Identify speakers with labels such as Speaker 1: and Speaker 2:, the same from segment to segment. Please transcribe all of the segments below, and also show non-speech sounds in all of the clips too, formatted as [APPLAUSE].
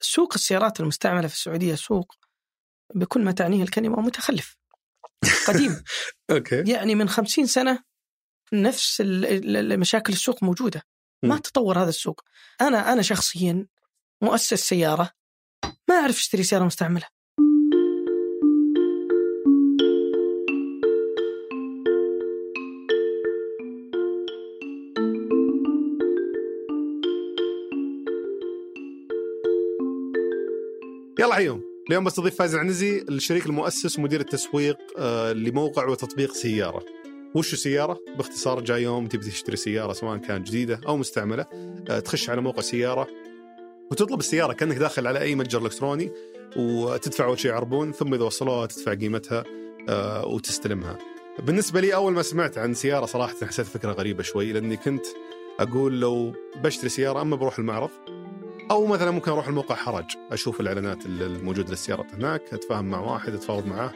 Speaker 1: سوق السيارات المستعمله في السعوديه سوق بكل ما تعنيه الكلمه متخلف
Speaker 2: [LAUGHS]
Speaker 1: قديم
Speaker 2: اوكي
Speaker 1: يعني من خمسين سنه نفس ال- ال- مشاكل السوق موجوده ما
Speaker 2: مم.
Speaker 1: تطور هذا السوق انا انا شخصيا مؤسس سياره ما اعرف اشتري سياره مستعمله
Speaker 2: يلا عيون اليوم بستضيف فايز العنزي الشريك المؤسس ومدير التسويق آه، لموقع وتطبيق سياره وشو سياره؟ باختصار جاي يوم تبي تشتري سياره سواء كانت جديده او مستعمله آه، تخش على موقع سياره وتطلب السياره كانك داخل على اي متجر الكتروني وتدفع اول شيء عربون ثم اذا وصلوها تدفع قيمتها آه، وتستلمها. بالنسبه لي اول ما سمعت عن سياره صراحه حسيت فكره غريبه شوي لاني كنت اقول لو بشتري سياره اما بروح المعرض او مثلا ممكن اروح الموقع حرج اشوف الاعلانات ال- الموجوده للسيارات هناك اتفاهم مع واحد اتفاوض معاه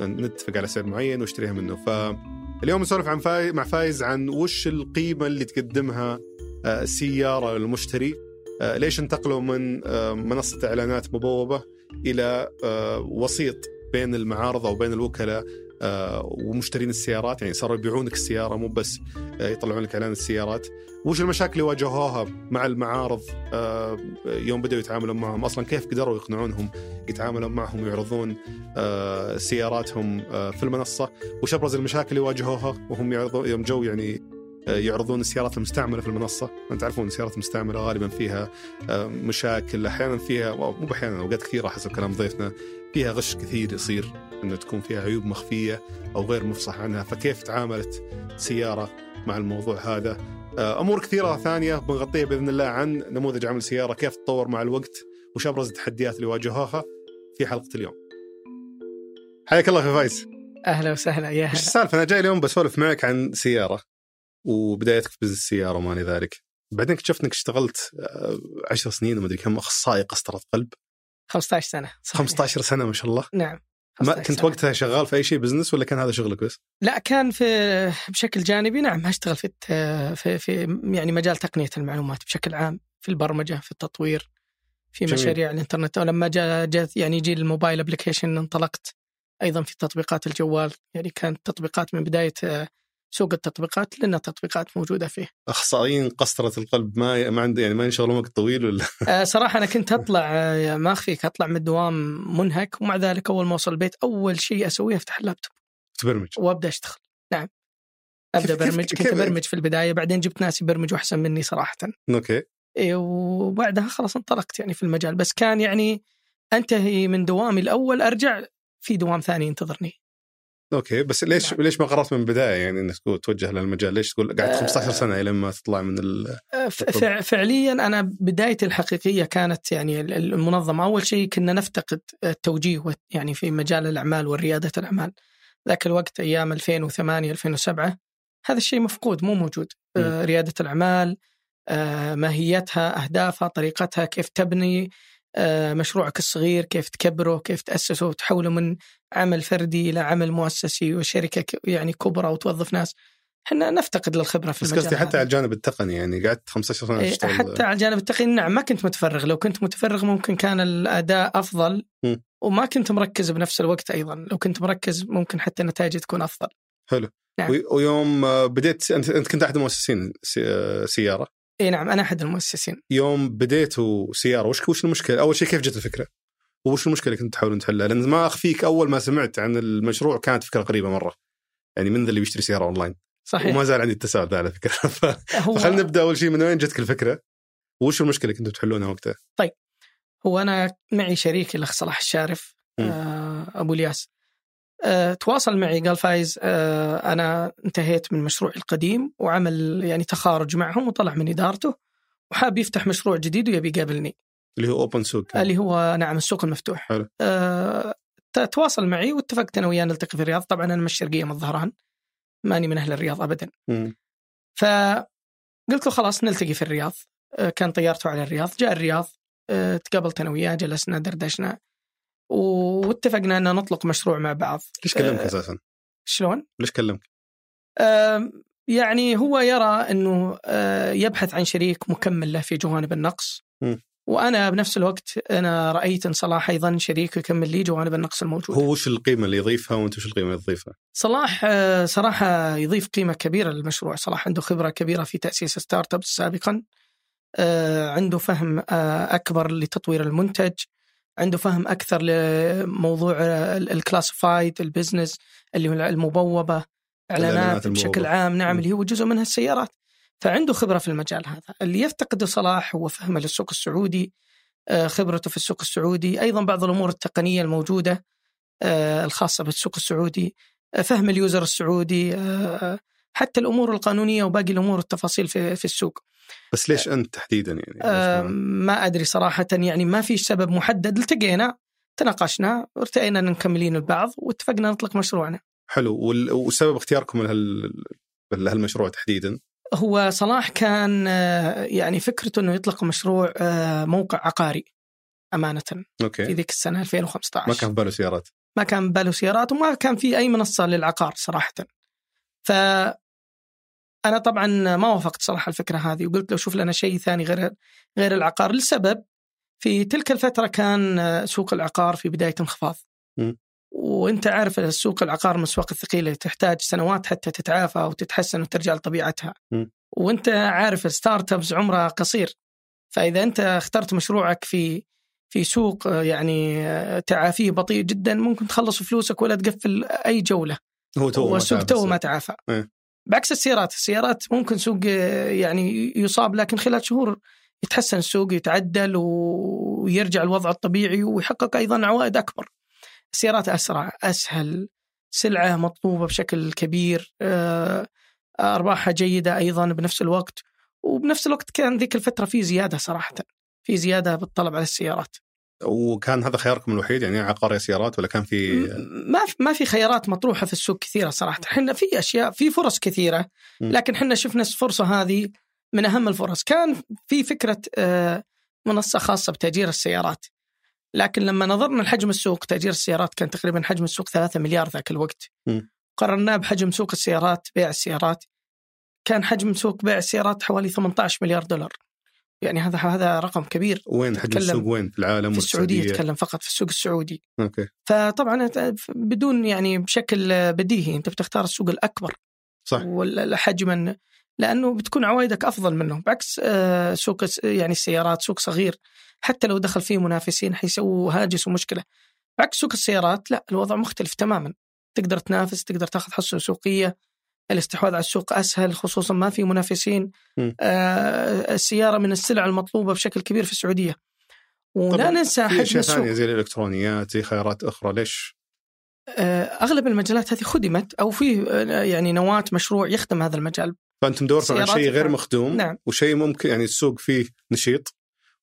Speaker 2: نتفق على سعر معين واشتريها منه فاليوم نسولف عن فاي... مع فايز عن وش القيمه اللي تقدمها آه، السياره للمشتري آه، ليش انتقلوا من آه، منصه اعلانات مبوبه الى آه، وسيط بين المعارض او بين الوكلاء آه، ومشترين السيارات يعني صاروا يبيعونك السياره مو بس آه، يطلعون لك اعلان السيارات وش المشاكل اللي واجهوها مع المعارض آه، يوم بدأوا يتعاملون معهم أصلا كيف قدروا يقنعونهم يتعاملون معهم ويعرضون آه، سياراتهم آه، في المنصة وش أبرز المشاكل اللي واجهوها وهم يعرضون يوم جو يعني آه، يعرضون السيارات المستعملة في المنصة أنت تعرفون السيارات المستعملة غالبا فيها آه، مشاكل أحيانا فيها أو مو أحيانا أوقات كثيرة حسب كلام ضيفنا فيها غش كثير يصير أنه تكون فيها عيوب مخفية أو غير مفصح عنها فكيف تعاملت سيارة مع الموضوع هذا امور كثيره ثانيه بنغطيها باذن الله عن نموذج عمل سياره كيف تطور مع الوقت وش ابرز التحديات اللي واجهوها في حلقه اليوم. حياك الله اخوي فايز،
Speaker 1: اهلا وسهلا يا
Speaker 2: ايش
Speaker 1: هلا
Speaker 2: السالفه؟ انا جاي اليوم بسولف معك عن سياره وبدايتك في بزنس السياره وما الى ذلك. بعدين اكتشفت انك اشتغلت آه، عشر سنين وما ادري كم اخصائي قسطره قلب
Speaker 1: 15 سنه صحيح.
Speaker 2: 15 سنه ما شاء الله
Speaker 1: نعم
Speaker 2: ما
Speaker 1: 15
Speaker 2: كنت
Speaker 1: سنة.
Speaker 2: وقتها شغال في اي شيء بزنس ولا كان هذا شغلك بس؟
Speaker 1: لا كان في بشكل جانبي نعم هشتغل في الت- في في يعني مجال تقنيه المعلومات بشكل عام في البرمجه في التطوير في
Speaker 2: جميل.
Speaker 1: مشاريع الانترنت ولما جاء جاء يعني جيل الموبايل ابلكيشن انطلقت ايضا في تطبيقات الجوال يعني كانت تطبيقات من بدايه آه، سوق التطبيقات لنا تطبيقات موجوده فيه
Speaker 2: اخصائيين قسطره القلب ما ما عنده يعني ما ينشغلون وقت طويل ولا [LAUGHS]
Speaker 1: آه، صراحه انا كنت اطلع آه، ما اخفيك اطلع من الدوام منهك ومع ذلك اول ما اوصل البيت اول شيء اسويه افتح اللابتوب
Speaker 2: تبرمج؟
Speaker 1: وابدا اشتغل نعم ابدا
Speaker 2: كيف- كيف-
Speaker 1: برمج كنت
Speaker 2: كيف-
Speaker 1: برمج في البدايه بعدين جبت ناس يبرمجوا احسن مني صراحه
Speaker 2: اوكي
Speaker 1: إيه، وبعدها خلاص انطلقت يعني في المجال بس كان يعني انتهي من دوامي الاول ارجع في دوام ثاني ينتظرني
Speaker 2: اوكي بس ليش
Speaker 1: نعم.
Speaker 2: ليش ما قررت من البدايه يعني انك تقول توجه للمجال ليش تقول قعدت 15 سنه الى ما تطلع من ال...
Speaker 1: آه، ف- فع- فعليا انا بدايتي الحقيقيه كانت يعني ال- ال- المنظمه اول شيء كنا نفتقد التوجيه وت- يعني في مجال الاعمال ورياده الاعمال ذاك الوقت ايام 2008 2007 هذا الشيء مفقود مو موجود آه، رياده الاعمال آه، ماهيتها اهدافها طريقتها كيف تبني آه، مشروعك الصغير كيف تكبره كيف تاسسه وتحوله من عمل فردي الى عمل مؤسسي وشركه ك- يعني كبرى وتوظف ناس احنا نفتقد للخبره في
Speaker 2: بس
Speaker 1: المجال
Speaker 2: قصدي حتى
Speaker 1: هذا.
Speaker 2: على الجانب التقني يعني قعدت 15 سنه
Speaker 1: إيه،
Speaker 2: تشتغل
Speaker 1: حتى على الجانب التقني نعم ما كنت متفرغ لو كنت متفرغ ممكن كان الاداء افضل
Speaker 2: م.
Speaker 1: وما كنت مركز بنفس الوقت ايضا لو كنت مركز ممكن حتى نتائجي تكون افضل
Speaker 2: حلو
Speaker 1: نعم.
Speaker 2: وي- ويوم آه، بديت انت انت كنت احد مؤسسين سي- آه، سياره
Speaker 1: اي نعم انا احد المؤسسين
Speaker 2: يوم بديتوا سياره وش وش المشكله؟ اول شيء كيف جت الفكره؟ وش المشكله اللي كنت تحاولون تحلها؟ لان ما اخفيك اول ما سمعت عن المشروع كانت فكره غريبه مره يعني من ذا اللي بيشتري سياره اونلاين
Speaker 1: صحيح
Speaker 2: وما زال عندي التساؤل ذا على فكره [LAUGHS] ف-
Speaker 1: هو
Speaker 2: فخلينا نبدا اول شيء من وين جتك الفكره؟ وش المشكله اللي كنتوا تحلونها وقتها؟
Speaker 1: هو انا معي شريكي الاخ صلاح الشارف
Speaker 2: م.
Speaker 1: آه، ابو الياس آه، تواصل معي قال فايز آه، انا انتهيت من مشروعي القديم وعمل يعني تخارج معهم وطلع من ادارته وحاب يفتح مشروع جديد ويبي يقابلني
Speaker 2: اللي هو اوبن سوق
Speaker 1: اللي هو نعم السوق المفتوح
Speaker 2: حلو.
Speaker 1: آه ت- تواصل معي واتفقت انا وياه نلتقي في الرياض طبعا انا من الشرقيه من الظهران ماني من اهل الرياض ابدا
Speaker 2: مم.
Speaker 1: فقلت له خلاص نلتقي في الرياض آه كان طيارته على الرياض جاء الرياض آه تقابلت انا وياه جلسنا دردشنا واتفقنا ان نطلق مشروع مع بعض
Speaker 2: ليش كلمك
Speaker 1: آه،
Speaker 2: اساسا؟
Speaker 1: شلون
Speaker 2: ليش كلمك؟
Speaker 1: آم، يعني هو يرى انه آه، يبحث عن شريك مكمل له في جوانب النقص
Speaker 2: مم.
Speaker 1: وانا بنفس الوقت انا رايت ان صلاح ايضا شريك يكمل لي جوانب النقص الموجود
Speaker 2: هو وش القيمه اللي يضيفها وانت وش القيمه اللي تضيفها؟
Speaker 1: صلاح آه، صراحة يضيف قيمة كبيرة للمشروع صلاح عنده خبرة كبيرة في تأسيس ستارت ابس سابقا آه، عنده فهم آه، أكبر لتطوير المنتج عنده فهم أكثر لموضوع آه، الكلاسيفايد البزنس اللي هو المبوبة
Speaker 2: الإعلانات
Speaker 1: إعلانات
Speaker 2: المبوبة.
Speaker 1: بشكل عام نعم
Speaker 2: مم.
Speaker 1: اللي هو جزء منها السيارات فعنده خبرة في المجال هذا اللي يفتقده صلاح هو فهمه للسوق السعودي آه، خبرته في السوق السعودي أيضا بعض الأمور التقنية الموجودة آه، الخاصة بالسوق السعودي آه، فهم اليوزر السعودي آه، حتى الامور القانونيه وباقي الامور التفاصيل في في السوق
Speaker 2: بس ليش انت تحديدا يعني؟
Speaker 1: آه،
Speaker 2: ليش ما-
Speaker 1: ما ادري صراحه يعني ما في سبب محدد التقينا تناقشنا وارتئينا ان مكملين البعض واتفقنا نطلق مشروعنا
Speaker 2: حلو وال- وسبب اختياركم لهال لهالمشروع تحديدا
Speaker 1: هو صلاح كان آه، يعني فكرته انه يطلق مشروع آه، موقع عقاري امانه في
Speaker 2: اوكي
Speaker 1: ذيك السنه 2015
Speaker 2: إيه. ما كان في باله سيارات
Speaker 1: ما كان باله سيارات وما كان في اي منصه للعقار صراحه ف انا طبعا ما وافقت صراحه الفكره هذه وقلت له شوف لنا شيء ثاني غير غير العقار لسبب في تلك الفتره كان سوق العقار في بدايه انخفاض
Speaker 2: مم.
Speaker 1: وانت عارف السوق العقار من الاسواق الثقيله تحتاج سنوات حتى تتعافى وتتحسن وترجع لطبيعتها
Speaker 2: مم.
Speaker 1: وانت عارف الستارت ابس عمرها قصير فاذا انت اخترت مشروعك في في سوق آه، يعني آه، تعافيه بطيء جدا ممكن تخلص فلوسك ولا تقفل اي جوله
Speaker 2: هو تو ما
Speaker 1: والسوق
Speaker 2: تعرف
Speaker 1: تو ما
Speaker 2: السوق.
Speaker 1: تعافى
Speaker 2: إيه.
Speaker 1: بعكس السيارات السيارات ممكن سوق آه، يعني يصاب لكن خلال شهور يتحسن السوق يتعدل و- ويرجع الوضع الطبيعي ويحقق ايضا عوائد اكبر السيارات اسرع اسهل سلعه مطلوبه بشكل كبير آه، ارباحها جيده ايضا بنفس الوقت وبنفس الوقت كان ذيك الفتره في زياده صراحه في زياده بالطلب على السيارات
Speaker 2: وكان هذا خياركم الوحيد يعني عقار يا سيارات ولا كان في
Speaker 1: م- ما في ما في خيارات مطروحه في السوق كثيره صراحه، احنا في اشياء في فرص كثيره
Speaker 2: م.
Speaker 1: لكن احنا شفنا الفرصه هذه من اهم الفرص، كان في فكره آه، منصه خاصه بتاجير السيارات. لكن لما نظرنا لحجم السوق تاجير السيارات كان تقريبا حجم السوق 3 مليار ذاك الوقت.
Speaker 2: م.
Speaker 1: قررناه بحجم سوق السيارات بيع السيارات كان حجم سوق بيع السيارات حوالي 18 مليار دولار. يعني هذا هذا رقم كبير
Speaker 2: وين حجم
Speaker 1: تتكلم
Speaker 2: السوق وين في العالم
Speaker 1: في
Speaker 2: وفي
Speaker 1: السعوديه اتكلم فقط في السوق السعودي.
Speaker 2: اوكي
Speaker 1: فطبعا أنت بدون يعني بشكل بديهي انت بتختار السوق الاكبر
Speaker 2: صح
Speaker 1: نعم، والحجما لانه بتكون عوائدك افضل منه بعكس آه، سوق الس- يعني السيارات سوق صغير حتى لو دخل فيه منافسين حيسووا هاجس ومشكله بعكس سوق السيارات لا الوضع مختلف تماما تقدر تنافس تقدر تاخذ حصه سوقيه الاستحواذ على السوق اسهل خصوصا ما في منافسين
Speaker 2: مم.
Speaker 1: آه، السياره من السلع المطلوبه بشكل كبير في السعوديه ولا
Speaker 2: طبعاً
Speaker 1: ننسى
Speaker 2: في
Speaker 1: حجم
Speaker 2: اشياء
Speaker 1: السوق
Speaker 2: ثانيه زي الالكترونيات زي خيارات اخرى ليش؟
Speaker 1: آه، اغلب المجالات هذه خدمت او في آه، يعني نواه مشروع يخدم هذا المجال
Speaker 2: فانتم دورتم على
Speaker 1: سيارات
Speaker 2: شيء غير
Speaker 1: الكترون-
Speaker 2: مخدوم
Speaker 1: نعم.
Speaker 2: وشيء ممكن يعني السوق فيه نشيط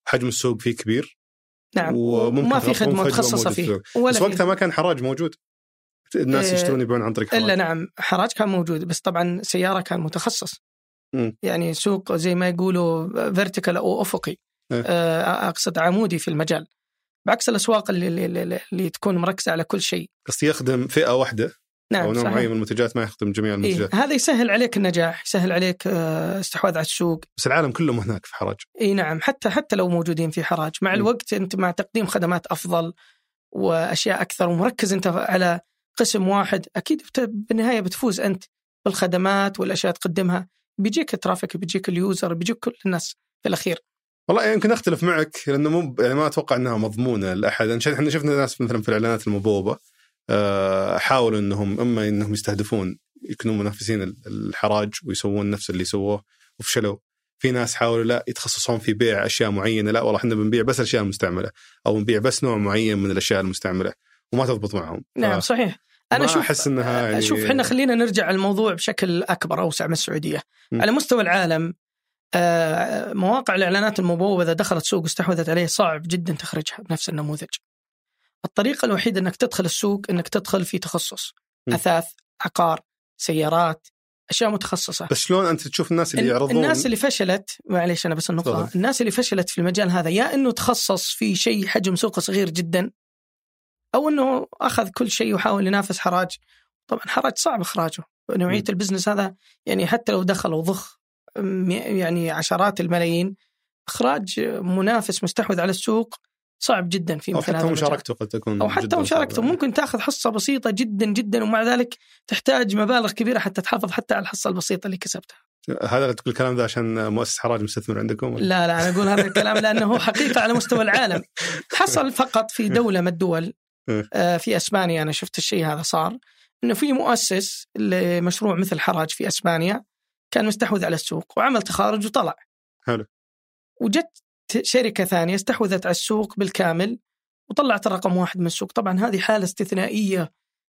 Speaker 2: حجم السوق فيه كبير
Speaker 1: نعم
Speaker 2: وممكن
Speaker 1: وما في
Speaker 2: تغطون
Speaker 1: خدمه
Speaker 2: فجوة
Speaker 1: متخصصه
Speaker 2: موجودة في
Speaker 1: فيه
Speaker 2: السوق. بس
Speaker 1: ولا
Speaker 2: وقتها
Speaker 1: فيه.
Speaker 2: ما كان حراج موجود الناس
Speaker 1: إيه،
Speaker 2: يشترون يبيعون عن طريق حراج
Speaker 1: الا نعم حراج كان موجود بس طبعا سياره كان متخصص
Speaker 2: مم.
Speaker 1: يعني سوق زي ما يقولوا فيرتيكال او افقي
Speaker 2: إيه.
Speaker 1: آه، اقصد عمودي في المجال بعكس الاسواق اللي, اللي, اللي, اللي تكون مركزه على كل شيء
Speaker 2: قصدي يخدم فئه واحده او
Speaker 1: نعم
Speaker 2: نوع معين
Speaker 1: صحيح
Speaker 2: من المنتجات ما يخدم جميع
Speaker 1: إيه
Speaker 2: المنتجات
Speaker 1: هذا يسهل عليك النجاح يسهل عليك آه، استحواذ على السوق
Speaker 2: بس العالم كلهم هناك في حراج
Speaker 1: اي نعم حتى حتى لو موجودين في حراج مع
Speaker 2: م.
Speaker 1: الوقت انت مع تقديم خدمات افضل واشياء اكثر ومركز انت على قسم واحد اكيد بت- بالنهايه بتفوز انت بالخدمات والاشياء تقدمها بيجيك الترافيك بيجيك اليوزر بيجيك كل الناس في الاخير
Speaker 2: والله يعني يمكن اختلف معك لانه مو يعني ما اتوقع انها مضمونه لاحد عشان احنا شفنا ناس مثلا في الاعلانات المبوبه آه، حاولوا انهم اما انهم يستهدفون يكونوا منافسين ال- الحراج ويسوون نفس اللي سووه وفشلوا في ناس حاولوا لا يتخصصون في بيع اشياء معينه لا والله احنا بنبيع بس اشياء مستعمله او نبيع بس نوع معين من الاشياء المستعمله وما تضبط معهم
Speaker 1: نعم
Speaker 2: ف-
Speaker 1: صحيح
Speaker 2: ما
Speaker 1: انا اشوف
Speaker 2: احس انها يعني
Speaker 1: شوف احنا خلينا نرجع الموضوع بشكل اكبر اوسع من السعوديه
Speaker 2: م.
Speaker 1: على مستوى العالم آه، مواقع الاعلانات المبوبه اذا دخلت سوق واستحوذت عليه صعب جدا تخرجها بنفس النموذج الطريقه الوحيده انك تدخل السوق انك تدخل في تخصص
Speaker 2: م.
Speaker 1: اثاث عقار سيارات اشياء متخصصه
Speaker 2: بس شلون انت تشوف الناس اللي
Speaker 1: ال-
Speaker 2: يعرضون
Speaker 1: الناس اللي فشلت معليش انا بس النقطه
Speaker 2: تفضل.
Speaker 1: الناس اللي فشلت في المجال هذا يا انه تخصص في شيء حجم سوقه صغير جدا او انه اخذ كل شيء وحاول ينافس حراج طبعا حراج صعب اخراجه نوعيه
Speaker 2: مم.
Speaker 1: البزنس هذا يعني حتى لو دخل وضخ م- يعني عشرات الملايين اخراج منافس مستحوذ على السوق صعب جدا في
Speaker 2: او
Speaker 1: مثل
Speaker 2: حتى
Speaker 1: هذا المجال.
Speaker 2: مشاركته قد تكون
Speaker 1: او حتى
Speaker 2: جداً
Speaker 1: مشاركته
Speaker 2: صعبة.
Speaker 1: ممكن تاخذ حصه بسيطه جدا جدا ومع ذلك تحتاج مبالغ كبيره حتى تحافظ حتى على الحصه البسيطه اللي كسبتها.
Speaker 2: هذا لا تقول الكلام ذا عشان مؤسس حراج مستثمر عندكم ولا؟
Speaker 1: لا لا انا اقول هذا الكلام لانه هو حقيقه على مستوى العالم. حصل فقط
Speaker 2: [LAUGHS]
Speaker 1: في دوله من الدول
Speaker 2: إيه.
Speaker 1: آه، في اسبانيا انا شفت الشيء هذا صار انه في مؤسس لمشروع مثل حراج في اسبانيا كان مستحوذ على السوق وعمل تخارج وطلع.
Speaker 2: حلو.
Speaker 1: وجت شركه ثانيه استحوذت على السوق بالكامل وطلعت الرقم واحد من السوق، طبعا هذه حاله استثنائيه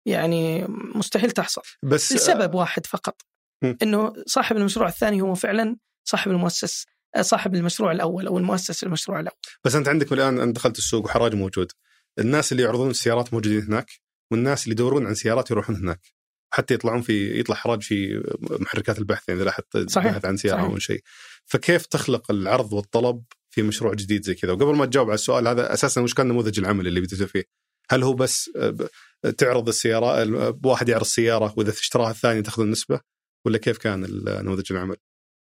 Speaker 1: يعني مستحيل تحصل.
Speaker 2: بس آه،
Speaker 1: لسبب واحد فقط
Speaker 2: مم.
Speaker 1: انه صاحب المشروع الثاني هو فعلا صاحب المؤسس آه، صاحب المشروع الاول او المؤسس المشروع الاول
Speaker 2: بس انت عندك الان انت دخلت السوق وحراج موجود الناس اللي يعرضون السيارات موجودين هناك والناس اللي يدورون عن سيارات يروحون هناك حتى يطلعون في يطلع حراج في محركات البحث يعني اذا لاحظت
Speaker 1: صحيح.
Speaker 2: بحث عن سياره
Speaker 1: صحيح.
Speaker 2: او شيء فكيف تخلق العرض والطلب في مشروع جديد زي كذا وقبل ما تجاوب على السؤال هذا اساسا وش كان نموذج العمل اللي بديتوا فيه هل هو بس آه، ب- تعرض السياره ال- واحد يعرض سياره واذا اشتراها الثاني تاخذ النسبه ولا كيف كان ال- نموذج العمل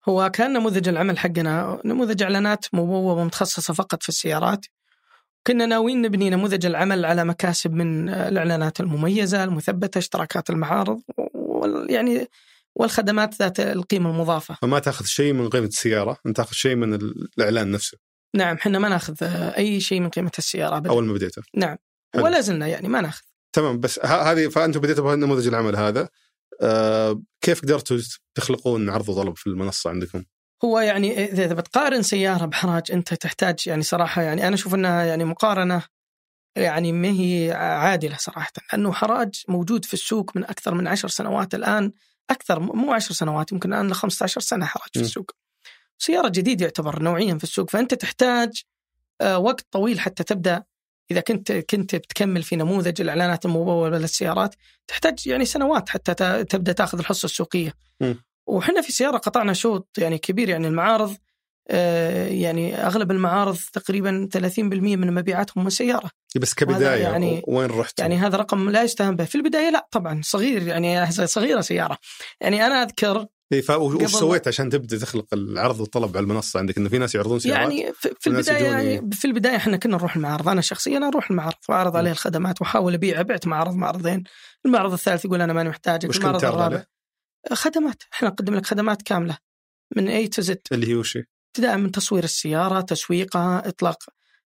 Speaker 1: هو كان نموذج العمل حقنا نموذج اعلانات مبوبه متخصصه فقط في السيارات كنا ناويين نبني نموذج العمل على مكاسب من آه، الاعلانات المميزه المثبته اشتراكات المعارض وال- يعني والخدمات ذات القيمه المضافه
Speaker 2: فما تاخذ شيء من قيمه السياره انت تاخذ شيء من ال- الاعلان نفسه
Speaker 1: نعم احنا ما ناخذ آه، اي شيء من قيمه السياره أبداً.
Speaker 2: اول ما بديته حلو.
Speaker 1: ولا زلنا يعني ما ناخذ
Speaker 2: تمام بس ه- هذه فانتم بديتوا بنموذج العمل هذا آه كيف قدرتوا تخلقون عرض وطلب في المنصه عندكم؟
Speaker 1: هو يعني اذا إذا بتقارن سياره بحراج انت تحتاج يعني صراحه يعني انا اشوف انها يعني مقارنه يعني ما هي عادله صراحه لانه حراج موجود في السوق من اكثر من عشر سنوات الان اكثر مو عشر سنوات يمكن الان ل 15 سنه حراج في
Speaker 2: م.
Speaker 1: السوق. سياره جديد يعتبر نوعيا في السوق فانت تحتاج آه، وقت طويل حتى تبدا اذا كنت كنت بتكمل في نموذج الاعلانات المموله للسيارات تحتاج يعني سنوات حتى ت- تبدا تاخذ الحصه السوقيه.
Speaker 2: م.
Speaker 1: وحنا في سياره قطعنا شوط يعني كبير يعني المعارض آه، يعني اغلب المعارض تقريبا 30% من مبيعاتهم من سياره.
Speaker 2: بس كبدايه
Speaker 1: وهذا يعني-
Speaker 2: يعني وين رحتوا؟
Speaker 1: يعني
Speaker 2: يعني
Speaker 1: هذا رقم لا يستهان به في البدايه لا طبعا صغير يعني صغيره سياره يعني انا اذكر
Speaker 2: إيه فا- وش-
Speaker 1: قبل-
Speaker 2: وش سويت عشان تبدا تخلق العرض والطلب على المنصه عندك انه في ناس يعرضون سيارات يعني
Speaker 1: يعني في في
Speaker 2: والناس
Speaker 1: البدايه
Speaker 2: يجون
Speaker 1: يعني في البدايه احنا كنا نروح المعارض انا شخصيا اروح المعرض واعرض
Speaker 2: م.
Speaker 1: عليه الخدمات واحاول ابيع بعت معرض معرضين المعرض الثالث يقول انا ماني محتاجك
Speaker 2: وش كنت
Speaker 1: المعرض
Speaker 2: تعرض
Speaker 1: الرابع
Speaker 2: عليه؟
Speaker 1: خدمات احنا نقدم لك خدمات كامله من اي تو زد
Speaker 2: اللي هي وش هي؟
Speaker 1: ابتداء من تصوير السيارة تسويقها إطلاق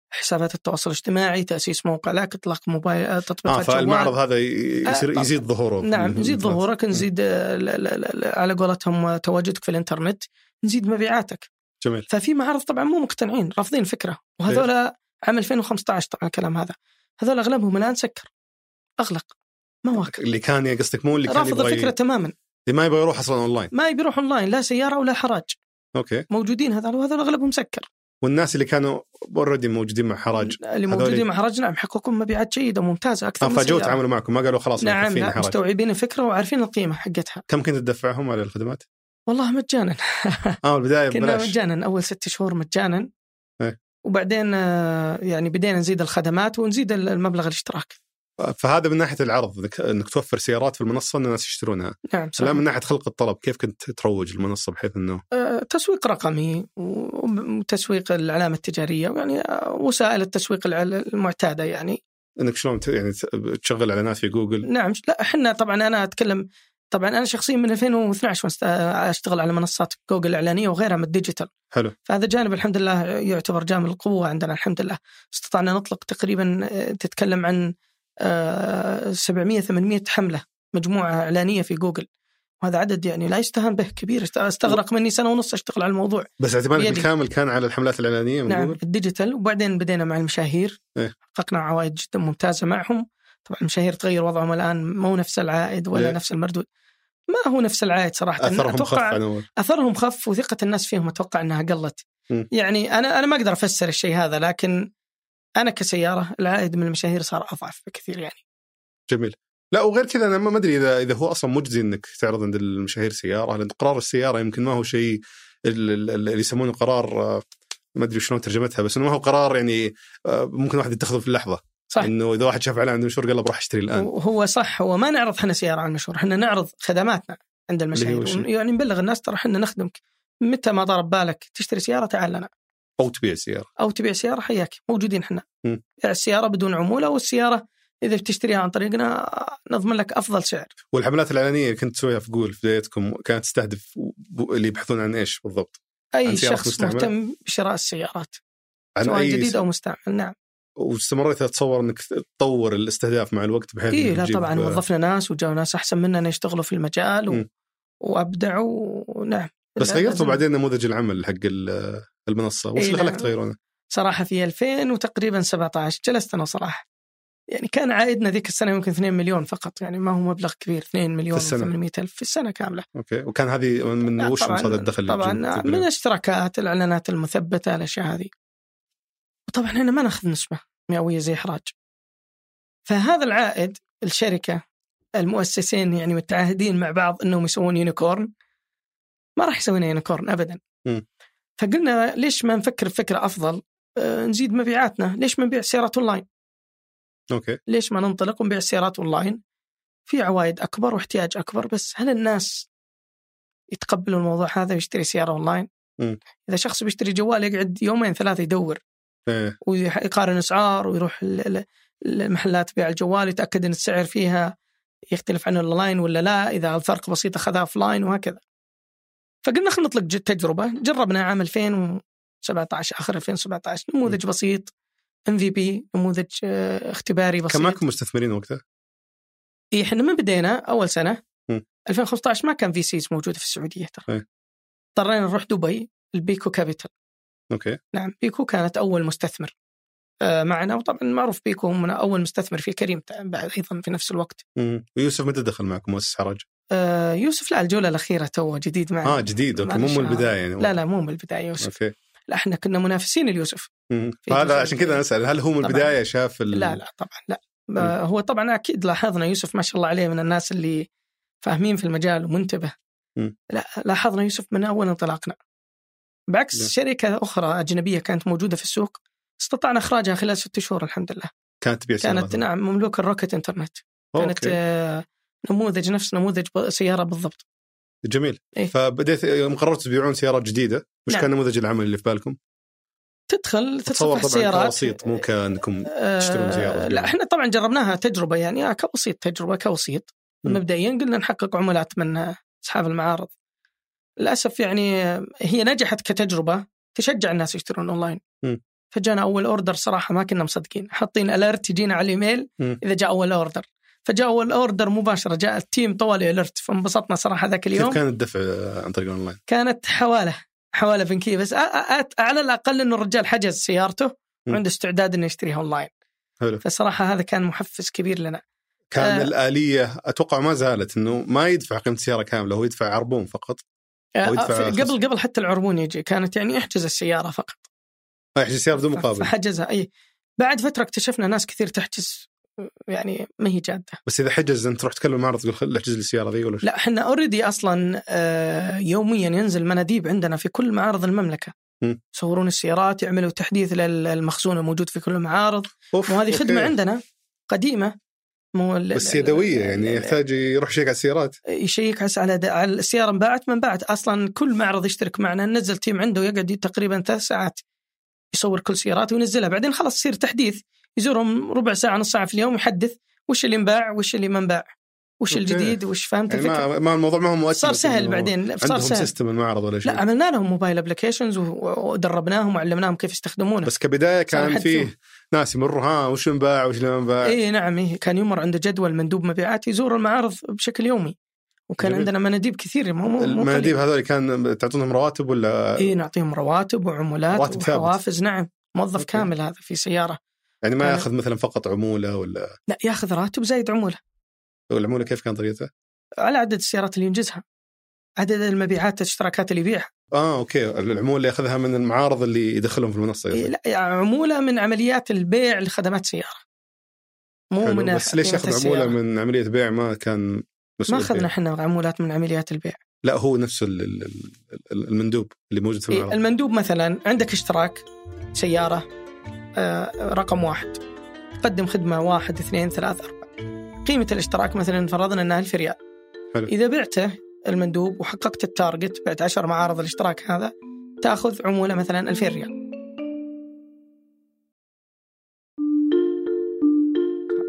Speaker 1: حسابات التواصل الاجتماعي تأسيس موقع لك إطلاق موبايل آه،
Speaker 2: اه
Speaker 1: تطبيقات
Speaker 2: فالمعرض
Speaker 1: جوال.
Speaker 2: هذا ي-
Speaker 1: آه،
Speaker 2: يصير
Speaker 1: طبعاً.
Speaker 2: يزيد ظهوره [LAUGHS]
Speaker 1: نعم نزيد ظهورك
Speaker 2: م.
Speaker 1: نزيد آه، لا- لا- لا- لا، على قولتهم آه، تواجدك في الإنترنت نزيد مبيعاتك
Speaker 2: جميل
Speaker 1: ففي معارض طبعا مو مقتنعين رافضين الفكرة وهذولا عام 2015 طبعا الكلام هذا هذول أغلبهم الآن سكر أغلق ما واكل
Speaker 2: اللي كان يعني قصدك مو اللي كان
Speaker 1: رافض
Speaker 2: يبغى ي-
Speaker 1: الفكرة تماما
Speaker 2: اللي ما يبغى يروح اصلا اونلاين
Speaker 1: ما يبي يروح أونلاين لا سيارة ولا حراج
Speaker 2: اوكي
Speaker 1: موجودين هذول وهذول أغلبهم سكر
Speaker 2: والناس اللي كانوا اوريدي موجودين مع حراج
Speaker 1: اللي
Speaker 2: هذول-
Speaker 1: موجودين مع حرج نعم حققوا مبيعات جيده وممتازه اكثر
Speaker 2: آه،
Speaker 1: من
Speaker 2: فجوا
Speaker 1: سيارة.
Speaker 2: تعاملوا معكم ما قالوا خلاص
Speaker 1: نعم
Speaker 2: مكفين
Speaker 1: لا
Speaker 2: حراج
Speaker 1: مستوعبين الفكره وعارفين القيمه حقتها
Speaker 2: كم كنت تدفعهم على الخدمات؟
Speaker 1: والله مجانا
Speaker 2: اه
Speaker 1: [LAUGHS]
Speaker 2: البدايه
Speaker 1: كنا
Speaker 2: ببلاش
Speaker 1: مجانا اول ست شهور مجانا
Speaker 2: إيه.
Speaker 1: وبعدين آه، يعني بدينا نزيد الخدمات ونزيد المبلغ الاشتراك
Speaker 2: فهذا من ناحيه العرض إنك- انك توفر سيارات في المنصه ان الناس يشترونها،
Speaker 1: نعم
Speaker 2: لا
Speaker 1: صحيح
Speaker 2: من ناحيه خلق الطلب كيف كنت تروج المنصه بحيث انه
Speaker 1: آه، تسويق رقمي و- وتسويق العلامه التجاريه ويعني آه، وسائل التسويق الع- المعتاده يعني
Speaker 2: انك شلون ت- يعني ت- تشغل اعلانات في جوجل
Speaker 1: نعم لا احنا طبعا انا اتكلم طبعا انا شخصيا من 2012 وأنا أست- اشتغل آه، على منصات جوجل الاعلانيه وغيرها من الديجيتال
Speaker 2: حلو
Speaker 1: فهذا جانب الحمد لله يعتبر جانب القوة عندنا الحمد لله استطعنا نطلق تقريبا آه، تتكلم عن 700 800 حملة مجموعة إعلانية في جوجل وهذا عدد يعني لا يستهان به كبير است- استغرق مني سنة ونص أشتغل على الموضوع
Speaker 2: بس اعتمادك
Speaker 1: بيدي.
Speaker 2: الكامل كان على الحملات الاعلانيه من
Speaker 1: نعم
Speaker 2: جوجل
Speaker 1: الديجيتال وبعدين بدينا مع المشاهير
Speaker 2: إيه.
Speaker 1: حققنا عوائد جدا ممتازة معهم طبعا المشاهير تغير وضعهم الآن مو نفس العائد ولا
Speaker 2: إيه.
Speaker 1: نفس المردود ما هو نفس العائد صراحة
Speaker 2: اثرهم خف عن اول
Speaker 1: اثرهم خف وثقه الناس فيهم اتوقع انها قلت.
Speaker 2: م.
Speaker 1: يعني انا انا ما اقدر افسر الشيء هذا لكن انا كسياره العائد من المشاهير صار اضعف بكثير يعني.
Speaker 2: جميل لا وغير كذا انا ما ما ادري اذا اذا هو اصلا مجزي انك تعرض عند المشاهير سياره لان قرار السياره يمكن ما هو شيء ال- ال- ال- اللي يسمونه قرار آه، ما ادري شلون ترجمتها بس انه ما هو قرار يعني آه، ممكن واحد يتخذه في اللحظه
Speaker 1: صح.
Speaker 2: انه اذا واحد شاف اعلان عند مشهور قال له بروح اشتري الان
Speaker 1: وهو صح هو ما نعرض احنا سياره على المشهور، احنا نعرض خدماتنا عند
Speaker 2: اللي هو شيء.
Speaker 1: المشاهير يعني نبلغ الناس ترى احنا نخدمك متى ما ضرب بالك تشتري سياره تعال لنا.
Speaker 2: او تبيع سياره
Speaker 1: او تبيع سياره حياك موجودين احنا
Speaker 2: مم.
Speaker 1: السياره بدون عموله والسياره اذا بتشتريها عن طريقنا نضمن لك افضل سعر
Speaker 2: والحملات الاعلانيه اللي كنت تسويها في جول في بدايتكم كانت تستهدف ب- اللي يبحثون عن ايش بالضبط؟ عن
Speaker 1: اي
Speaker 2: سيارات
Speaker 1: شخص
Speaker 2: مستعملة؟
Speaker 1: مهتم بشراء السيارات
Speaker 2: عن
Speaker 1: سواء
Speaker 2: اي
Speaker 1: جديد او مستعمل نعم
Speaker 2: واستمريت اتصور انك تطور الاستهداف مع الوقت بحيث
Speaker 1: اي
Speaker 2: إنك
Speaker 1: إيه، لا
Speaker 2: تجيب- آه،
Speaker 1: طبعا وظفنا ناس وجاوا ناس احسن مننا يشتغلوا في المجال و...
Speaker 2: مم.
Speaker 1: وابدعوا ونعم
Speaker 2: بس
Speaker 1: لا-
Speaker 2: غيرتوا
Speaker 1: لازم-
Speaker 2: بعدين نموذج العمل حق ال- المنصه وش
Speaker 1: إي
Speaker 2: اللي
Speaker 1: نعم.
Speaker 2: خلاك تغيرونه؟
Speaker 1: صراحه في 2000 وتقريبا 17 جلست انا صراحه يعني كان عائدنا ذيك السنه يمكن 2 مليون فقط يعني ما هو مبلغ كبير 2 مليون
Speaker 2: السنة.
Speaker 1: و800 الف في السنه كامله
Speaker 2: اوكي وكان هذه من من
Speaker 1: لا،
Speaker 2: وش
Speaker 1: طبعاً-
Speaker 2: مصادر الدخل اللي
Speaker 1: طبعا
Speaker 2: تجيب؟
Speaker 1: من الاشتراكات الاعلانات المثبته الاشياء هذه وطبعا احنا ما ناخذ نسبه مئويه زي احراج فهذا العائد الشركه المؤسسين يعني متعاهدين مع بعض انهم يسوون يونيكورن ما راح يسوون يونيكورن ابدا
Speaker 2: م.
Speaker 1: فقلنا ليش ما نفكر بفكره افضل آه، نزيد مبيعاتنا ليش ما نبيع سيارات اونلاين
Speaker 2: اوكي
Speaker 1: ليش ما ننطلق ونبيع سيارات اونلاين في عوائد اكبر واحتياج اكبر بس هل الناس يتقبلوا الموضوع هذا ويشتري سياره اونلاين؟
Speaker 2: مم.
Speaker 1: اذا شخص بيشتري جوال يقعد يومين ثلاثه يدور
Speaker 2: إيه.
Speaker 1: ويقارن اسعار ويروح ال- ال- المحلات بيع الجوال يتاكد ان السعر فيها يختلف عن الاونلاين ولا لا اذا الفرق بسيط اخذها اوف لاين وهكذا. فقلنا خلينا نطلق ج- تجربه جربنا عام 2017 اخر 2017 نموذج بسيط ام في بي نموذج آه، اختباري بسيط
Speaker 2: كان معكم مستثمرين وقتها؟
Speaker 1: إيه، احنا من بدينا اول سنه
Speaker 2: مم.
Speaker 1: 2015 ما كان في سيز موجوده في السعوديه ترى
Speaker 2: إيه.
Speaker 1: اضطرينا نروح دبي البيكو كابيتال
Speaker 2: اوكي
Speaker 1: نعم بيكو كانت اول مستثمر آه، معنا وطبعا معروف بيكو هم اول مستثمر في كريم تع- بعد ايضا في نفس الوقت
Speaker 2: مم. ويوسف متى دخل معكم مؤسس حرج؟
Speaker 1: آه، يوسف لا الجوله الاخيره تو جديد معنا
Speaker 2: اه جديد اوكي مو
Speaker 1: معلش،
Speaker 2: من
Speaker 1: آه.
Speaker 2: البدايه يعني
Speaker 1: لا لا مو من البدايه يوسف
Speaker 2: اوكي
Speaker 1: لا احنا كنا منافسين ليوسف
Speaker 2: مم.
Speaker 1: في
Speaker 2: فهذا
Speaker 1: جزء
Speaker 2: عشان كذا انا اسال هل هو من
Speaker 1: طبعاً.
Speaker 2: البدايه شاف ال...
Speaker 1: لا لا طبعا لا آه، هو طبعا اكيد لاحظنا يوسف ما شاء الله عليه من الناس اللي فاهمين في المجال ومنتبه
Speaker 2: مم.
Speaker 1: لا لاحظنا يوسف من اول انطلاقنا بعكس
Speaker 2: نعم.
Speaker 1: شركه اخرى اجنبيه كانت موجوده في السوق استطعنا اخراجها خلال ست شهور الحمد لله
Speaker 2: كانت تبيع سيارات.
Speaker 1: كانت نعم مملوكه روكت انترنت كانت
Speaker 2: أوكي.
Speaker 1: آه، نموذج نفس نموذج ب- سياره بالضبط
Speaker 2: جميل
Speaker 1: إيه.
Speaker 2: فبديت يوم قررتوا تبيعون سيارات جديده وش
Speaker 1: نعم.
Speaker 2: كان نموذج العمل اللي في بالكم؟
Speaker 1: تدخل
Speaker 2: تصور
Speaker 1: تتصفح
Speaker 2: طبعا
Speaker 1: السيارات
Speaker 2: كوسيط مو كانكم
Speaker 1: آه،
Speaker 2: تشترون سيارة.
Speaker 1: لا احنا طبعا جربناها تجربه يعني آه، كوسيط تجربه كوسيط
Speaker 2: مم.
Speaker 1: مبدئيا قلنا نحقق عملات من آه، اصحاب المعارض للاسف يعني آه، هي نجحت كتجربه تشجع الناس يشترون اونلاين
Speaker 2: مم.
Speaker 1: فجانا اول اوردر صراحه ما كنا مصدقين حاطين اليرت يجينا على الايميل
Speaker 2: مم.
Speaker 1: اذا جاء اول اوردر فجاء اول اوردر مباشره جاء التيم طوالي اليرت فانبسطنا صراحه ذاك اليوم
Speaker 2: كيف كان الدفع آه، عن طريق الاونلاين؟
Speaker 1: كانت حواله حواله بنكيه بس أ- أ- أت- على الاقل انه الرجال حجز سيارته
Speaker 2: مم.
Speaker 1: وعنده استعداد انه يشتريها اونلاين
Speaker 2: حلو.
Speaker 1: فصراحه هذا كان محفز كبير لنا
Speaker 2: كان
Speaker 1: آه.
Speaker 2: الاليه اتوقع ما زالت انه ما يدفع قيمه السياره كامله هو يدفع عربون فقط
Speaker 1: آه،
Speaker 2: ويدفع
Speaker 1: في-
Speaker 2: خصم.
Speaker 1: قبل قبل حتى العربون يجي كانت يعني احجز السياره فقط
Speaker 2: ما يحجز سياره بدون يعني مقابل
Speaker 1: فحجزها اي بعد فتره اكتشفنا ناس كثير تحجز يعني ما هي جاده
Speaker 2: بس اذا حجز انت تروح تكلم المعرض تقول خل احجز لي السياره ذي ولا شيء
Speaker 1: لا احنا اوريدي اصلا آه، يوميا ينزل مناديب عندنا في كل معارض المملكه
Speaker 2: مم.
Speaker 1: يصورون السيارات يعملوا تحديث للمخزون الموجود في كل المعارض
Speaker 2: أوف،
Speaker 1: وهذه
Speaker 2: أوكي.
Speaker 1: خدمه عندنا قديمه مو ال-
Speaker 2: بس يدويه يعني
Speaker 1: ال-
Speaker 2: يحتاج يروح يشيك على السيارات
Speaker 1: يشيك على- على على السياره انباعت ما انباعت اصلا كل معرض يشترك معنا ننزل تيم عنده يقعد تقريبا ثلاث ساعات يصور كل سيارات وينزلها بعدين خلاص يصير تحديث يزورهم ربع ساعه نص ساعه في اليوم يحدث وش اللي انباع وش اللي ما انباع وش
Speaker 2: أوكي.
Speaker 1: الجديد وش فهمت
Speaker 2: يعني
Speaker 1: الفكره
Speaker 2: ما, ما الموضوع ما هو مؤثر
Speaker 1: صار سهل بعدين صار
Speaker 2: عندهم
Speaker 1: سهل
Speaker 2: سيستم المعرض ولا شيء
Speaker 1: لا عملنا لهم موبايل ابلكيشنز ودربناهم وعلمناهم كيف يستخدمونه
Speaker 2: بس كبدايه
Speaker 1: صار
Speaker 2: كان
Speaker 1: حد
Speaker 2: فيه ناس يمروا ها وش انباع وش ما انباع
Speaker 1: اي نعم إيه كان يمر عنده جدول مندوب مبيعات يزور المعارض بشكل يومي وكان
Speaker 2: جميل.
Speaker 1: عندنا مناديب كثير مو مو مو
Speaker 2: المناديب هذول كان تعطونهم رواتب ولا
Speaker 1: اي إيه، نعطيهم رواتب وعمولات
Speaker 2: رواتب ثابت.
Speaker 1: وحوافز نعم موظف
Speaker 2: أوكي.
Speaker 1: كامل هذا في سياره
Speaker 2: يعني ما
Speaker 1: كان-
Speaker 2: ياخذ مثلا فقط عموله ولا
Speaker 1: لا ياخذ راتب زايد عموله
Speaker 2: والعموله كيف كان طريقته؟
Speaker 1: على عدد السيارات اللي ينجزها عدد المبيعات الاشتراكات اللي يبيعها
Speaker 2: اه اوكي العموله اللي ياخذها من المعارض اللي يدخلهم في المنصه
Speaker 1: إيه،
Speaker 2: قصدك.
Speaker 1: لا يعني عموله من عمليات البيع لخدمات سياره مو
Speaker 2: حلو.
Speaker 1: من
Speaker 2: بس ليش
Speaker 1: قيمة
Speaker 2: ياخذ
Speaker 1: السيارة.
Speaker 2: عموله من عمليه بيع ما كان
Speaker 1: ما
Speaker 2: مسؤول
Speaker 1: اخذنا
Speaker 2: فيها؟
Speaker 1: احنا عمولات من عمليات البيع
Speaker 2: لا هو نفسه ال- ال- ال- المندوب اللي موجود في
Speaker 1: إيه،
Speaker 2: المعرض
Speaker 1: المندوب مثلا عندك اشتراك سيارة آه، رقم واحد تقدم خدمة واحد اثنين ثلاث أربعة قيمة الاشتراك مثلا فرضنا أنها 1000 ريال
Speaker 2: حلو.
Speaker 1: إذا بعته المندوب وحققت التارجت بعت 10 معارض الاشتراك هذا تاخذ عمولة مثلا 2000 ريال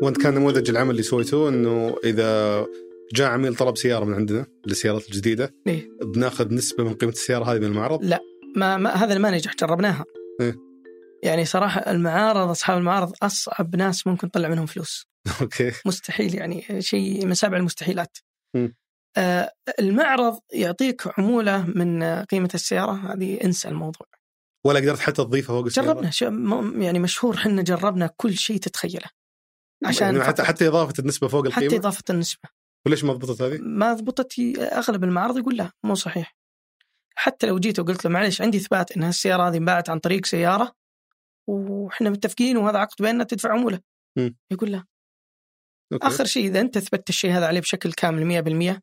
Speaker 2: وانت كان نموذج العمل اللي سويته انه اذا جاء عميل طلب سياره من عندنا للسيارات الجديده
Speaker 1: إيه.
Speaker 2: بناخذ نسبه من قيمه السياره هذه من المعرض [LAUGHS]
Speaker 1: ما, ما هذا اللي ما نجح جربناها
Speaker 2: إيه.
Speaker 1: يعني صراحه المعارض اصحاب المعارض اصعب ناس ممكن تطلع منهم فلوس
Speaker 2: اوكي
Speaker 1: مستحيل يعني شيء من سبع المستحيلات
Speaker 2: مم.
Speaker 1: آه، المعرض يعطيك عموله من آه، قيمه السياره هذه انسى الموضوع
Speaker 2: ولا قدرت حتى تضيفها فوق السياره
Speaker 1: جربنا شو م- يعني مشهور حنا جربنا كل شيء تتخيله عشان
Speaker 2: يعني حتى
Speaker 1: فقط-
Speaker 2: حتى اضافه النسبه فوق القيمه
Speaker 1: حتى اضافه النسبه
Speaker 2: وليش ما ضبطت هذه؟
Speaker 1: ما ضبطت ي- اغلب المعارض يقول لا مو صحيح حتى لو جيت وقلت له معلش عندي اثبات ان هالسياره هذه انباعت عن طريق سياره واحنا متفقين وهذا عقد بيننا تدفع عموله
Speaker 2: مم.
Speaker 1: يقول لا
Speaker 2: أوكي.
Speaker 1: اخر شيء اذا انت اثبتت الشيء هذا عليه بشكل كامل 100%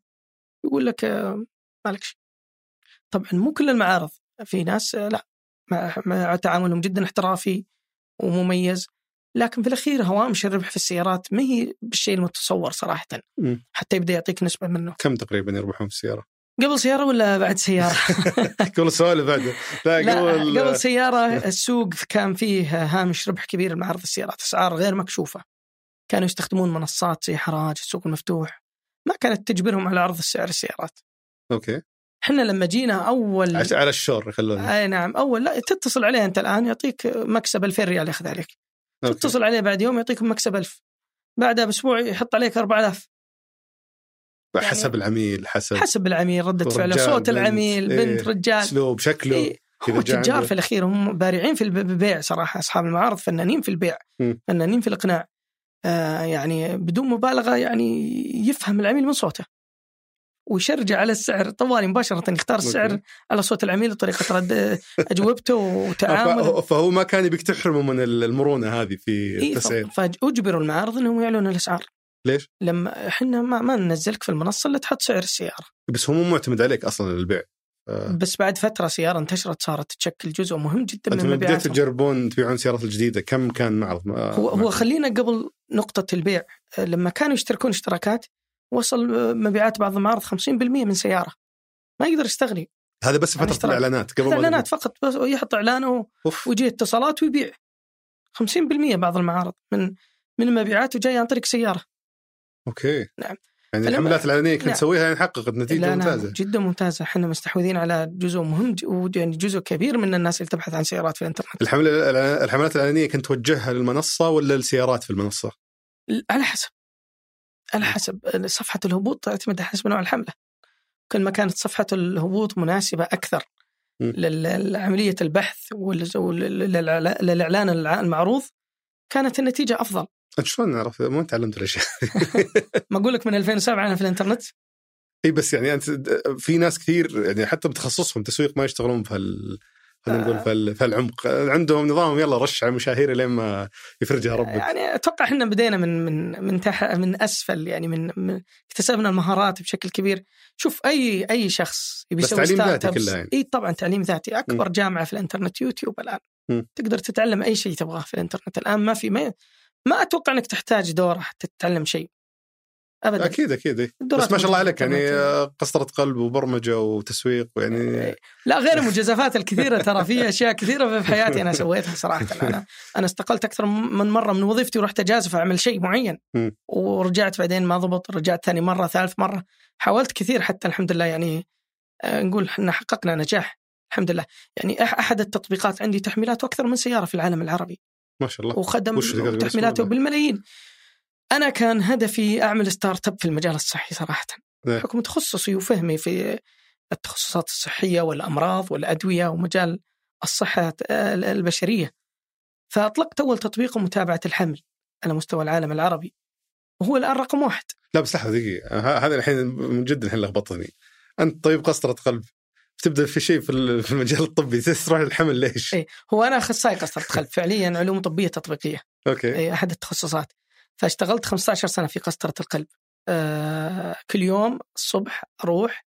Speaker 1: يقول لك آه، مالك شيء طبعا مو كل المعارض في ناس آه، لا مع, مع تعاملهم جدا احترافي ومميز لكن في الاخير هوامش الربح في السيارات ما هي بالشيء المتصور صراحه
Speaker 2: مم.
Speaker 1: حتى يبدا يعطيك نسبه منه
Speaker 2: كم تقريبا يربحون في السياره؟
Speaker 1: قبل سياره ولا بعد سياره
Speaker 2: [LAUGHS] قبل السؤال اللي بعده لا,
Speaker 1: لا
Speaker 2: قبل
Speaker 1: قبل سياره السوق كان فيه هامش ربح كبير لمعارض السيارات اسعار غير مكشوفه كانوا يستخدمون منصات زي حراج السوق المفتوح ما كانت تجبرهم على عرض سعر السيارات
Speaker 2: اوكي
Speaker 1: احنا لما جينا اول
Speaker 2: عش- على الشور يخلونها
Speaker 1: اي نعم اول لا تتصل عليه انت الان يعطيك مكسب 2000 ريال ياخذ عليك
Speaker 2: أوكي.
Speaker 1: تتصل عليه بعد يوم يعطيك مكسب 1000 بعدها باسبوع يحط عليك 4000
Speaker 2: حسب العميل حسب
Speaker 1: يعني حسب العميل رده فعله
Speaker 2: رجال،
Speaker 1: صوت
Speaker 2: طيب. بنت،
Speaker 1: العميل بنت
Speaker 2: إيه،
Speaker 1: رجال
Speaker 2: اسلوب شكله
Speaker 1: إيه،
Speaker 2: إذا
Speaker 1: هو
Speaker 2: جاء
Speaker 1: تجار
Speaker 2: عنده-
Speaker 1: في الاخير هم بارعين في الب- البيع صراحه اصحاب المعارض فنانين في البيع
Speaker 2: مم.
Speaker 1: فنانين في الاقناع آه يعني بدون مبالغه يعني يفهم العميل من صوته ويشرجع على السعر طوالي مباشره يختار السعر
Speaker 2: أوكي.
Speaker 1: على صوت العميل وطريقه
Speaker 2: [LAUGHS]
Speaker 1: رد اجوبته وتعامله
Speaker 2: فهو- فهو ما كان يبيك تحرمه من المرونه هذه في
Speaker 1: إيه،
Speaker 2: التسعير
Speaker 1: ف- فاجبروا المعارض انهم يعلنوا الاسعار
Speaker 2: ليش؟
Speaker 1: لما احنا ما, ما ننزلك في المنصه الا تحط سعر السياره
Speaker 2: بس هو مو معتمد عليك اصلا للبيع آه،
Speaker 1: بس بعد فتره سياره انتشرت صارت تشكل جزء مهم جدا
Speaker 2: انتم
Speaker 1: من
Speaker 2: لما بديتوا
Speaker 1: مبيعاتهم
Speaker 2: تجربون تبيعون سيارات الجديده كم كان معرض؟ آه،
Speaker 1: هو هو
Speaker 2: معرض.
Speaker 1: خلينا قبل نقطة البيع آه، لما كانوا يشتركون اشتراكات وصل آه، مبيعات بعض المعارض 50% من سيارة ما يقدر يستغني
Speaker 2: هذا بس
Speaker 1: أنا
Speaker 2: فتره
Speaker 1: اشتريت.
Speaker 2: الاعلانات قبل ما-
Speaker 1: يعني الإعلانات فقط بس يحط إعلانه
Speaker 2: اوف
Speaker 1: ويجي اتصالات ويبيع 50% بعض المعارض من من مبيعاته جاية عن طريق سيارة
Speaker 2: اوكي
Speaker 1: نعم.
Speaker 2: يعني
Speaker 1: فلما-
Speaker 2: الحملات الاعلانيه كنت
Speaker 1: نعم.
Speaker 2: تسويها يعني حققت نتيجه
Speaker 1: لا، لا،
Speaker 2: ممتازه
Speaker 1: جدا ممتازة احنا مستحوذين على جزء مهم ج- و- يعني جزء كبير من الناس اللي تبحث عن سيارات في الإنترنت
Speaker 2: الحملة الإعلان- الحملات الإعلانية كنت توجهها للمنصة ولا للسيارات في المنصة؟
Speaker 1: ل- على حسب على حسب صفحة الهبوط تعتمد على حسب نوع الحملة كل ما كانت صفحة الهبوط مناسبة أكثر
Speaker 2: مم.
Speaker 1: لل- لعملية البحث وال- وللإعلا- للإعلان الع- المعروض كانت النتيجة أفضل
Speaker 2: أنت شلون عرفت؟ ما تعلمت الأشياء
Speaker 1: ما أقول لك من 2007 أنا في الإنترنت
Speaker 2: اي بس يعني أنت في ناس كثير يعني حتى بتخصصهم تسويق ما يشتغلون في هال خلينا نقول في هال- في العمق عندهم نظامهم يلا رش على المشاهير لين ما يفرجها ربك
Speaker 1: يعني أتوقع إحنا بدينا من من من تح من أسفل يعني من, من اكتسبنا المهارات بشكل كبير شوف أي أي شخص يبي
Speaker 2: بس
Speaker 1: يسوي
Speaker 2: تعليم
Speaker 1: ستارت
Speaker 2: ذاتي
Speaker 1: أبس،
Speaker 2: كلها يعني.
Speaker 1: إي طبعا تعليم ذاتي أكبر جامعة في الإنترنت يوتيوب الآن
Speaker 2: مم.
Speaker 1: تقدر تتعلم أي شيء تبغاه في الإنترنت الآن ما في ما, ما أتوقع أنك تحتاج دورة حتى تتعلم شيء أبدا
Speaker 2: اكيد اكيد إي.
Speaker 1: الدورات
Speaker 2: بس ما شاء الله عليك
Speaker 1: موجودة في
Speaker 2: يعني
Speaker 1: الإنترنت.
Speaker 2: آه، قسطرة قلب وبرمجة وتسويق ويعني
Speaker 1: لا غير المجازفات الكثيره ترى في اشياء كثيره في حياتي انا سويتها صراحه انا انا استقلت اكثر من مره من وظيفتي ورحت اجازف اعمل شيء معين
Speaker 2: م.
Speaker 1: ورجعت بعدين ما ضبط رجعت ثاني مره ثالث مره حاولت كثير حتى الحمد لله يعني آه، نقول احنا حققنا نجاح الحمد لله يعني أح- احد التطبيقات عندي تحميلاته اكثر من سياره في العالم العربي
Speaker 2: ما شاء الله
Speaker 1: وخدم
Speaker 2: وش تقدر تقول
Speaker 1: تحميلاته
Speaker 2: اسمه؟
Speaker 1: بالملايين انا كان هدفي اعمل ستارت اب في المجال الصحي صراحه
Speaker 2: إيه.
Speaker 1: بحكم تخصصي وفهمي في التخصصات الصحيه والامراض والادويه ومجال الصحه آه، البشريه فاطلقت اول تطبيق متابعه الحمل على مستوى العالم العربي وهو الان رقم واحد
Speaker 2: لا بس لحظة دقيقة آه، ه- هذا الحين من جد الحين لخبطتني أنت طيب قسطرة قلب تبدأ في شيء في ال- في المجال الطبي [LAUGHS] تروح للحمل ليش؟
Speaker 1: إيه. هو انا اخصائي قسرة قلب فعليا علوم طبيه تطبيقيه
Speaker 2: اوكي
Speaker 1: إيه، احد التخصصات فاشتغلت 15 سنه في قسطره القلب آه كل يوم الصبح اروح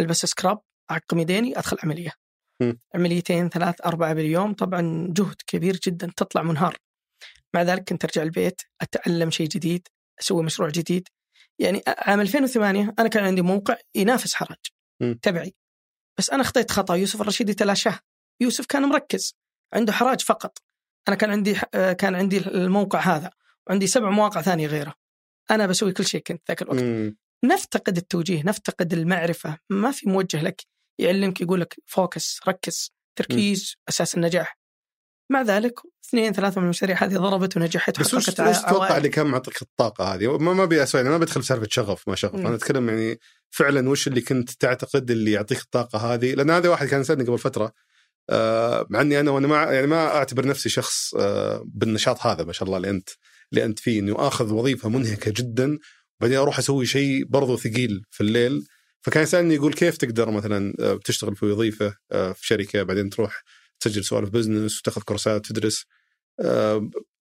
Speaker 1: البس سكراب اعقم يديني ادخل عمليه
Speaker 2: م.
Speaker 1: عمليتين ثلاث اربعه باليوم طبعا جهد كبير جدا تطلع منهار مع ذلك كنت ارجع البيت اتعلم شيء جديد اسوي مشروع جديد يعني عام 2008 انا كان عندي موقع ينافس حراج
Speaker 2: م.
Speaker 1: تبعي بس انا خطيت خطا يوسف الرشيدي تلاشاه يوسف كان مركز عنده حراج فقط انا كان عندي آه، كان عندي الموقع هذا عندي سبع مواقع ثانيه غيره انا بسوي كل شيء كنت ذاك الوقت
Speaker 2: مم.
Speaker 1: نفتقد التوجيه نفتقد المعرفه ما في موجه لك يعلمك يقول لك فوكس ركز تركيز اساس النجاح مع ذلك اثنين ثلاثه من المشاريع هذه ضربت ونجحت
Speaker 2: بس وش
Speaker 1: وحققت
Speaker 2: وش تتوقع
Speaker 1: عوائد.
Speaker 2: اللي كان معطيك الطاقه هذه؟ ما ما ابي اسوي انا ما بدخل في سالفه شغف ما شغف
Speaker 1: مم.
Speaker 2: انا اتكلم يعني فعلا وش اللي كنت تعتقد اللي يعطيك الطاقه هذه؟ لان هذا واحد كان سالني قبل فتره آه، مع اني انا وانا ما يعني ما اعتبر نفسي شخص آه، بالنشاط هذا ما شاء الله اللي انت اللي انت فيه انه اخذ وظيفه منهكه جدا وبعدين اروح اسوي شيء برضو ثقيل في الليل فكان يسالني يقول كيف تقدر مثلا آه، بتشتغل في وظيفه آه، في شركه بعدين تروح تسجل سوالف بزنس وتاخذ كورسات تدرس آه،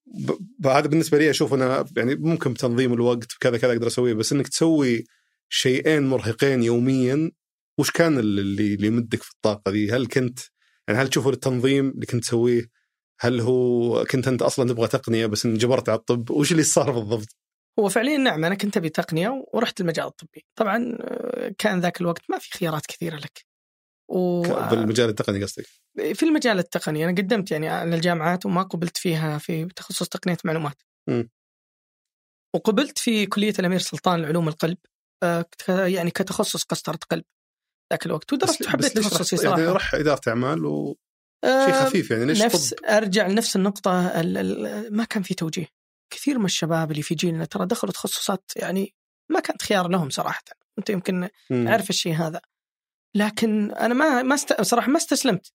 Speaker 2: ب- ب- هذا بالنسبه لي اشوف انا يعني ممكن بتنظيم الوقت بكذا كذا اقدر اسويه بس انك تسوي شيئين مرهقين يوميا وش كان اللي اللي يمدك في الطاقه دي؟ هل كنت يعني هل تشوفوا التنظيم اللي كنت تسويه هل هو كنت انت اصلا تبغى تقنيه بس انجبرت على الطب وش اللي صار بالضبط؟
Speaker 1: هو فعليا نعم انا كنت ابي تقنيه ورحت المجال الطبي طبعا آه، كان ذاك الوقت ما في خيارات كثيره لك و... آه،
Speaker 2: ك- بالمجال التقني قصدي
Speaker 1: في المجال التقني انا قدمت يعني على الجامعات وما قبلت فيها في تخصص تقنيه معلومات
Speaker 2: مم.
Speaker 1: وقبلت في كليه الامير سلطان لعلوم القلب آه، ك- يعني كتخصص قسطره قلب ذاك الوقت ودرست حبيت
Speaker 2: ليش
Speaker 1: تخصصي
Speaker 2: رحت-
Speaker 1: صراحه
Speaker 2: يعني راح اداره اعمال وشيء
Speaker 1: آه،
Speaker 2: خفيف يعني ليش
Speaker 1: نفس
Speaker 2: طب؟
Speaker 1: ارجع لنفس النقطه ال ال ما كان في توجيه كثير من الشباب اللي في جيلنا ترى دخلوا تخصصات يعني ما كانت خيار لهم صراحه انت يمكن
Speaker 2: مم.
Speaker 1: عارف الشيء هذا لكن انا ما ما است... صراحه ما استسلمت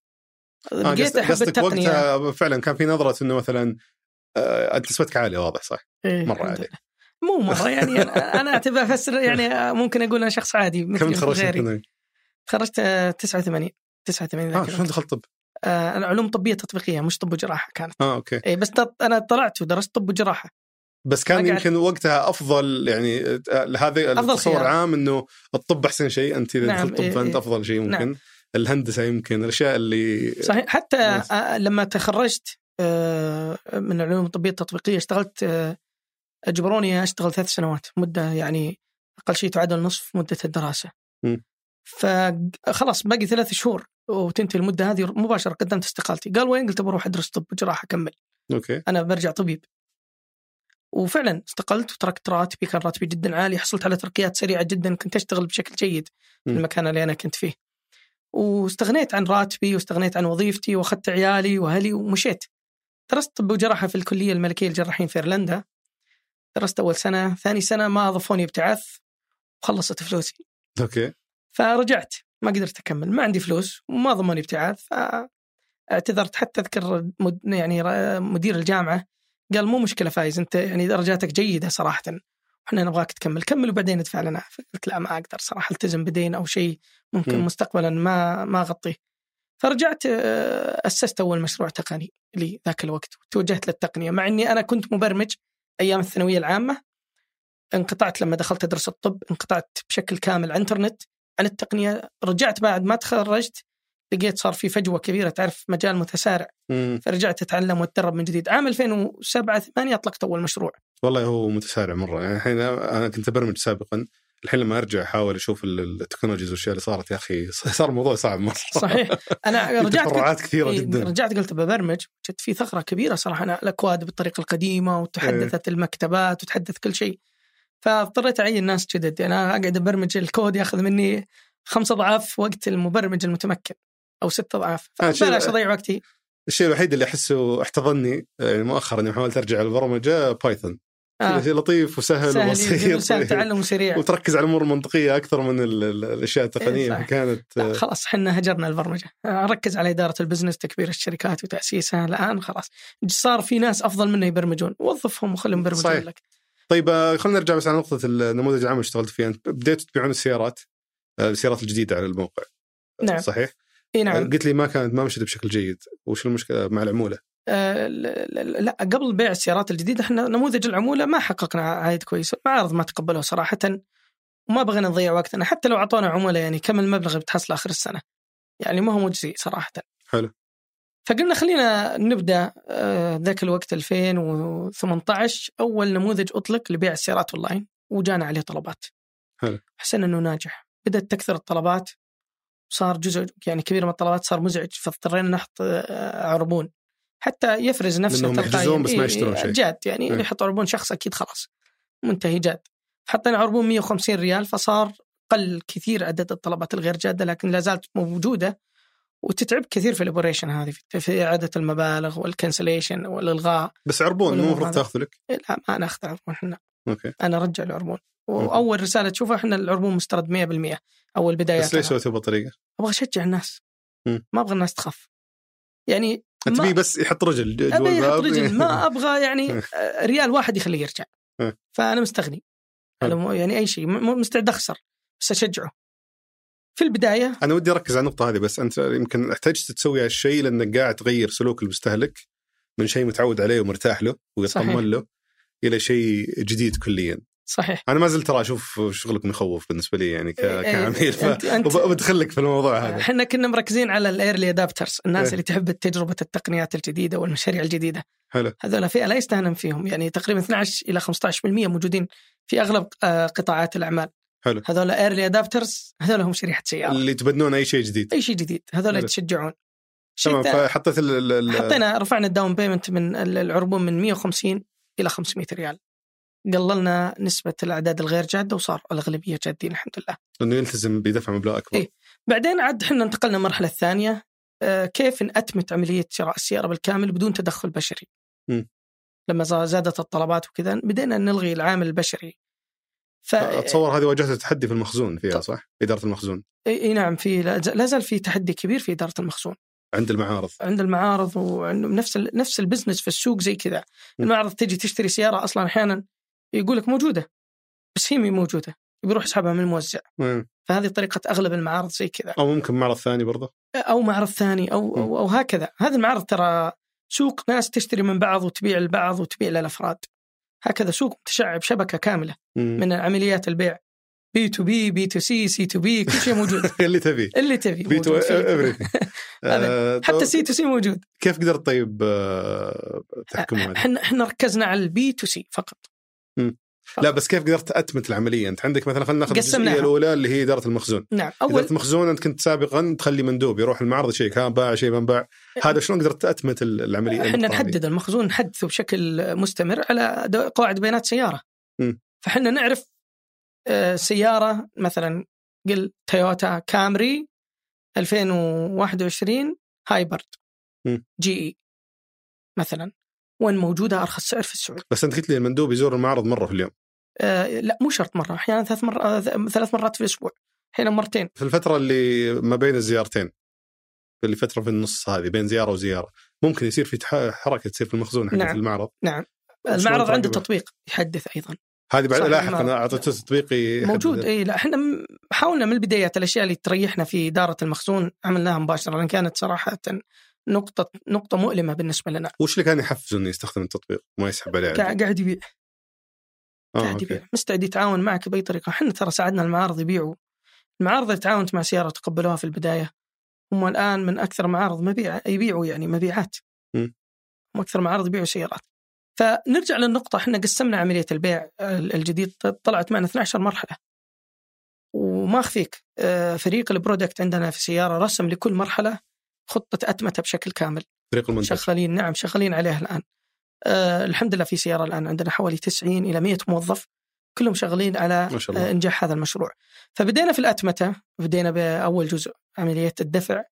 Speaker 2: آه،
Speaker 1: بقيت
Speaker 2: قصد-
Speaker 1: احب
Speaker 2: قصدك
Speaker 1: التقنيه
Speaker 2: وقتها فعلا كان في نظره انه مثلا آه، انت نسبتك عاليه واضح صح؟
Speaker 1: إيه،
Speaker 2: مرة
Speaker 1: الحمد
Speaker 2: عادي.
Speaker 1: لله. مو مره يعني انا أنا اعتبر
Speaker 2: [LAUGHS]
Speaker 1: افسر يعني ممكن اقول انا شخص عادي
Speaker 2: كم
Speaker 1: مثل
Speaker 2: تخرجت
Speaker 1: غيري
Speaker 2: من
Speaker 1: تخرجت آه، 89 89
Speaker 2: اه
Speaker 1: ذاك
Speaker 2: شلون
Speaker 1: الوقت.
Speaker 2: دخلت طب؟
Speaker 1: آه، انا علوم طبيه تطبيقيه مش طب وجراحه كانت
Speaker 2: اه اوكي
Speaker 1: إيه، بس تط- انا طلعت ودرست طب وجراحه
Speaker 2: بس كان
Speaker 1: ما قعدت-
Speaker 2: يمكن وقتها افضل يعني آه، هذا
Speaker 1: أفضل
Speaker 2: التصور
Speaker 1: خيار.
Speaker 2: عام انه الطب احسن شيء انت اذا
Speaker 1: نعم،
Speaker 2: دخلت طب
Speaker 1: إيه،
Speaker 2: فانت
Speaker 1: إيه.
Speaker 2: افضل شيء ممكن
Speaker 1: نعم.
Speaker 2: الهندسه يمكن الاشياء اللي
Speaker 1: صحيح حتى
Speaker 2: ممتاز.
Speaker 1: آه، لما تخرجت آه، من العلوم الطبيه التطبيقيه اشتغلت آه، اجبروني اشتغل ثلاث سنوات مده يعني اقل شيء تعادل نصف مده الدراسه.
Speaker 2: مم.
Speaker 1: فخلاص باقي ثلاث شهور وتنتهي المده هذه مباشره قدمت استقالتي، قال وين؟ قلت بروح ادرس طب جراحه اكمل،
Speaker 2: اوكي
Speaker 1: انا برجع طبيب. وفعلا استقلت وتركت راتبي كان راتبي جدا عالي، حصلت على ترقيات سريعه جدا، كنت اشتغل بشكل جيد في
Speaker 2: مم.
Speaker 1: المكان اللي انا كنت فيه. واستغنيت عن راتبي واستغنيت عن وظيفتي واخذت عيالي واهلي ومشيت. درست طب وجراحه في الكليه الملكيه للجراحين في ايرلندا. درست اول سنه، ثاني سنه ما اضافوني ابتعاث وخلصت فلوسي.
Speaker 2: اوكي
Speaker 1: فرجعت ما قدرت اكمل ما عندي فلوس وما ضمني ابتعاث فاعتذرت حتى اذكر مد... يعني ر- مدير الجامعه قال مو مشكله فايز انت يعني درجاتك جيده صراحه احنا نبغاك تكمل كمل وبعدين ادفع لنا فقلت لا ما اقدر صراحه التزم بدين او شيء ممكن
Speaker 2: مم.
Speaker 1: مستقبلا ما ما اغطيه فرجعت آه، اسست اول مشروع تقني لي ذاك الوقت وتوجهت للتقنيه مع اني انا كنت مبرمج ايام الثانويه العامه انقطعت لما دخلت ادرس الطب انقطعت بشكل كامل عن الانترنت عن التقنيه رجعت بعد ما تخرجت لقيت صار في فجوه كبيره تعرف مجال متسارع
Speaker 2: مم.
Speaker 1: فرجعت اتعلم واتدرب من جديد عام 2007 8 اطلقت اول
Speaker 2: [LAUGHS]
Speaker 1: مشروع
Speaker 2: والله هو متسارع مره يعني الحين انا كنت ابرمج سابقا الحين لما ارجع احاول اشوف ال- التكنولوجيز والاشياء اللي صارت يا اخي صار الموضوع صعب مره [LAUGHS]
Speaker 1: صحيح انا
Speaker 2: في
Speaker 1: رجعت قلت
Speaker 2: تفرعات كثيره
Speaker 1: إيه،
Speaker 2: جدا
Speaker 1: رجعت قلت ببرمج وجدت في ثغره كبيره صراحه انا الاكواد بالطريقه القديمه
Speaker 2: إيه.
Speaker 1: وتحدثت المكتبات وتحدث كل شيء فاضطريت اعين ناس جدد يعني انا اقعد ابرمج الكود ياخذ مني خمسة اضعاف وقت المبرمج المتمكن او ستة اضعاف
Speaker 2: أنا آه، شيء-
Speaker 1: بلاش اضيع وقتي
Speaker 2: الشيء الوحيد اللي احسه احتضني آه، يعني مؤخرا يوم حاولت ارجع للبرمجه بايثون
Speaker 1: آه،
Speaker 2: كذا شيء لطيف وسهل
Speaker 1: سهل سهل
Speaker 2: وبسيط
Speaker 1: تعلم سريع
Speaker 2: وتركز على الامور المنطقيه اكثر من ال- ال- الاشياء
Speaker 1: إيه،
Speaker 2: التقنيه
Speaker 1: صحيح.
Speaker 2: فكانت
Speaker 1: لا خلاص احنا هجرنا البرمجه، نركز على اداره البزنس تكبير الشركات وتاسيسها الان خلاص صار في ناس افضل منا يبرمجون، وظفهم وخلهم يبرمجون
Speaker 2: صحيح.
Speaker 1: لك.
Speaker 2: طيب آه، خلينا نرجع بس على نقطه النموذج العام اللي اشتغلت فيه انت بديتوا تبيعون السيارات آه، السيارات الجديده على الموقع
Speaker 1: نعم.
Speaker 2: صحيح؟
Speaker 1: اي
Speaker 2: آه،
Speaker 1: نعم
Speaker 2: قلت لي ما كانت ما مشت بشكل جيد وش المشكله مع العموله؟
Speaker 1: آه لا- لا لا، قبل بيع السيارات الجديده احنا نموذج العموله ما حققنا عائد كويس، المعارض ما تقبلوه صراحه وما بغينا نضيع وقتنا، حتى لو اعطونا عموله يعني كم المبلغ اللي بتحصله اخر السنه. يعني ما هو مجزي صراحه.
Speaker 2: حلو
Speaker 1: فقلنا خلينا نبدا آه، ذاك الوقت 2018 اول نموذج اطلق لبيع السيارات اونلاين وجانا عليه طلبات.
Speaker 2: حلو.
Speaker 1: حسنا انه ناجح، بدات تكثر الطلبات صار جزء يعني كبير من الطلبات صار مزعج فاضطرينا نحط آه، عربون حتى يفرز نفسه
Speaker 2: لأنهم يحجزون بس ما يشترون شيء.
Speaker 1: جاد يعني اللي
Speaker 2: إيه.
Speaker 1: يحط عربون شخص اكيد خلاص منتهي جاد حطينا عربون 150 ريال فصار قل كثير عدد الطلبات الغير جاده لكن لا زالت موجوده وتتعب كثير في الاوبريشن هذه في- في اعاده المبالغ والكنسليشن والالغاء
Speaker 2: بس عربون مو المفروض تاخذه لك
Speaker 1: إيه، لا ما ناخذ عربون احنا
Speaker 2: اوكي
Speaker 1: انا ارجع العربون
Speaker 2: مم.
Speaker 1: واول رساله تشوفها احنا العربون مسترد 100% اول بدايه
Speaker 2: بس ليش سويته بهالطريقه؟
Speaker 1: ابغى اشجع الناس
Speaker 2: مم.
Speaker 1: ما ابغى الناس تخاف يعني
Speaker 2: تبي
Speaker 1: ما-
Speaker 2: بس يحط رجل ج- جوا
Speaker 1: ابي يحط
Speaker 2: الباب
Speaker 1: رجل ما ابغى
Speaker 2: [LAUGHS]
Speaker 1: يعني آه، ريال واحد يخليه يرجع
Speaker 2: إيه.
Speaker 1: فانا مستغني
Speaker 2: حلو.
Speaker 1: أنا مو- يعني اي شيء م- مو مستعد اخسر بس اشجعه في البدايه
Speaker 2: انا ودي اركز على النقطه هذه بس انت يمكن احتاجت تسوي هالشيء لانك قاعد تغير سلوك المستهلك من شيء متعود عليه ومرتاح له
Speaker 1: صحيح.
Speaker 2: ويطمن له الى شيء جديد كليا
Speaker 1: صحيح
Speaker 2: انا ما زلت ترى اشوف شغلك مخوف بالنسبه لي يعني ك...
Speaker 1: إيه،
Speaker 2: كعميل ف...
Speaker 1: أنت- آه. أنت-
Speaker 2: وب- وبدخلك في الموضوع هذا
Speaker 1: احنا كنا مركزين على الايرلي ادابترز الناس
Speaker 2: إيه.
Speaker 1: اللي تحب تجربه التقنيات الجديده والمشاريع الجديده
Speaker 2: حلو.
Speaker 1: هذول فئه لا يستهان فيهم يعني تقريبا 12 الى 15% موجودين في اغلب آه، قطاعات الاعمال
Speaker 2: حلو.
Speaker 1: هذول ايرلي ادابترز هذول هم شريحه سياره
Speaker 2: اللي يتبنون اي شيء جديد
Speaker 1: اي شيء جديد هذول
Speaker 2: حلو.
Speaker 1: يتشجعون الشيء
Speaker 2: تمام
Speaker 1: الثاني-
Speaker 2: فحطيت ال... ال... ال...
Speaker 1: حطينا رفعنا الداون بيمنت من ال- العربون من 150 الى 500 ريال قللنا نسبة الأعداد الغير جادة وصار الأغلبية جادين الحمد لله
Speaker 2: انه يلتزم بدفع مبلغ اكبر
Speaker 1: إيه. بعدين عاد احنا انتقلنا المرحلة الثانية آه، كيف نأتمت عملية شراء السيارة بالكامل بدون تدخل بشري
Speaker 2: مم.
Speaker 1: لما ز- زادت الطلبات وكذا بدينا نلغي العامل البشري ف...
Speaker 2: اتصور هذه واجهت تحدي في المخزون فيها صح؟ اداره المخزون
Speaker 1: إي إي نعم في لا ز- لا زال في تحدي كبير في إدارة المخزون
Speaker 2: عند المعارض
Speaker 1: عند المعارض وعند نفس ال- نفس البزنس في السوق زي كذا
Speaker 2: م.
Speaker 1: المعرض تجي تشتري سياره اصلا احيانا يقول لك موجوده بس هي مي موجوده بيروح يسحبها من الموزع
Speaker 2: مم.
Speaker 1: فهذه طريقه اغلب المعارض زي كذا
Speaker 2: او ممكن معرض ثاني برضه
Speaker 1: او معرض ثاني او
Speaker 2: م.
Speaker 1: او, أو هكذا هذا المعرض ترى سوق ناس تشتري من بعض وتبيع لبعض وتبيع للافراد هكذا سوق متشعب شبكه كامله
Speaker 2: مم.
Speaker 1: من عمليات البيع بي تو بي بي تو سي سي تو بي كل شيء
Speaker 2: [LAUGHS]
Speaker 1: موجود
Speaker 2: [LAUGHS] اللي تبيه
Speaker 1: اللي تبي
Speaker 2: بي تو
Speaker 1: موجود فيه. [LAUGHS]
Speaker 2: [LAUGHS]
Speaker 1: أبد. حتى
Speaker 2: سي
Speaker 1: سي تو سي موجود
Speaker 2: آه، كيف قدرت طيب آه، تحكم هذا؟
Speaker 1: احنا احنا ركزنا على البي تو سي فقط
Speaker 2: لا بس كيف قدرت اتمت العمليه؟ انت عندك مثلا خلينا ناخذ
Speaker 1: أه، قسمناها.
Speaker 2: الجزئيه الاولى اللي هي اداره المخزون،
Speaker 1: نعم
Speaker 2: اداره
Speaker 1: اول
Speaker 2: المخزون انت كنت سابقا تخلي مندوب يروح المعرض يشيك ها باع شيء ما باع، هذا شلون قدرت اتمت ال- العمليه؟
Speaker 1: احنا
Speaker 2: النقطة هذه؟
Speaker 1: أه. نحدد المخزون نحدثه بشكل مستمر على دو- قواعد بيانات سياره
Speaker 2: مم.
Speaker 1: فحنا نعرف آه، سياره مثلا قل تويوتا كامري 2021 هايبرد
Speaker 2: مم.
Speaker 1: جي اي مثلا وين موجوده ارخص سعر في السعوديه
Speaker 2: بس انت قلت لي المندوب يزور المعرض مره في اليوم،
Speaker 1: آه، لا مو شرط مره احيانا ثلاث مرات ثلاث مرات في الاسبوع احيانا مرتين
Speaker 2: في الفتره اللي ما بين الزيارتين في الفتره في النص هذه بين زياره وزياره، ممكن يصير في تح- حركه تصير في المخزون حق
Speaker 1: نعم.
Speaker 2: المعرض، شلون
Speaker 1: المعرض عنده
Speaker 2: تعقبه؟
Speaker 1: تطبيق يحدث ايضا
Speaker 2: هذه بعد
Speaker 1: صح،
Speaker 2: لاحقا
Speaker 1: المعرض. نعم.
Speaker 2: انا اعطيته تطبيقي
Speaker 1: موجود اي لا احنا م- حاولنا من البدايه الاشياء اللي تريحنا في اداره المخزون عملناها مباشره لان كانت صراحه نقطه نقطه مؤلمه بالنسبه لنا
Speaker 2: وش اللي كان يحفزه انه يستخدم التطبيق وما يسحب عليه؟
Speaker 1: قاع- قاعد يعني. يبيع
Speaker 2: آه،
Speaker 1: قاعد
Speaker 2: أوكي.
Speaker 1: يبيع مستعد يتعاون معك باي طريقه احنا ترى ساعدنا المعارض يبيعوا المعارض اللي تعاونت مع سياره تقبلوها في البدايه هم الان من اكثر معارض مبيع يبيعوا يعني مبيعات
Speaker 2: مم.
Speaker 1: هم اكثر معارض يبيعوا سيارات فنرجع للنقطة احنا قسمنا عملية البيع ال- الجديد طلعت معنا 12 مرحلة وما اخفيك آه، فريق البرودكت عندنا في سيارة رسم لكل مرحلة خطة أتمتة بشكل كامل
Speaker 2: فريق المنتج
Speaker 1: شغالين نعم شغالين عليها الان آه الحمد لله في سياره الان عندنا حوالي 90 الى 100 موظف كلهم شغالين على
Speaker 2: ما شاء الله.
Speaker 1: آه انجاح هذا المشروع فبدينا في الاتمته بدينا باول جزء عمليه الدفع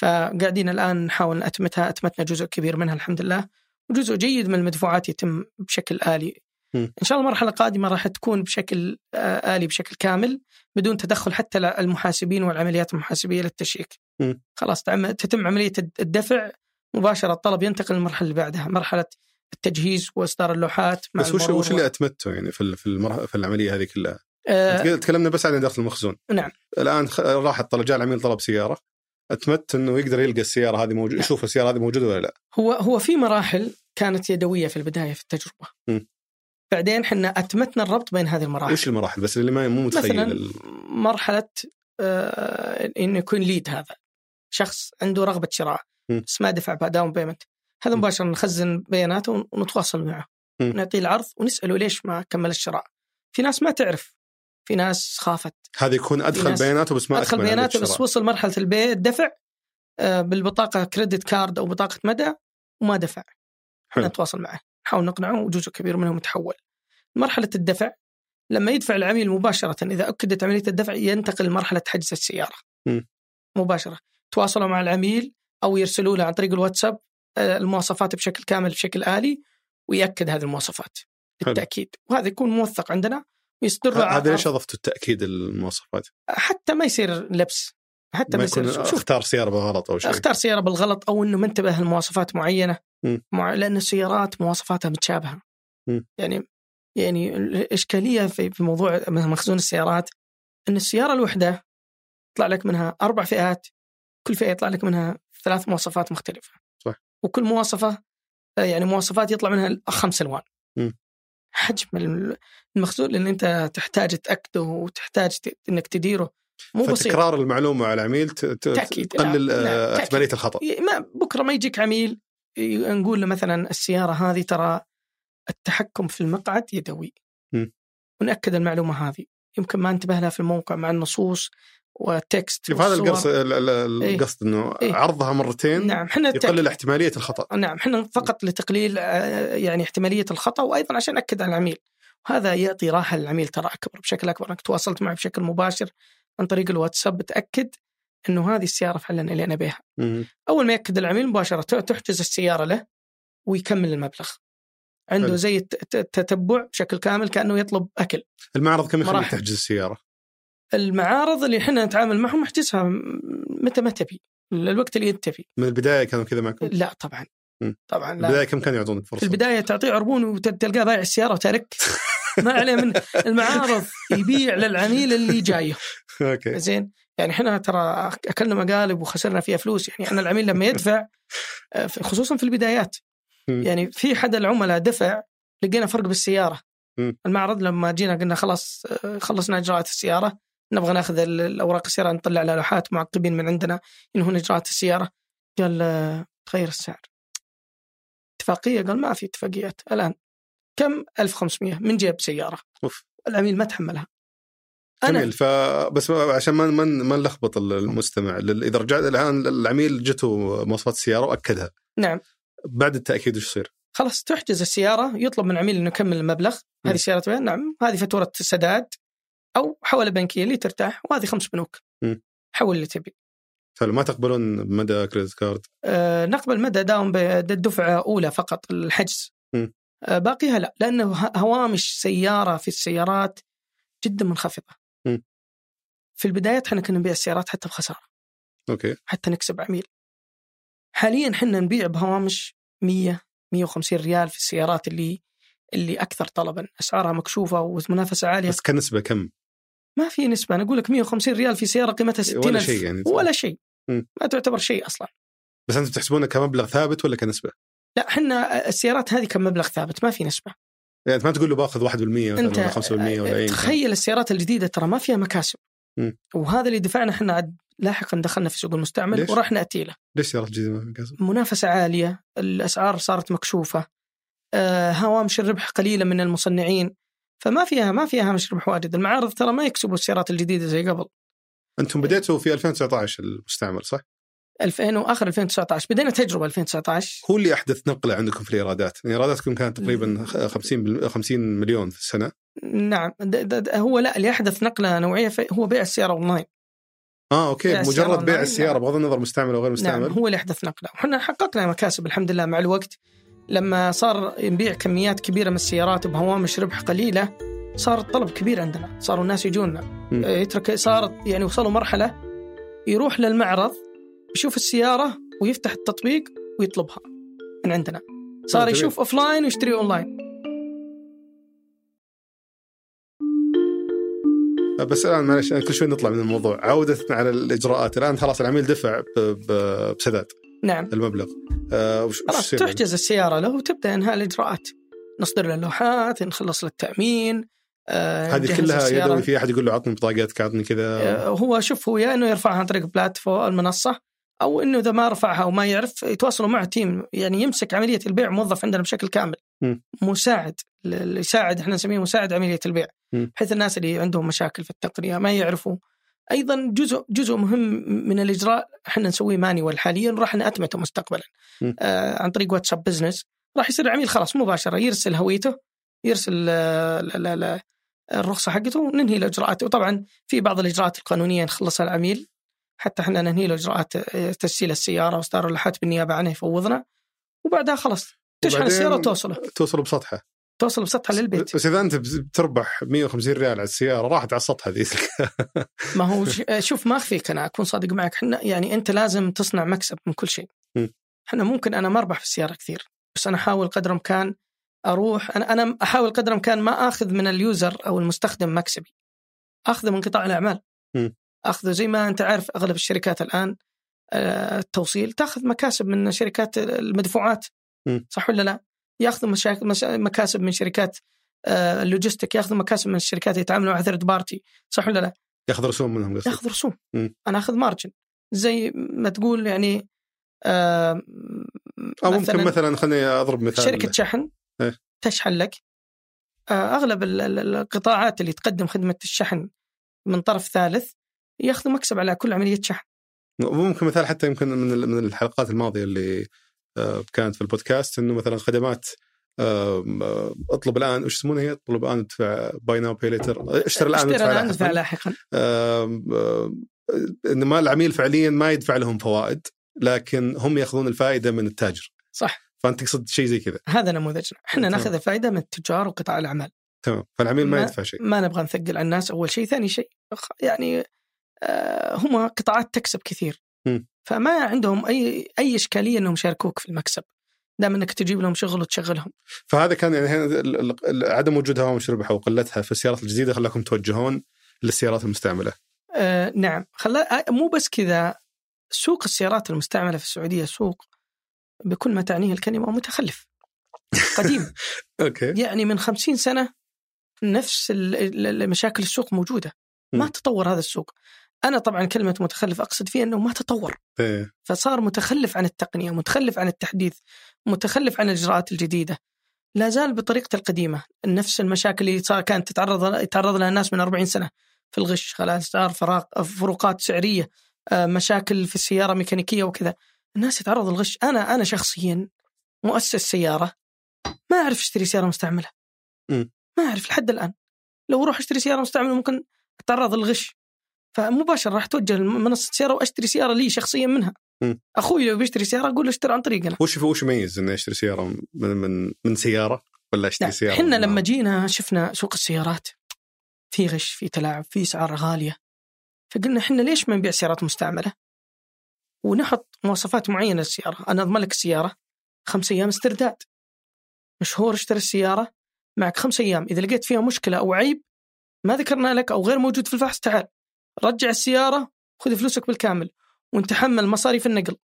Speaker 1: فقاعدين الان نحاول نأتمتها اتمتنا جزء كبير منها الحمد لله وجزء جيد من المدفوعات يتم بشكل الي
Speaker 2: م.
Speaker 1: ان شاء الله المرحله القادمه راح تكون بشكل آه، الي بشكل كامل بدون تدخل حتى المحاسبين والعمليات المحاسبيه للتشيك
Speaker 2: م.
Speaker 1: خلاص تعم- تتم عمليه الدفع مباشره الطلب ينتقل للمرحله اللي بعدها مرحله التجهيز واصدار اللوحات مع
Speaker 2: بس وش
Speaker 1: المرور
Speaker 2: وش اللي اتمته يعني في ال- في, المرح... في العمليه هذه كلها؟
Speaker 1: آه
Speaker 2: تك- تكلمنا بس عن اداره المخزون
Speaker 1: نعم.
Speaker 2: الان خ... راح الطلب جاء العميل طلب سياره اتمت انه يقدر يلقى السياره هذه موجوده
Speaker 1: نعم.
Speaker 2: يشوف السياره هذه موجوده ولا لا؟
Speaker 1: هو هو في مراحل كانت يدويه في البدايه في التجربه
Speaker 2: م.
Speaker 1: بعدين احنا اتمتنا الربط بين هذه المراحل
Speaker 2: وش المراحل بس اللي ما مو متخيل
Speaker 1: مثلاً-
Speaker 2: ال...
Speaker 1: مرحله آه انه يكون ليد هذا شخص عنده رغبه شراء
Speaker 2: مم.
Speaker 1: بس ما دفع داون بيمنت هذا
Speaker 2: مم.
Speaker 1: مباشره نخزن بياناته ونتواصل معه
Speaker 2: مم.
Speaker 1: نعطيه العرض ونساله ليش ما كمل الشراء في ناس ما تعرف في ناس خافت
Speaker 2: هذا يكون ادخل
Speaker 1: ناس-
Speaker 2: بياناته بس ما
Speaker 1: ادخل
Speaker 2: أكمل عملية
Speaker 1: بياناته بس
Speaker 2: الشراء.
Speaker 1: وصل مرحله البيع الدفع آه، بالبطاقه كريدت كارد او بطاقه مدى وما دفع
Speaker 2: حلو.
Speaker 1: حلو. نتواصل معه نحاول نقنعه وجزء كبير منهم يتحول مرحلة الدفع لما يدفع العميل مباشرة إذا أكدت عملية الدفع ينتقل لمرحلة حجز السيارة
Speaker 2: م.
Speaker 1: مباشرة تواصلوا مع العميل أو يرسلوا له عن طريق الواتساب آه، المواصفات بشكل كامل بشكل آلي ويأكد هذه المواصفات
Speaker 2: حلو.
Speaker 1: بالتأكيد وهذا يكون موثق عندنا ويصدر له
Speaker 2: هذا
Speaker 1: عرض-
Speaker 2: ليش اضفتوا التاكيد المواصفات؟
Speaker 1: حتى ما يصير لبس حتى ما,
Speaker 2: ما
Speaker 1: يصير
Speaker 2: يكون
Speaker 1: لبس. شوف
Speaker 2: اختار سياره بالغلط او شيء
Speaker 1: اختار سياره بالغلط او انه منتبه لمواصفات معينه
Speaker 2: مم.
Speaker 1: مع... لان السيارات مواصفاتها متشابهه
Speaker 2: مم.
Speaker 1: يعني يعني الاشكاليه في في موضوع مخزون السيارات ان السياره الوحده يطلع لك منها اربع فئات كل فئه يطلع لك منها ثلاث مواصفات مختلفه
Speaker 2: صح.
Speaker 1: وكل مواصفه آه، يعني مواصفات يطلع منها خمس الوان
Speaker 2: مم.
Speaker 1: حجم المخزون لان انت تحتاج تاكده وتحتاج ت- انك تديره مو بسيط
Speaker 2: فتكرار المعلومه على العميل ت- ت-
Speaker 1: تأكيد.
Speaker 2: تقلل
Speaker 1: نعم.
Speaker 2: آه،
Speaker 1: تأكيد.
Speaker 2: احتماليه الخطا
Speaker 1: ما بكره ما يجيك عميل ي- نقول له مثلا السياره هذه ترى التحكم في المقعد يدوي
Speaker 2: مم.
Speaker 1: ونأكد المعلومه هذه يمكن ما انتبه لها في الموقع مع النصوص والتكست
Speaker 2: شوف هذا
Speaker 1: والصور.
Speaker 2: القصد ال- ال- ال-
Speaker 1: إيه.
Speaker 2: القصد انه
Speaker 1: إيه.
Speaker 2: عرضها مرتين
Speaker 1: نعم احنا
Speaker 2: يقلل
Speaker 1: التأكيد-
Speaker 2: احتماليه الخطا
Speaker 1: نعم احنا فقط لتقليل آه، يعني احتماليه الخطا وايضا عشان ناكد على العميل وهذا يعطي راحه للعميل ترى اكبر بشكل اكبر انك تواصلت معه بشكل مباشر عن طريق الواتساب بتاكد انه هذه السياره فعلا اللي انا بيها
Speaker 2: مم.
Speaker 1: اول ما ياكد العميل مباشره تحجز السياره له ويكمل المبلغ عنده
Speaker 2: حلو.
Speaker 1: زي الت- الت- التتبع بشكل كامل كانه يطلب اكل
Speaker 2: المعرض كم يخليك
Speaker 1: مراحل.
Speaker 2: تحجز السياره؟
Speaker 1: المعارض اللي احنا نتعامل معهم احجزها م- متى ما تبي الوقت اللي انت تبي
Speaker 2: من البدايه كانوا كذا معكم؟
Speaker 1: لا طبعا
Speaker 2: مم.
Speaker 1: طبعا لا
Speaker 2: البدايه كم كانوا يعطونك
Speaker 1: في
Speaker 2: فرصه؟
Speaker 1: البدايه تعطيه عربون وتلقاه بايع السياره وتارك ما عليه من المعارض يبيع للعميل اللي جايه
Speaker 2: [LAUGHS] اوكي
Speaker 1: زين يعني احنا ترى اكلنا مقالب وخسرنا فيها فلوس يعني احنا العميل لما يدفع آه، خصوصا في البدايات
Speaker 2: مم.
Speaker 1: يعني في حد العملاء دفع لقينا فرق بالسياره
Speaker 2: مم.
Speaker 1: المعرض لما جينا قلنا خلاص آه، خلصنا اجراءات السياره نبغى ناخذ ال- الاوراق السياره نطلع لها لوحات معقبين من عندنا ينهون اجراءات السياره قال آه، تغير السعر اتفاقيه قال ما في اتفاقيات الان كم 1500 من جيب سياره
Speaker 2: أوف.
Speaker 1: العميل ما تحملها
Speaker 2: جميل فبس عشان ما ما ما نلخبط المستمع لل- اذا رجعت الان العميل جته مواصفات السياره واكدها
Speaker 1: نعم.
Speaker 2: بعد التاكيد وش يصير؟
Speaker 1: خلاص تحجز السيارة يطلب من العميل أنه يكمل المبلغ
Speaker 2: مم.
Speaker 1: هذه سيارة بيان نعم هذه فاتورة سداد أو حوالة بنكية اللي ترتاح وهذه خمس بنوك
Speaker 2: مم.
Speaker 1: حول اللي تبي
Speaker 2: حلو ما تقبلون مدى كريدت كارد
Speaker 1: آه نقبل مدى داوم بالدفعة أولى فقط الحجز
Speaker 2: مم.
Speaker 1: آه باقيها لا لأنه ه- هوامش سيارة في السيارات جدا منخفضة
Speaker 2: مم.
Speaker 1: في البداية احنا كنا نبيع السيارات حتى بخسارة
Speaker 2: اوكي
Speaker 1: حتى نكسب عميل حاليا حنا نبيع بهوامش 100 150 ريال في السيارات اللي اللي اكثر طلبا اسعارها مكشوفه ومنافسه عاليه
Speaker 2: بس كنسبه كم؟
Speaker 1: ما في نسبه انا اقول لك 150 ريال في سياره قيمتها 60
Speaker 2: ولا
Speaker 1: ألف.
Speaker 2: شيء يعني
Speaker 1: ولا شيء
Speaker 2: مم.
Speaker 1: ما تعتبر شيء اصلا
Speaker 2: بس انتم تحسبونه كمبلغ ثابت ولا كنسبه؟
Speaker 1: لا حنا السيارات هذه كم مبلغ ثابت ما في نسبه
Speaker 2: يعني انت ما تقول له باخذ 1% مثلا
Speaker 1: انت
Speaker 2: ولا 5% ولا اي
Speaker 1: آه، تخيل السيارات الجديده ترى ما فيها مكاسب
Speaker 2: مم.
Speaker 1: وهذا اللي دفعنا احنا عاد لاحقا دخلنا في سوق المستعمل
Speaker 2: ليش؟
Speaker 1: وراح ناتي له
Speaker 2: ليش سيارات جديده ما في مكاسب؟
Speaker 1: منافسة عالية الأسعار صارت مكشوفة آه، هوامش الربح قليلة من المصنعين فما فيها ما فيها هامش ربح واجد المعارض ترى ما يكسبوا السيارات الجديدة زي قبل
Speaker 2: انتم
Speaker 1: إيه.
Speaker 2: بديتوا في 2019 المستعمل صح؟
Speaker 1: 2000 واخر 2019 بدينا تجربة 2019
Speaker 2: هو اللي احدث نقله عندكم في الايرادات، يعني ايراداتكم
Speaker 1: إيه.
Speaker 2: كانت تقريبا 50 بال- 50 مليون في السنه
Speaker 1: نعم د د د هو لا اللي أحدث نقلة نوعية في- هو بيع السيارة أونلاين
Speaker 2: اه
Speaker 1: بيع
Speaker 2: اوكي
Speaker 1: السيارة
Speaker 2: مجرد بيع
Speaker 1: أونلاين،
Speaker 2: السياره
Speaker 1: نعم.
Speaker 2: بغض النظر مستعمل او غير مستعمل
Speaker 1: نعم هو اللي أحدث نقلة وحنا حققنا مكاسب الحمد لله مع الوقت لما صار نبيع كميات كبيرة من السيارات بهوامش ربح قليلة صار الطلب كبير عندنا صاروا الناس يجونا آه،
Speaker 2: مم.
Speaker 1: يترك صارت يعني وصلوا مرحلة يروح للمعرض يشوف السيارة ويفتح التطبيق ويطلبها من عندنا صار
Speaker 2: آه، جميل.
Speaker 1: يشوف اوفلاين ويشتري اونلاين
Speaker 2: آه، بس الان معلش يعني كل شوي نطلع من الموضوع عوده على الاجراءات الان خلاص العميل دفع ب- ب- بسداد
Speaker 1: نعم
Speaker 2: المبلغ آه وش وش
Speaker 1: خلاص
Speaker 2: يصير بعد؟
Speaker 1: تحجز السيارة له وتبدأ انهاء الاجراءات نصدر له اللوحات نخلص له التأمين آه،
Speaker 2: يعني؟ هذه
Speaker 1: نجهز
Speaker 2: كلها
Speaker 1: السيارة.
Speaker 2: يدوي في احد يقول له عطني بطاقتك عطني كذا
Speaker 1: آه، هو شوف هو يا انه يرفعها عن طريق بلاتفورم المنصه او انه اذا ما رفعها او ما يعرف يتواصلوا مع تيم يعني يمسك عمليه البيع موظف عندنا بشكل كامل
Speaker 2: مم.
Speaker 1: مساعد ل- يساعد احنا نسميه مساعد عمليه البيع
Speaker 2: مم.
Speaker 1: بحيث الناس اللي عندهم مشاكل في التقنيه ما يعرفوا ايضا جزء جزء مهم من الاجراء احنا نسويه مانيوال حاليا وراح ناتمته مستقبلا
Speaker 2: مم.
Speaker 1: آه عن طريق واتساب بزنس راح يصير العميل خلاص مباشره يرسل هويته يرسل آه، لا- لا- لا، الرخصه حقته وننهي الاجراءات وطبعا في بعض الاجراءات القانونيه نخلصها العميل حتى احنا ننهي له اجراء تسجيل السياره واصدار اللوحات بالنيابه عنه يفوضنا وبعدها خلاص تشحن
Speaker 2: وبعدين-
Speaker 1: السياره وتوصله
Speaker 2: توصل بسطحه
Speaker 1: توصل بسطحه للبيت
Speaker 2: بس اذا انت بتربح 150 ريال على السياره راحت على السطحه ذي
Speaker 1: ما هو ش- شوف ما اخفيك انا اكون صادق معك احنا يعني انت لازم تصنع مكسب من كل شيء
Speaker 2: مم.
Speaker 1: احنا ممكن انا ما اربح في السياره كثير بس انا احاول قدر امكان اروح انا انا احاول قدر امكان ما اخذ من اليوزر او المستخدم مكسبي اخذه من قطاع الاعمال
Speaker 2: مم.
Speaker 1: اخذه زي ما انت عارف اغلب الشركات الان آه، التوصيل تاخذ مكاسب من شركات المدفوعات
Speaker 2: مم.
Speaker 1: صح ولا لا؟ ياخذوا مشاك... مشا- مكاسب من شركات آه، اللوجيستيك ياخذوا مكاسب من الشركات اللي يتعاملوا مع ثيرد بارتي صح ولا لا؟
Speaker 2: [LAUGHS] ياخذ رسوم منهم قصدي
Speaker 1: ياخذ رسوم
Speaker 2: مم.
Speaker 1: انا اخذ مارجن زي ما تقول يعني آه
Speaker 2: او ممكن مثلا خليني اضرب مثال
Speaker 1: شركه شحن
Speaker 2: إيه.
Speaker 1: تشحن لك آه اغلب ال- ال- القطاعات اللي تقدم خدمه الشحن من طرف ثالث ياخذوا مكسب على كل عمليه شحن
Speaker 2: ممكن مثال حتى يمكن من ال- من الحلقات الماضيه اللي آه، كانت في البودكاست انه مثلا خدمات آم، آه، اطلب الان وش يسمونها هي؟ اطلب الان وادفع باي ناو باي ليتر اشتري الان
Speaker 1: اشتري الان
Speaker 2: وادفع
Speaker 1: ادفع
Speaker 2: لاحقاً.
Speaker 1: لاحقا
Speaker 2: آم، آم، انه ما العميل فعليا ما يدفع لهم فوائد لكن هم ياخذون الفائده من التاجر
Speaker 1: صح
Speaker 2: فانت تقصد شيء زي كذا
Speaker 1: هذا نموذجنا احنا
Speaker 2: تمام.
Speaker 1: ناخذ الفائده من التجار وقطاع الاعمال
Speaker 2: تمام فالعميل ما
Speaker 1: ما-
Speaker 2: يدفع شيء
Speaker 1: ما نبغى نثقل على الناس اول شيء ثاني شيء خ- يعني آه، هم قطاعات تكسب كثير
Speaker 2: مم.
Speaker 1: فما عندهم اي اي اشكاليه انهم يشاركوك في المكسب دام انك تجيب لهم شغل وتشغلهم
Speaker 2: فهذا كان يعني هنا ال- ال- ال- عدم وجود هوامش ربح او قلتها في السيارات الجديده خلاكم توجهون للسيارات المستعمله
Speaker 1: آه نعم خلا آه، مو بس كذا سوق السيارات المستعمله في السعوديه سوق بكل ما تعنيه الكلمه متخلف
Speaker 2: [LAUGHS]
Speaker 1: قديم
Speaker 2: اوكي
Speaker 1: يعني من خمسين سنه نفس ال- ال- ال- مشاكل السوق موجوده ما
Speaker 2: مم.
Speaker 1: تطور هذا السوق انا طبعا كلمه متخلف اقصد فيها انه ما تطور
Speaker 2: إيه.
Speaker 1: فصار متخلف عن التقنيه، متخلف عن التحديث، متخلف عن الاجراءات الجديده. لا زال بطريقته القديمه، نفس المشاكل اللي صار كانت تتعرض يتعرض لها الناس من 40 سنه في الغش، خلاص صار فراق فروقات سعريه، آه، مشاكل في السياره ميكانيكيه وكذا. الناس يتعرضوا للغش، انا انا شخصيا مؤسس سياره ما اعرف اشتري سياره مستعمله.
Speaker 2: م.
Speaker 1: ما اعرف لحد الان. لو اروح اشتري سياره مستعمله ممكن اتعرض للغش. فمباشره راح اتوجه لمنصه سياره واشتري سياره لي شخصيا منها. اخوي لو بيشتري سياره اقول له اشتري عن طريقنا
Speaker 2: وش وش يميز اني اشتري سياره من من من سياره ولا اشتري
Speaker 1: لا
Speaker 2: سياره؟
Speaker 1: احنا
Speaker 2: من-
Speaker 1: لما جينا شفنا سوق السيارات في غش في تلاعب في اسعار غاليه فقلنا احنا ليش ما نبيع سيارات مستعمله ونحط مواصفات معينه للسياره انا اضمن لك السياره خمس ايام استرداد مشهور اشتري السياره معك خمس ايام اذا لقيت فيها مشكله او عيب ما ذكرنا لك او غير موجود في الفحص تعال رجع السياره خذ فلوسك بالكامل ونتحمل مصاريف النقل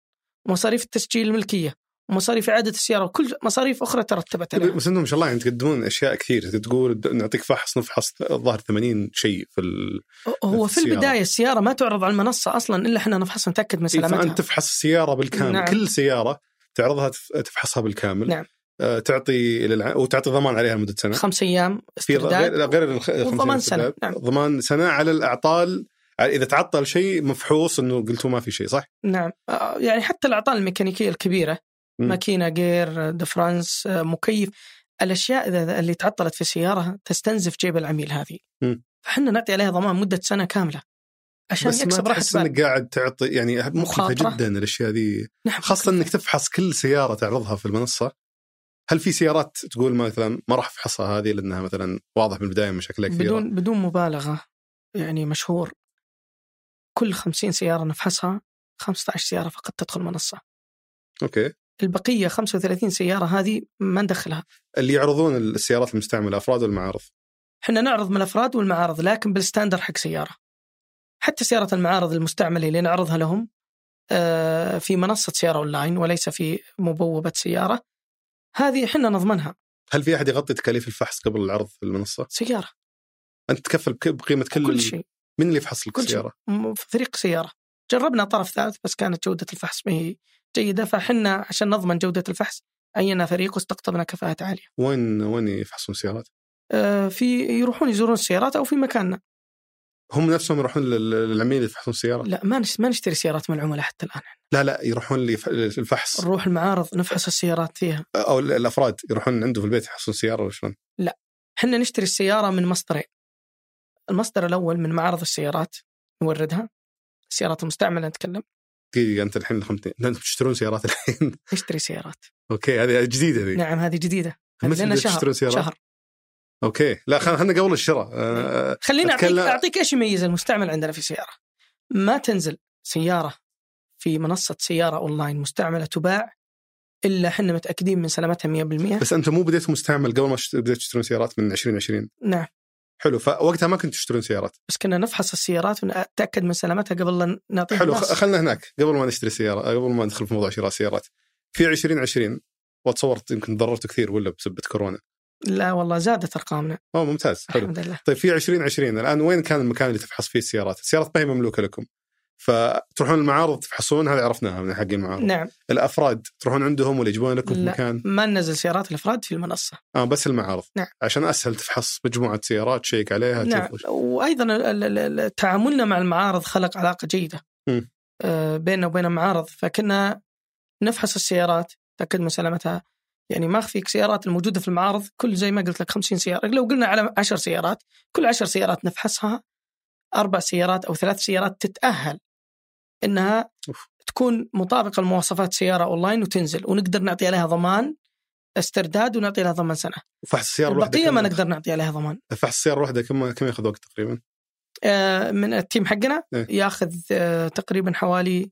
Speaker 1: ومصاريف تسجيل الملكيه ومصاريف اعاده السياره وكل مصاريف اخرى ترتبت عليها
Speaker 2: بس انه ما شاء الله يعني تقدمون اشياء كثير تقول نعطيك فحص نفحص الظاهر 80 شيء في ال... إيه،
Speaker 1: هو في
Speaker 2: السيارة.
Speaker 1: البدايه السياره ما تعرض على المنصه اصلا الا احنا نفحصها نتاكد من
Speaker 2: فانت
Speaker 1: سلامتها
Speaker 2: تفحص السياره
Speaker 1: نعم.
Speaker 2: بالكامل نعم. كل سياره تعرضها تف- تفحصها بالكامل
Speaker 1: نعم.
Speaker 2: آه، تعطي إلى الع... وتعطي ضمان عليها لمده سنه
Speaker 1: خمس ايام
Speaker 2: في غير
Speaker 1: استرداد
Speaker 2: لا، غير الخ...
Speaker 1: وضمان سنه نعم
Speaker 2: ضمان سنه على الاعطال على- اذا تعطل شيء مفحوص انه قلتوا ما في شيء صح؟
Speaker 1: نعم آه، يعني حتى الاعطال الميكانيكيه الكبيره
Speaker 2: مم.
Speaker 1: ماكينه جير دفرانس آه، مكيف الاشياء إذا- اللي تعطلت في السياره تستنزف جيب العميل هذه
Speaker 2: مم.
Speaker 1: فاحنا نعطي عليها ضمان مده سنه كامله عشان
Speaker 2: بس ما
Speaker 1: يكسب راحه
Speaker 2: تحس
Speaker 1: بال
Speaker 2: انك قاعد تعطي يعني مخيفه
Speaker 1: مخاطرة.
Speaker 2: جدا الاشياء ذي
Speaker 1: نعم
Speaker 2: خاصه انك تفحص كل سياره تعرضها في المنصه هل في سيارات تقول مثلا ما راح افحصها هذه لانها مثلا واضح من البدايه مشاكلها كثيره
Speaker 1: بدون بدون مبالغه يعني مشهور كل 50 سياره نفحصها 15 سياره فقط تدخل منصه
Speaker 2: اوكي
Speaker 1: البقيه 35 سياره هذه ما ندخلها
Speaker 2: اللي يعرضون السيارات المستعمله افراد والمعارض
Speaker 1: احنا نعرض من الافراد والمعارض لكن بالستاندر حق سياره حتى سياره المعارض المستعمله اللي نعرضها لهم آه، في منصه سياره اونلاين وليس في مبوبه سياره هذه احنا نضمنها
Speaker 2: هل في احد يغطي تكاليف الفحص قبل العرض في المنصه؟
Speaker 1: سياره
Speaker 2: انت تكفل بك- بقيمه كل,
Speaker 1: كل شيء
Speaker 2: من اللي يفحص لك
Speaker 1: كل شيء.
Speaker 2: السياره؟
Speaker 1: م- فريق سياره جربنا طرف ثالث بس كانت جوده الفحص ما هي جيده فحنا عشان نضمن جوده الفحص عينا فريق واستقطبنا كفاءه عاليه
Speaker 2: وين وين يفحصون السيارات؟
Speaker 1: آه، في يروحون يزورون السيارات او في مكاننا
Speaker 2: هم نفسهم يروحون لل- للعميل يفحصون السياره
Speaker 1: لا ما نش- ما نشتري سيارات من العملاء حتى الان
Speaker 2: لا لا يروحون ليف- للفحص
Speaker 1: نروح المعارض نفحص السيارات فيها
Speaker 2: او ال- الافراد يروحون عنده في البيت يحصلون سياره ولا شلون؟
Speaker 1: احنا نشتري السياره من مصدرين المصدر الاول من معارض السيارات نوردها السيارات المستعمله نتكلم
Speaker 2: دقيقه انت الحين خمتين لا، انتم تشترون سيارات الحين [LAUGHS]
Speaker 1: نشتري سيارات
Speaker 2: اوكي هذه جديده ذي
Speaker 1: نعم هذه جديده هذه
Speaker 2: إيه. متى
Speaker 1: لنا
Speaker 2: بديتوا
Speaker 1: شهر
Speaker 2: تشترون سيارات؟
Speaker 1: شهر
Speaker 2: اوكي لا خل- خلينا قبل الشراء آه،
Speaker 1: خليني اعطيك
Speaker 2: أتكلم-
Speaker 1: اعطيك ايش يميز المستعمل عندنا في السياره ما تنزل سياره في منصه سياره اونلاين مستعمله تباع الا احنا متاكدين من سلامتها 100%
Speaker 2: بس انتم مو بديتوا مستعمل قبل ما شت- بديتوا تشترون سيارات من 2020
Speaker 1: نعم
Speaker 2: حلو فوقتها ما كنتوا تشترون سيارات
Speaker 1: بس كنا نفحص السيارات ونتاكد من سلامتها قبل لا نعطيها
Speaker 2: حلو
Speaker 1: الناس.
Speaker 2: خ- خلنا هناك قبل ما نشتري سياره قبل ما ندخل في موضوع شراء سيارات في 2020 واتصور يمكن تضررتوا كثير ولا بسبه كورونا
Speaker 1: لا والله زادت ارقامنا
Speaker 2: اوه ممتاز حلو
Speaker 1: الحمد لله
Speaker 2: طيب في 2020 الان وين كان المكان اللي تفحص فيه السيارات؟ السيارات ما هي مملوكه لكم فتروحون المعارض تفحصون هذا عرفناها من حق المعارض
Speaker 1: نعم
Speaker 2: الافراد تروحون عندهم ولا يجيبون لكم في
Speaker 1: لا.
Speaker 2: مكان
Speaker 1: ما ننزل سيارات الافراد في المنصه
Speaker 2: اه بس المعارض
Speaker 1: نعم.
Speaker 2: عشان اسهل تفحص مجموعه سيارات تشيك عليها
Speaker 1: نعم
Speaker 2: تشوف وش-
Speaker 1: وايضا ال- ال- ال- تعاملنا مع المعارض خلق علاقه جيده
Speaker 2: مم.
Speaker 1: آه، بيننا وبين المعارض فكنا نفحص السيارات نتاكد من سلامتها يعني ما اخفيك سيارات الموجوده في المعارض كل زي ما قلت لك 50 سياره لو قلنا على 10 سيارات كل 10 سيارات نفحصها اربع سيارات او ثلاث سيارات تتاهل انها
Speaker 2: أوف.
Speaker 1: تكون مطابقه لمواصفات سياره اونلاين وتنزل ونقدر نعطي عليها ضمان استرداد ونعطي لها ضمان سنه
Speaker 2: فحص السياره الواحده
Speaker 1: البقيه
Speaker 2: كم-
Speaker 1: ما نقدر نعطي عليها ضمان
Speaker 2: فحص السياره الواحده كم كم ياخذ وقت تقريبا؟
Speaker 1: آه، من التيم حقنا
Speaker 2: إيه.
Speaker 1: ياخذ آه، تقريبا حوالي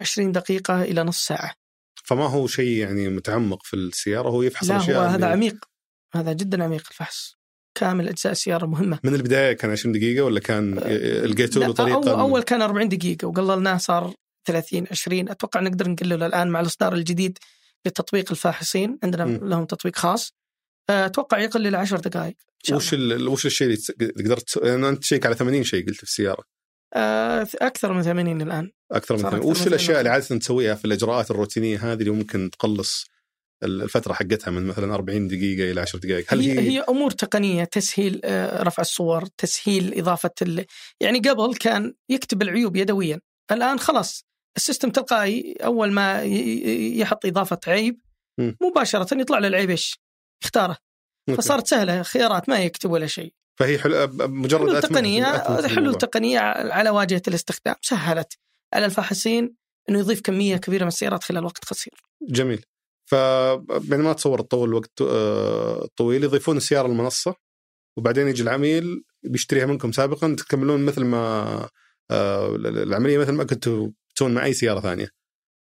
Speaker 1: 20 دقيقة إلى نص ساعة
Speaker 2: فما هو شيء يعني متعمق في السياره هو يفحص
Speaker 1: لا
Speaker 2: الاشياء
Speaker 1: هو
Speaker 2: اللي-
Speaker 1: هذا عميق هذا جدا عميق الفحص كامل أجزاء السيارة مهمة
Speaker 2: من البدايه كان 20 دقيقه ولا كان ي- لقيتوا له
Speaker 1: آه، لا،
Speaker 2: طريقه
Speaker 1: أول,
Speaker 2: من-
Speaker 1: أول كان 40 دقيقة وقللناه صار 30 20 أتوقع نقدر نقلله الآن مع الإصدار الجديد لتطبيق الفاحصين عندنا
Speaker 2: مم.
Speaker 1: لهم تطبيق خاص آه، أتوقع يقل إلى 10 دقائق إن شاء
Speaker 2: وش
Speaker 1: الله.
Speaker 2: ال... وش الشيء اللي تس- قدرت لأن انت تشيك على 80 شيء قلت في السياره
Speaker 1: آه، أكثر من 80 الآن
Speaker 2: اكثر من
Speaker 1: صار
Speaker 2: 80
Speaker 1: أكثر
Speaker 2: وش
Speaker 1: من
Speaker 2: الاشياء
Speaker 1: 80.
Speaker 2: اللي عاده تسويها في الاجراءات الروتينيه هذه اللي ممكن تقلص ال- الفتره حقتها من مثلا 40 دقيقه الى 10 دقائق هل
Speaker 1: هي,
Speaker 2: هي,
Speaker 1: هي امور تقنيه تسهيل آه، رفع الصور تسهيل اضافه ال... يعني قبل كان يكتب العيوب يدويا الان خلاص السيستم تلقائي اول ما ي- ي- يحط اضافه عيب
Speaker 2: مم.
Speaker 1: مباشره يطلع له العيب ايش يختاره
Speaker 2: أوكي.
Speaker 1: فصارت سهله خيارات ما يكتب ولا شيء
Speaker 2: فهي حلو... أب- أب- مجرد
Speaker 1: حلول
Speaker 2: أتمة- أتمة
Speaker 1: تقنيه حلول
Speaker 2: الموضوع.
Speaker 1: تقنيه على واجهه الاستخدام سهلت على الفاحصين انه يضيف كميه كبيره من السيارات خلال وقت قصير
Speaker 2: جميل ف يعني ما اتصور تطول الوقت آه، طويل يضيفون السياره المنصه وبعدين يجي العميل بيشتريها منكم سابقا تكملون مثل ما آه، العمليه مثل ما كنتوا تسوون مع اي سياره ثانيه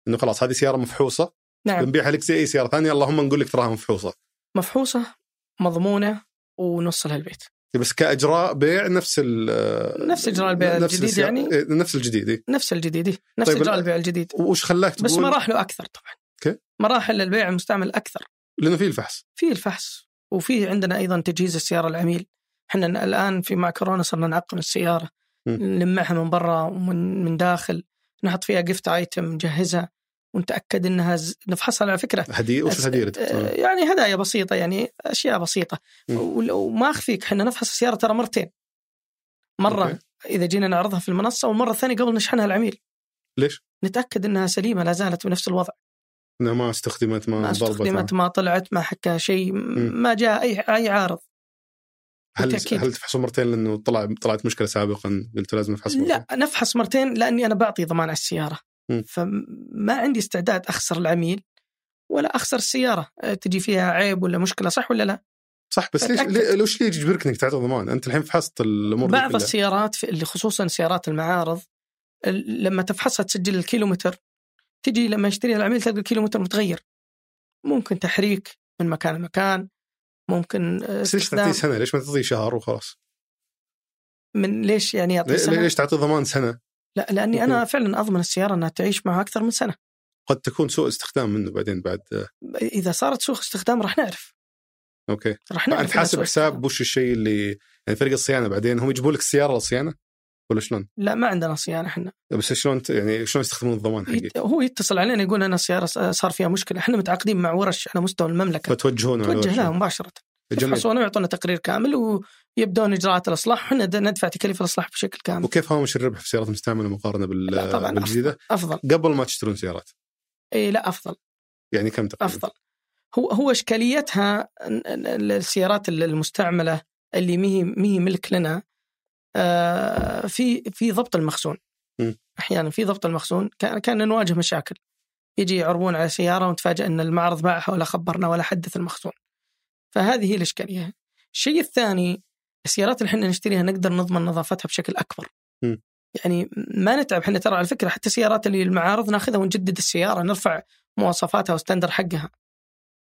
Speaker 2: انه خلاص هذه سياره مفحوصه
Speaker 1: نعم
Speaker 2: بنبيعها لك زي اي سياره ثانيه اللهم نقول لك تراها مفحوصه
Speaker 1: مفحوصه مضمونه ونوصلها البيت
Speaker 2: بس كاجراء بيع نفس ال
Speaker 1: نفس إجراء البيع
Speaker 2: نفس
Speaker 1: الجديد
Speaker 2: السيا-
Speaker 1: يعني؟
Speaker 2: إيه، نفس الجديد إيه.
Speaker 1: نفس الجديد إيه، نفس طيب
Speaker 2: طيب،
Speaker 1: اجراء
Speaker 2: ال-
Speaker 1: البيع الجديد
Speaker 2: وش خلاك تقول
Speaker 1: بس مراحله اكثر طبعا
Speaker 2: أوكي.
Speaker 1: مراحل البيع المستعمل اكثر
Speaker 2: لانه في الفحص
Speaker 1: في الفحص وفي عندنا ايضا تجهيز السياره العميل احنا الان في مع كورونا صرنا نعقم السياره
Speaker 2: مم.
Speaker 1: نلمعها من برا ومن من داخل نحط فيها جفت ايتم نجهزها ونتاكد انها ز... نفحصها على فكره
Speaker 2: هديه وش طيب.
Speaker 1: أس-
Speaker 2: الهديه
Speaker 1: آه،
Speaker 2: اللي
Speaker 1: يعني هدايا بسيطه يعني اشياء بسيطه
Speaker 2: مم.
Speaker 1: ول- وما اخفيك احنا نفحص السياره ترى مرتين مره
Speaker 2: أوكي.
Speaker 1: اذا جينا نعرضها في المنصه والمره الثانيه قبل نشحنها العميل
Speaker 2: ليش؟
Speaker 1: نتاكد انها سليمه لا زالت بنفس الوضع
Speaker 2: انها ما استخدمت ما,
Speaker 1: ما
Speaker 2: ضربت
Speaker 1: استخدمت ما طلعت ما حكاها شيء
Speaker 2: مم.
Speaker 1: ما جاء اي اي عارض
Speaker 2: هل
Speaker 1: بالتأكيد.
Speaker 2: هل تفحصوا مرتين لانه طلع طلعت مشكله سابقا قلت لازم نفحص مرتين
Speaker 1: لا نفحص مرتين لاني انا بعطي ضمان على السياره
Speaker 2: مم.
Speaker 1: فما عندي استعداد اخسر العميل ولا اخسر السياره أه، تجي فيها عيب ولا مشكله صح ولا لا
Speaker 2: صح بس ليش
Speaker 1: أتأكد.
Speaker 2: ليه- ليش ليه يجبرك انك تعطي ضمان؟ انت الحين فحصت الامور دي
Speaker 1: بعض
Speaker 2: كلها.
Speaker 1: السيارات في- اللي خصوصا سيارات المعارض ال- لما تفحصها تسجل الكيلومتر تجي لما يشتريها العميل تلقى الكيلومتر متغير ممكن تحريك من مكان لمكان ممكن أه،
Speaker 2: بس ليش تعطيه
Speaker 1: استخدام
Speaker 2: سنه؟ ليش ما تعطيه شهر وخلاص؟
Speaker 1: من ليش يعني يعطي
Speaker 2: ليه-
Speaker 1: سنة؟
Speaker 2: ليش تعطيه ضمان سنه؟
Speaker 1: لا لاني انا فعلا اضمن السياره انها تعيش معه اكثر من سنه
Speaker 2: قد تكون سوء استخدام منه بعدين بعد آه،
Speaker 1: اذا صارت سوء استخدام راح نعرف
Speaker 2: اوكي
Speaker 1: راح نعرف
Speaker 2: فانت
Speaker 1: إنها
Speaker 2: حاسب
Speaker 1: سوء
Speaker 2: حساب
Speaker 1: استخدام.
Speaker 2: وش الشيء اللي يعني فريق الصيانه بعدين هم يجيبوا لك السياره للصيانه ولا شلون؟
Speaker 1: لا ما عندنا صيانه احنا
Speaker 2: بس شلون ت- يعني شلون يستخدمون الضمان حقك؟
Speaker 1: يت... هو يتصل علينا يقول انا السياره ص- صار فيها مشكله احنا متعاقدين مع ورش على مستوى المملكه
Speaker 2: فتوجهون على
Speaker 1: توجه
Speaker 2: وجهه.
Speaker 1: لها مباشره
Speaker 2: جميل
Speaker 1: يفحصونه ويعطونا تقرير كامل ويبدون اجراءات الاصلاح وحنا ندفع تكاليف الاصلاح بشكل كامل
Speaker 2: وكيف هامش الربح في سيارات مستعمله
Speaker 1: لا
Speaker 2: مقارنه بال...
Speaker 1: طبعاً.
Speaker 2: بالجديده
Speaker 1: افضل
Speaker 2: قبل ما تشترون سيارات
Speaker 1: اي لا افضل
Speaker 2: يعني كم تقريبا
Speaker 1: افضل هو هو اشكاليتها إن- إن السيارات المستعمله اللي مهي مهي ملك لنا آه، في في ضبط المخزون
Speaker 2: مم.
Speaker 1: احيانا في ضبط المخزون كان كان نواجه مشاكل يجي يعربون على سياره ونتفاجئ ان المعرض باعها ولا خبرنا ولا حدث المخزون فهذه هي الاشكاليه الشيء الثاني السيارات اللي احنا نشتريها نقدر نضمن نظافتها بشكل اكبر
Speaker 2: مم.
Speaker 1: يعني ما نتعب احنا ترى على فكره حتى السيارات اللي المعارض ناخذها ونجدد السياره نرفع مواصفاتها وستندر حقها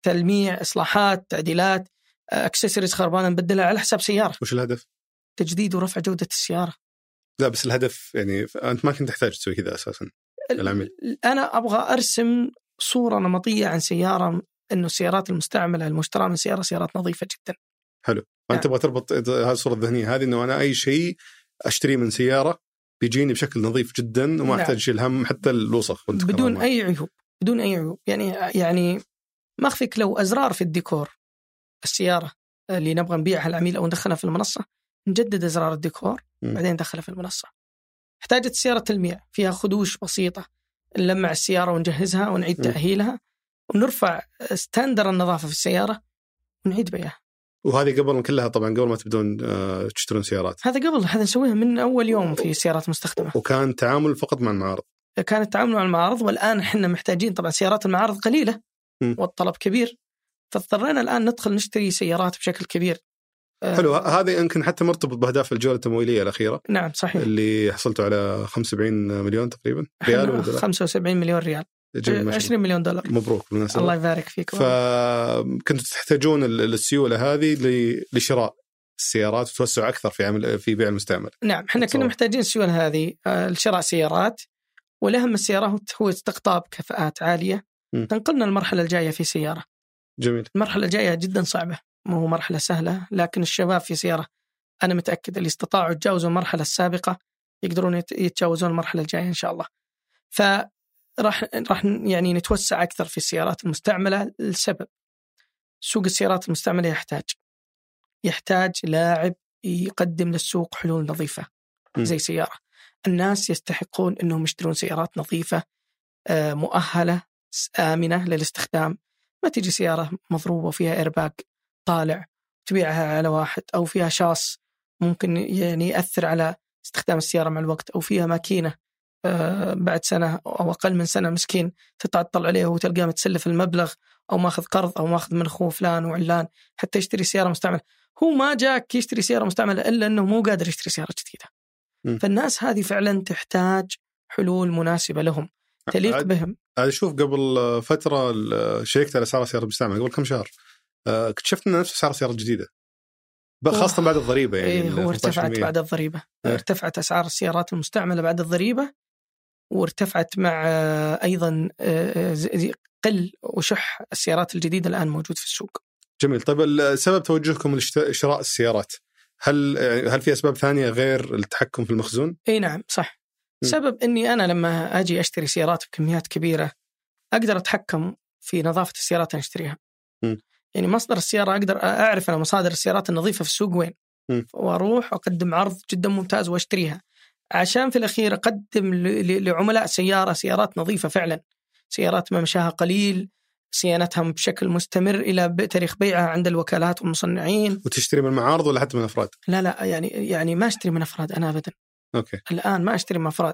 Speaker 1: تلميع اصلاحات تعديلات آه، اكسسوارز خربانه نبدلها على حساب سياره
Speaker 2: وش الهدف؟
Speaker 1: تجديد ورفع جوده السياره
Speaker 2: لا بس الهدف يعني ف- انت ما كنت تحتاج تسوي كذا اساسا
Speaker 1: ال-
Speaker 2: العميل.
Speaker 1: انا ابغى ارسم صوره نمطيه عن سياره انه السيارات المستعمله المشتراه من سياره سيارات نظيفه جدا نعم.
Speaker 2: فانت تبغى تربط هذه الصوره الذهنيه هذه انه انا اي شيء اشتريه من سياره بيجيني بشكل نظيف جدا وما
Speaker 1: نعم.
Speaker 2: احتاج اشيل هم حتى الوسخ وأنت
Speaker 1: بدون
Speaker 2: كمان.
Speaker 1: اي عيوب بدون اي عيوب يعني يعني ما اخفيك لو ازرار في الديكور السياره اللي نبغى نبيعها للعميل او ندخلها في المنصه نجدد ازرار الديكور
Speaker 2: مم.
Speaker 1: بعدين ندخلها في المنصه احتاجت السياره تلميع فيها خدوش بسيطه نلمع السياره ونجهزها ونعيد
Speaker 2: مم.
Speaker 1: تاهيلها ونرفع ستاندر النظافه في السياره ونعيد بيعها
Speaker 2: وهذه قبل كلها طبعا قبل ما تبدون آه، تشترون سيارات
Speaker 1: هذا قبل هذا نسويها من اول يوم في السيارات المستخدمه
Speaker 2: وكان تعامل فقط مع المعارض
Speaker 1: كان التعامل مع المعارض والان احنا محتاجين طبعا سيارات المعارض قليله
Speaker 2: مم.
Speaker 1: والطلب كبير فاضطرينا الان ندخل نشتري سيارات بشكل كبير آه،
Speaker 2: حلو ه- هذا يمكن حتى مرتبط باهداف الجوله التمويليه الاخيره
Speaker 1: نعم صحيح
Speaker 2: اللي حصلتوا على 75 مليون تقريبا ريال
Speaker 1: احنا
Speaker 2: ولا دولار؟
Speaker 1: 75 مليون ريال
Speaker 2: جميل، ما شاء الله.
Speaker 1: 20 مليون دولار
Speaker 2: مبروك بالمناسبه
Speaker 1: الله يبارك فيك والله.
Speaker 2: فكنتوا تحتاجون ال- السيوله هذه ل- لشراء السيارات وتوسع اكثر في عمل في بيع المستعمل.
Speaker 1: نعم احنا كنا
Speaker 2: أتصور.
Speaker 1: محتاجين السيول هذه آه، لشراء سيارات والاهم السيارات هو استقطاب كفاءات عاليه
Speaker 2: مم.
Speaker 1: تنقلنا المرحله الجايه في سياره
Speaker 2: جميل
Speaker 1: المرحله الجايه جدا صعبه ما هو مرحله سهله لكن الشباب في سياره انا متاكد اللي استطاعوا يتجاوزوا المرحله السابقه يقدرون يت- يتجاوزون المرحله الجايه ان شاء الله فراح راح يعني نتوسع اكثر في السيارات المستعمله لسبب سوق السيارات المستعمله يحتاج يحتاج لاعب يقدم للسوق حلول نظيفه
Speaker 2: م.
Speaker 1: زي سياره الناس يستحقون انهم يشترون سيارات نظيفه آه، مؤهله س- امنه للاستخدام ما تجي سيارة مضروبة وفيها إيرباك طالع تبيعها على واحد أو فيها شاص ممكن يعني يأثر على استخدام السيارة مع الوقت أو فيها ماكينة آه، بعد سنة أو أقل من سنة مسكين تتعطل عليه وتلقاه متسلف المبلغ أو ماخذ قرض أو ماخذ من أخوه فلان وعلان حتى يشتري سيارة مستعملة هو ما جاك يشتري سيارة مستعملة إلا أنه مو قادر يشتري سيارة جديدة
Speaker 2: مم.
Speaker 1: فالناس هذه فعلا تحتاج حلول مناسبة لهم تليق
Speaker 2: عاد-
Speaker 1: بهم
Speaker 2: عاد اشوف قبل آه، فتره ال- شيكت على اسعار السيارات المستعمله قبل كم شهر آه، اكتشفت ان نفس اسعار السيارات الجديده بقى خاصه
Speaker 1: أوه.
Speaker 2: بعد الضريبه يعني
Speaker 1: إيه
Speaker 2: ال
Speaker 1: هو
Speaker 2: 18%
Speaker 1: ارتفعت بعد الضريبة
Speaker 2: إيه.
Speaker 1: ارتفعت أسعار السيارات المستعملة بعد الضريبة وارتفعت مع آه، أيضا آه، آه، زي- زي- قل وشح السيارات الجديدة الآن موجود في السوق
Speaker 2: جميل طيب ال- سبب توجهكم لشراء السيارات هل يعني هل في اسباب ثانيه غير التحكم في المخزون؟
Speaker 1: اي نعم صح
Speaker 2: م.
Speaker 1: سبب اني انا لما اجي اشتري سيارات بكميات كبيره اقدر اتحكم في نظافه السيارات اللي اشتريها.
Speaker 2: م.
Speaker 1: يعني مصدر السياره اقدر اعرف انا مصادر السيارات النظيفه في السوق وين
Speaker 2: م.
Speaker 1: واروح واقدم عرض جدا ممتاز واشتريها عشان في الاخير اقدم ل- ل- لعملاء سياره سيارات نظيفه فعلا سيارات ممشاها قليل صيانتها بشكل مستمر الى ب- تاريخ بيعها عند الوكالات والمصنعين
Speaker 2: وتشتري من المعارض ولا حتى من الافراد؟
Speaker 1: لا لا يعني يعني ما اشتري من افراد انا ابدا
Speaker 2: اوكي
Speaker 1: الان ما اشتري من افراد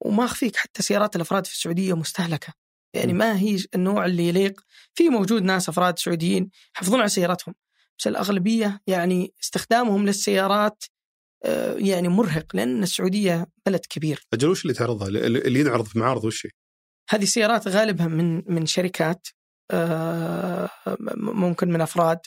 Speaker 1: وما اخفيك حتى سيارات الافراد في السعوديه مستهلكه يعني
Speaker 2: م.
Speaker 1: ما هي النوع اللي يليق في موجود ناس افراد سعوديين يحافظون على سياراتهم بس الاغلبيه يعني استخدامهم للسيارات آه، يعني مرهق لان السعوديه بلد كبير
Speaker 2: اجل وش اللي تعرضها؟ اللي اللي ينعرض في معارض وش هي؟
Speaker 1: هذه السيارات غالبها من من شركات آه، م- ممكن من افراد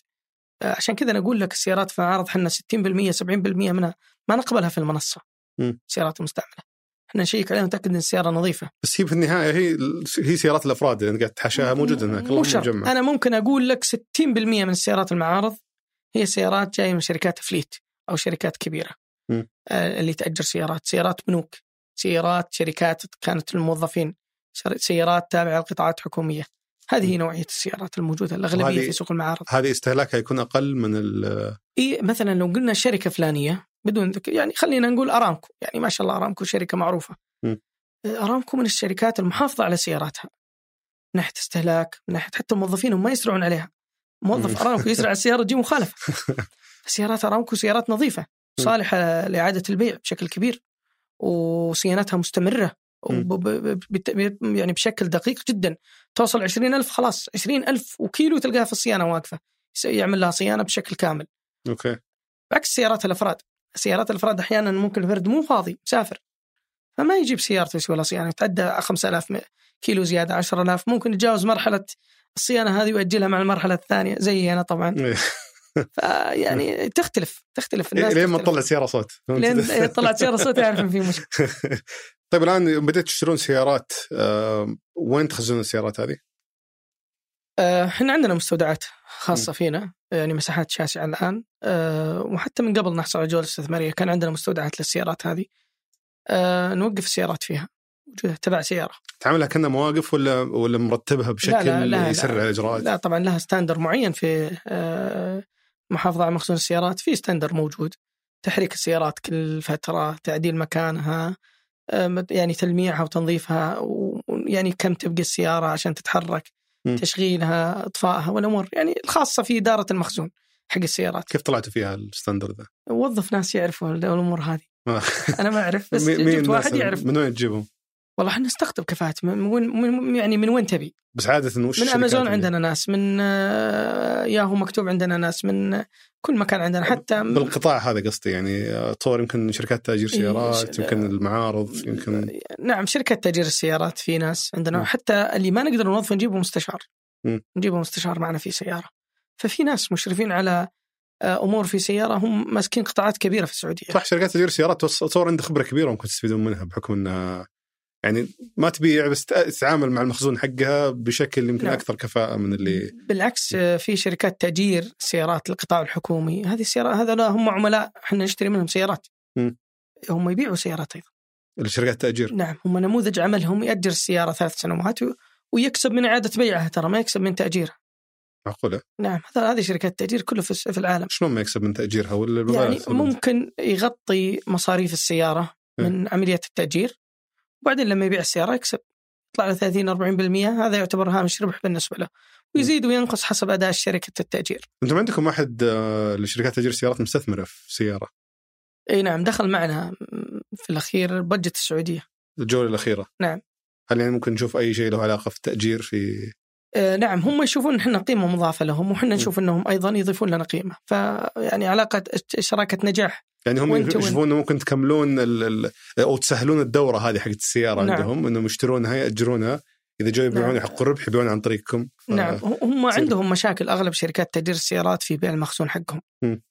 Speaker 1: آه، عشان كذا انا اقول لك السيارات في معارض احنا 60% 70% منها ما نقبلها في المنصه
Speaker 2: م.
Speaker 1: سيارات مستعمله احنا نشيك عليها ونتاكد ان السياره نظيفه
Speaker 2: بس هي في النهايه هي هي سيارات الافراد اللي أنت قاعد تحاشاها موجوده هناك
Speaker 1: مو
Speaker 2: اللهم
Speaker 1: شرط
Speaker 2: جمع
Speaker 1: انا ممكن اقول لك 60% من السيارات المعارض هي سيارات جايه من شركات فليت او شركات كبيره
Speaker 2: م.
Speaker 1: آه، اللي تاجر سيارات سيارات بنوك سيارات شركات كانت الموظفين سيارات تابعه لقطاعات حكوميه هذه هي نوعيه السيارات الموجوده الاغلبيه
Speaker 2: وهذه-
Speaker 1: في سوق المعارض
Speaker 2: هذه استهلاكها يكون اقل من ال-
Speaker 1: إيه مثلا لو قلنا شركه فلانيه بدون ذكر يعني خلينا نقول ارامكو يعني ما شاء الله ارامكو شركه معروفه
Speaker 2: مم.
Speaker 1: ارامكو آه، من الشركات المحافظه على سياراتها من ناحيه استهلاك من ناحيه حتى الموظفين هم ما يسرعون عليها موظف
Speaker 2: مم.
Speaker 1: ارامكو يسرع على السياره تجي مخالفه سيارات ارامكو سيارات نظيفه
Speaker 2: مم.
Speaker 1: صالحه لاعاده البيع بشكل كبير وصيانتها مستمره
Speaker 2: مم.
Speaker 1: وب- ب- ب- ب- يعني بشكل دقيق جدا توصل 20000 خلاص 20000 وكيلو تلقاها في الصيانه واقفه يعمل لها صيانه بشكل كامل
Speaker 2: اوكي
Speaker 1: بعكس سيارات الافراد سيارات الافراد احيانا ممكن الفرد مو فاضي مسافر فما يجيب سيارته يسوي لها صيانه يتعدى 5000 م- كيلو زياده 10000 ممكن يتجاوز مرحله الصيانه هذه ويأجلها مع المرحله الثانيه زي انا طبعا
Speaker 2: إيه.
Speaker 1: فيعني يعني تختلف تختلف الناس
Speaker 2: لين إيه، ما
Speaker 1: تختلف.
Speaker 2: تطلع سياره صوت [LAUGHS]
Speaker 1: لين إيه، طلعت سياره صوت يعرف إن في مشكله
Speaker 2: طيب الان يوم بديت تشترون سيارات آم، وين تخزنون السيارات هذه؟
Speaker 1: آه، احنا عندنا مستودعات خاصه فينا يعني مساحات شاسعه الان آه، وحتى من قبل نحصل على جوله استثماريه كان عندنا مستودعات للسيارات هذه آه، نوقف السيارات فيها وجهة تبع سياره
Speaker 2: تعملها كأنها مواقف ولا ولا مرتبها بشكل
Speaker 1: لا، لا، لا.
Speaker 2: يسرع الاجراءات؟
Speaker 1: لا طبعا لها ستاندر معين في آه، محافظة على مخزون السيارات في ستاندر موجود تحريك السيارات كل فترة تعديل مكانها آم، يعني تلميعها وتنظيفها و- ويعني كم تبقى السيارة عشان تتحرك
Speaker 2: مم.
Speaker 1: تشغيلها إطفائها والأمور يعني الخاصة في إدارة المخزون حق السيارات
Speaker 2: كيف طلعتوا فيها الستاندرد ذا؟
Speaker 1: وظف ناس يعرفوا الأمور هذه
Speaker 2: آه.
Speaker 1: أنا ما أعرف [LAUGHS] بس
Speaker 2: مي- [LAUGHS] مين
Speaker 1: جبت
Speaker 2: الناس
Speaker 1: واحد
Speaker 2: اللي-
Speaker 1: يعرف
Speaker 2: من وين تجيبهم؟
Speaker 1: والله احنا نستقطب كفاءات من وين من يعني من وين تبي
Speaker 2: بس عادة وش
Speaker 1: من
Speaker 2: الشركات
Speaker 1: امازون
Speaker 2: اللي-
Speaker 1: عندنا ناس من آه، ياهو مكتوب عندنا ناس من آه، كل مكان عندنا
Speaker 2: أيوة،
Speaker 1: حتى م-
Speaker 2: بالقطاع هذا قصدي يعني اتصور يمكن شركات تاجير
Speaker 1: إيه،
Speaker 2: سيارات
Speaker 1: ش-
Speaker 2: يمكن المعارض يمكن
Speaker 1: نعم شركه تاجير السيارات في ناس عندنا
Speaker 2: مم.
Speaker 1: حتى اللي ما نقدر نوظفه نجيبه مستشار
Speaker 2: مم.
Speaker 1: نجيبه مستشار معنا في سياره ففي ناس مشرفين على آه، امور في سياره هم ماسكين قطاعات كبيره في السعوديه
Speaker 2: صح شركات تاجير سيارات توص- اتصور عندها خبره كبيره ممكن تستفيدون منها بحكم انها يعني ما تبيع بس تأ- تتعامل مع المخزون حقها بشكل يمكن
Speaker 1: نعم.
Speaker 2: اكثر كفاءه من اللي
Speaker 1: بالعكس آه، في شركات تاجير سيارات للقطاع الحكومي هذه السيارات هذا هم عملاء احنا نشتري منهم سيارات
Speaker 2: مم.
Speaker 1: هم يبيعوا سيارات ايضا
Speaker 2: الشركات التاجير
Speaker 1: نعم هم نموذج عملهم يأجر السيارة ثلاث سنوات و- ويكسب من إعادة بيعها ترى ما يكسب من تأجيرها
Speaker 2: معقوله نعم.
Speaker 1: نعم هذا هذه شركات تأجير كله في الس- في العالم
Speaker 2: شلون ما يكسب من تاجيرها ولا المبالغ
Speaker 1: يعني
Speaker 2: تكون-
Speaker 1: ممكن يغطي مصاريف السيارة من عملية التأجير وبعدين لما يبيع السيارة يكسب يطلع له 30 40% هذا يعتبر هامش ربح بالنسبة له ويزيد وينقص حسب أداء شركة التأجير
Speaker 2: انتم عندكم احد آه، لشركات تاجير سيارات مستثمره في سياره
Speaker 1: اي نعم دخل معنا في الأخير بجت السعودية
Speaker 2: الجوله الاخيره
Speaker 1: نعم.
Speaker 2: هل يعني ممكن نشوف اي شيء له علاقه في التاجير في
Speaker 1: آه، نعم هم يشوفون احنا قيمه مضافه لهم وحنا نشوف انهم ايضا يضيفون لنا يعني قيمه فيعني علاقه شراكه نجاح
Speaker 2: يعني هم
Speaker 1: وين تو
Speaker 2: يشوفون انه ممكن تكملون ال... ال... او تسهلون الدوره هذه حقت السياره
Speaker 1: نعم.
Speaker 2: نعم. عندهم انهم يشترونها ياجرونها اذا جو يبيعون
Speaker 1: نعم.
Speaker 2: يحققوا ربح يبيعون عن طريقكم ف...
Speaker 1: نعم هم
Speaker 2: تصير-
Speaker 1: عندهم مشاكل اغلب شركات تاجير السيارات في بيع المخزون حقهم
Speaker 2: مم.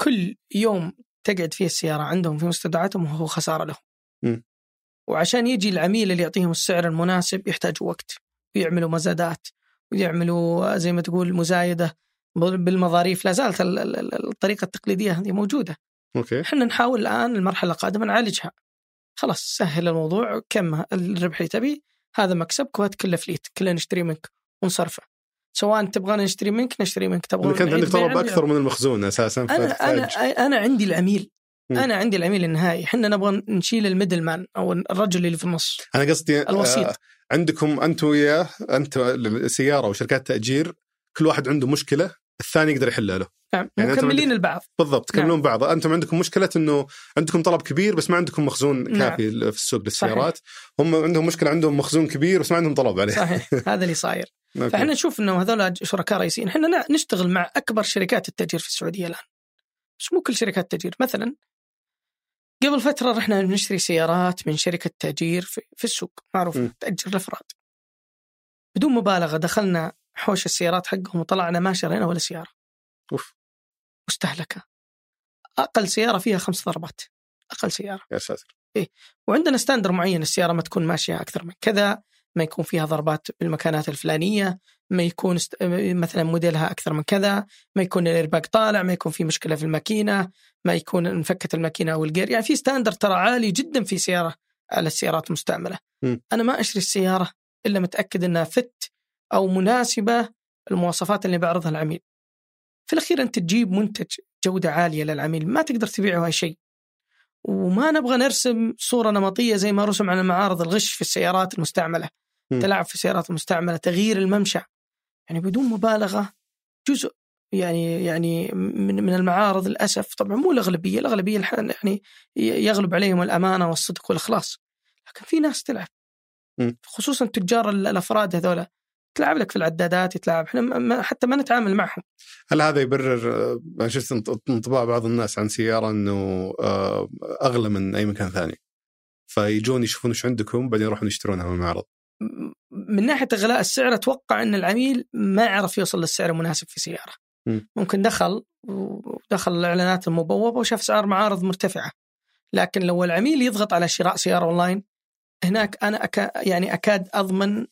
Speaker 1: كل يوم تقعد فيه السياره عندهم في مستودعاتهم وهو خساره لهم
Speaker 2: مم.
Speaker 1: وعشان يجي العميل اللي يعطيهم السعر المناسب يحتاج وقت ويعملوا مزادات ويعملوا زي ما تقول مزايده بالمظاريف لا زالت ال- ال- ال- الطريقه التقليديه هذه موجوده
Speaker 2: اوكي
Speaker 1: احنا نحاول الان المرحله القادمه نعالجها خلاص سهل الموضوع كم الربح اللي تبيه هذا مكسبك وهذا كله فليت كله نشتري منك ونصرفه سواء تبغانا نشتري منك نشتري منك تبغى
Speaker 2: انا كانت عندك طلب اكثر من المخزون اساسا
Speaker 1: انا انا
Speaker 2: فتحتاج-
Speaker 1: انا عندي العميل
Speaker 2: مم.
Speaker 1: انا عندي العميل النهائي احنا نبغى نشيل الميدل مان او الرجل اللي في النص
Speaker 2: انا قصدي آه،
Speaker 1: الوسيط.
Speaker 2: عندكم انت وياه انت السياره وشركات تاجير كل واحد عنده مشكله الثاني يقدر يحلها له
Speaker 1: نعم
Speaker 2: يعني أنت
Speaker 1: مكملين البعض
Speaker 2: بالضبط تكملون نعم. بعض انتم عندكم مشكله انه عندكم طلب كبير بس ما عندكم مخزون
Speaker 1: نعم.
Speaker 2: كافي في السوق للسيارات هم عندهم مشكله عندهم مخزون كبير بس ما عندهم طلب عليه [LAUGHS]
Speaker 1: صحيح هذا اللي صاير
Speaker 2: أوكي.
Speaker 1: فاحنا نشوف انه هذول شركاء رئيسيين، احنا نع- نشتغل مع اكبر شركات التاجير في السعوديه الان. بس مو كل شركات التاجير، مثلا قبل فتره رحنا نشتري سيارات من شركه تاجير في, في السوق معروفه
Speaker 2: م.
Speaker 1: تاجر الافراد. بدون مبالغه دخلنا حوش السيارات حقهم وطلعنا ما شرينا ولا سياره
Speaker 2: اوف
Speaker 1: مستهلكه. اقل سياره فيها خمس ضربات. اقل سياره.
Speaker 2: يا ساتر
Speaker 1: وعندنا ستاندر معين السياره ما تكون ماشيه اكثر من كذا ما يكون فيها ضربات بالمكانات الفلانيه ما يكون است... مثلا موديلها اكثر من كذا ما يكون الايرباك طالع ما يكون في مشكله في الماكينه ما يكون انفكت الماكينه او الجير يعني في ستاندر ترى عالي جدا في سياره على السيارات المستعمله
Speaker 2: مم.
Speaker 1: انا ما اشتري السياره الا متاكد انها فت او مناسبه المواصفات اللي بعرضها العميل. في الاخير انت تجيب منتج جوده عاليه للعميل ما تقدر تبيعه هاي شيء. وما نبغى نرسم صوره نمطيه زي ما رسم على معارض الغش في السيارات المستعمله.
Speaker 2: مم.
Speaker 1: تلاعب في السيارات المستعمله، تغيير الممشى. يعني بدون مبالغه جزء يعني يعني من من المعارض للاسف طبعا مو الاغلبيه، الاغلبيه الحين يعني يغلب عليهم الامانه والصدق والاخلاص. لكن في ناس تلعب.
Speaker 2: مم.
Speaker 1: خصوصا تجار ال- الافراد هذول تلعب لك في العدادات يتلاعب احنا ما- ما- حتى ما نتعامل معهم
Speaker 2: هل هذا يبرر آه، انا شفت انط- انطباع بعض الناس عن سياره انه آه، اغلى من اي مكان ثاني فيجون يشوفون ايش عندكم بعدين يروحون يشترونها من المعرض
Speaker 1: م- من ناحيه اغلاء السعر اتوقع ان العميل ما عرف يوصل للسعر المناسب في سياره
Speaker 2: مم.
Speaker 1: ممكن دخل ودخل الاعلانات المبوبه وشاف اسعار معارض مرتفعه لكن لو العميل يضغط على شراء سياره اونلاين هناك انا أكا يعني اكاد اضمن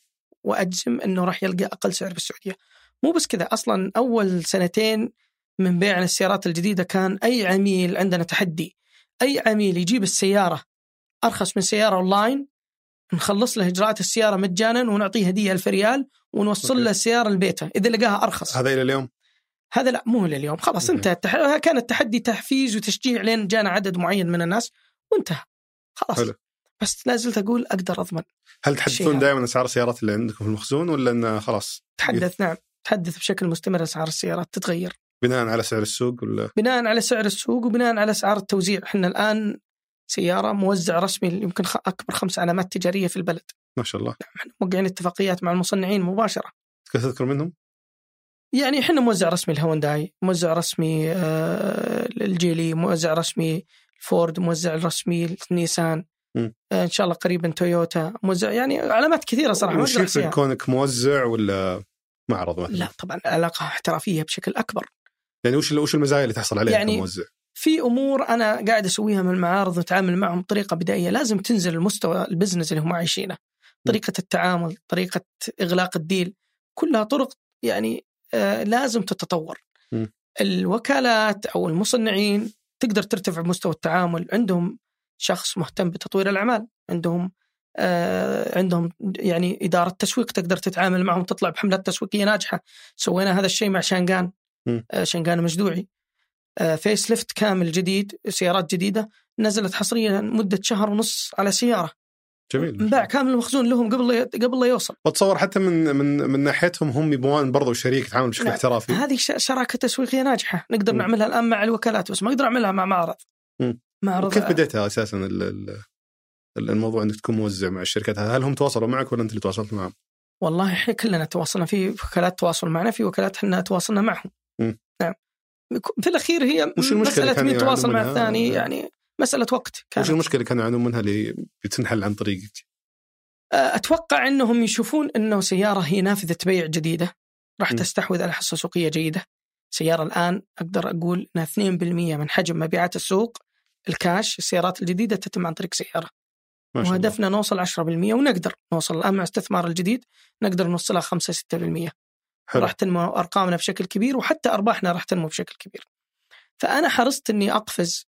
Speaker 1: واجزم انه راح يلقى اقل سعر بالسعوديه مو بس كذا اصلا اول سنتين من بيع السيارات الجديده كان اي عميل عندنا تحدي اي عميل يجيب السياره ارخص من سياره اونلاين نخلص له اجراءات السياره مجانا ونعطيه هديه 1000 ريال ونوصل
Speaker 2: أوكي.
Speaker 1: له السياره لبيته اذا لقاها ارخص
Speaker 2: هذا الى اليوم
Speaker 1: هذا لا مو لليوم خلاص
Speaker 2: مهم.
Speaker 1: انتهى التح... كان التحدي تحفيز وتشجيع لين جانا عدد معين من الناس وانتهى خلاص
Speaker 2: حلو.
Speaker 1: بس لا زلت اقول اقدر اضمن
Speaker 2: هل
Speaker 1: شيء
Speaker 2: تحدثون
Speaker 1: هذا.
Speaker 2: دائما اسعار السيارات اللي عندكم في المخزون ولا انه خلاص
Speaker 1: تحدث نعم تحدث بشكل مستمر اسعار السيارات تتغير
Speaker 2: بناء على سعر السوق ولا
Speaker 1: بناء على سعر السوق وبناء على اسعار التوزيع احنا الان سياره موزع رسمي يمكن خ- اكبر خمس علامات تجاريه في البلد
Speaker 2: ما شاء الله
Speaker 1: احنا موقعين اتفاقيات مع المصنعين مباشره
Speaker 2: تقدر تذكر منهم؟
Speaker 1: يعني احنا موزع رسمي الهونداي موزع رسمي آه، الجيلي موزع رسمي الفورد موزع رسمي النيسان
Speaker 2: مم.
Speaker 1: آه، ان شاء الله قريبا تويوتا موزع يعني علامات كثيره صراحه موزع
Speaker 2: وش يفرق
Speaker 1: سيارة.
Speaker 2: كونك موزع ولا معرض مثلا؟
Speaker 1: لا طبعا علاقه احترافيه بشكل اكبر
Speaker 2: يعني وش وش المزايا اللي تحصل عليها
Speaker 1: يعني-
Speaker 2: يعني كموزع؟
Speaker 1: في امور انا قاعد اسويها من المعارض واتعامل معهم بطريقه بدائيه لازم تنزل المستوى البزنس اللي هم عايشينه طريقه التعامل طريقه اغلاق الديل كلها طرق يعني آه لازم تتطور
Speaker 2: م.
Speaker 1: الوكالات او المصنعين تقدر ترتفع مستوى التعامل عندهم شخص مهتم بتطوير الاعمال عندهم آه عندهم يعني اداره تسويق تقدر تتعامل معهم تطلع بحملات تسويقيه ناجحه سوينا هذا الشيء مع شانغان
Speaker 2: م.
Speaker 1: آه شانغان مجدوعي آه، فيس ليفت كامل جديد سيارات جديده نزلت حصريا مده شهر ونص على سياره
Speaker 2: جميل
Speaker 1: انباع كامل المخزون لهم قبل لا- قبل لا يوصل
Speaker 2: واتصور حتى من من من ناحيتهم هم يبغون برضو شريك يتعامل بشكل
Speaker 1: نعم.
Speaker 2: احترافي
Speaker 1: هذه ش- شراكه تسويقيه ناجحه نقدر
Speaker 2: مم.
Speaker 1: نعملها الان مع الوكالات بس ما اقدر اعملها مع معرض
Speaker 2: مم.
Speaker 1: معرض
Speaker 2: كيف بديتها اساسا ال- ال- ال- الموضوع انك تكون موزع مع الشركات هل هم تواصلوا معك ولا انت اللي تواصلت معهم؟
Speaker 1: والله احنا كلنا تواصلنا في وكالات تواصل معنا في وكالات احنا تواصلنا معهم
Speaker 2: مم.
Speaker 1: نعم في الاخير هي
Speaker 2: وش المشكلة
Speaker 1: مساله
Speaker 2: كان
Speaker 1: مين
Speaker 2: يعانون
Speaker 1: تواصل مع
Speaker 2: منها؟
Speaker 1: الثاني يعني مساله وقت
Speaker 2: وش
Speaker 1: كانت
Speaker 2: المشكله اللي كانوا يعانون منها اللي بتنحل عن طريقك؟
Speaker 1: اتوقع انهم آه، يشوفون انه سياره هي نافذه بيع جديده راح
Speaker 2: م.
Speaker 1: تستحوذ على حصه سوقيه جيده سياره الان اقدر اقول انها 2% من حجم مبيعات السوق الكاش السيارات الجديده تتم عن طريق سياره
Speaker 2: ما شاء الله
Speaker 1: وهدفنا نوصل 10% ونقدر نوصل الان مع استثمار الجديد نقدر نوصلها 5 6%
Speaker 2: حلو.
Speaker 1: راح تنمو ارقامنا بشكل كبير وحتى ارباحنا راح تنمو بشكل كبير فانا حرصت اني اقفز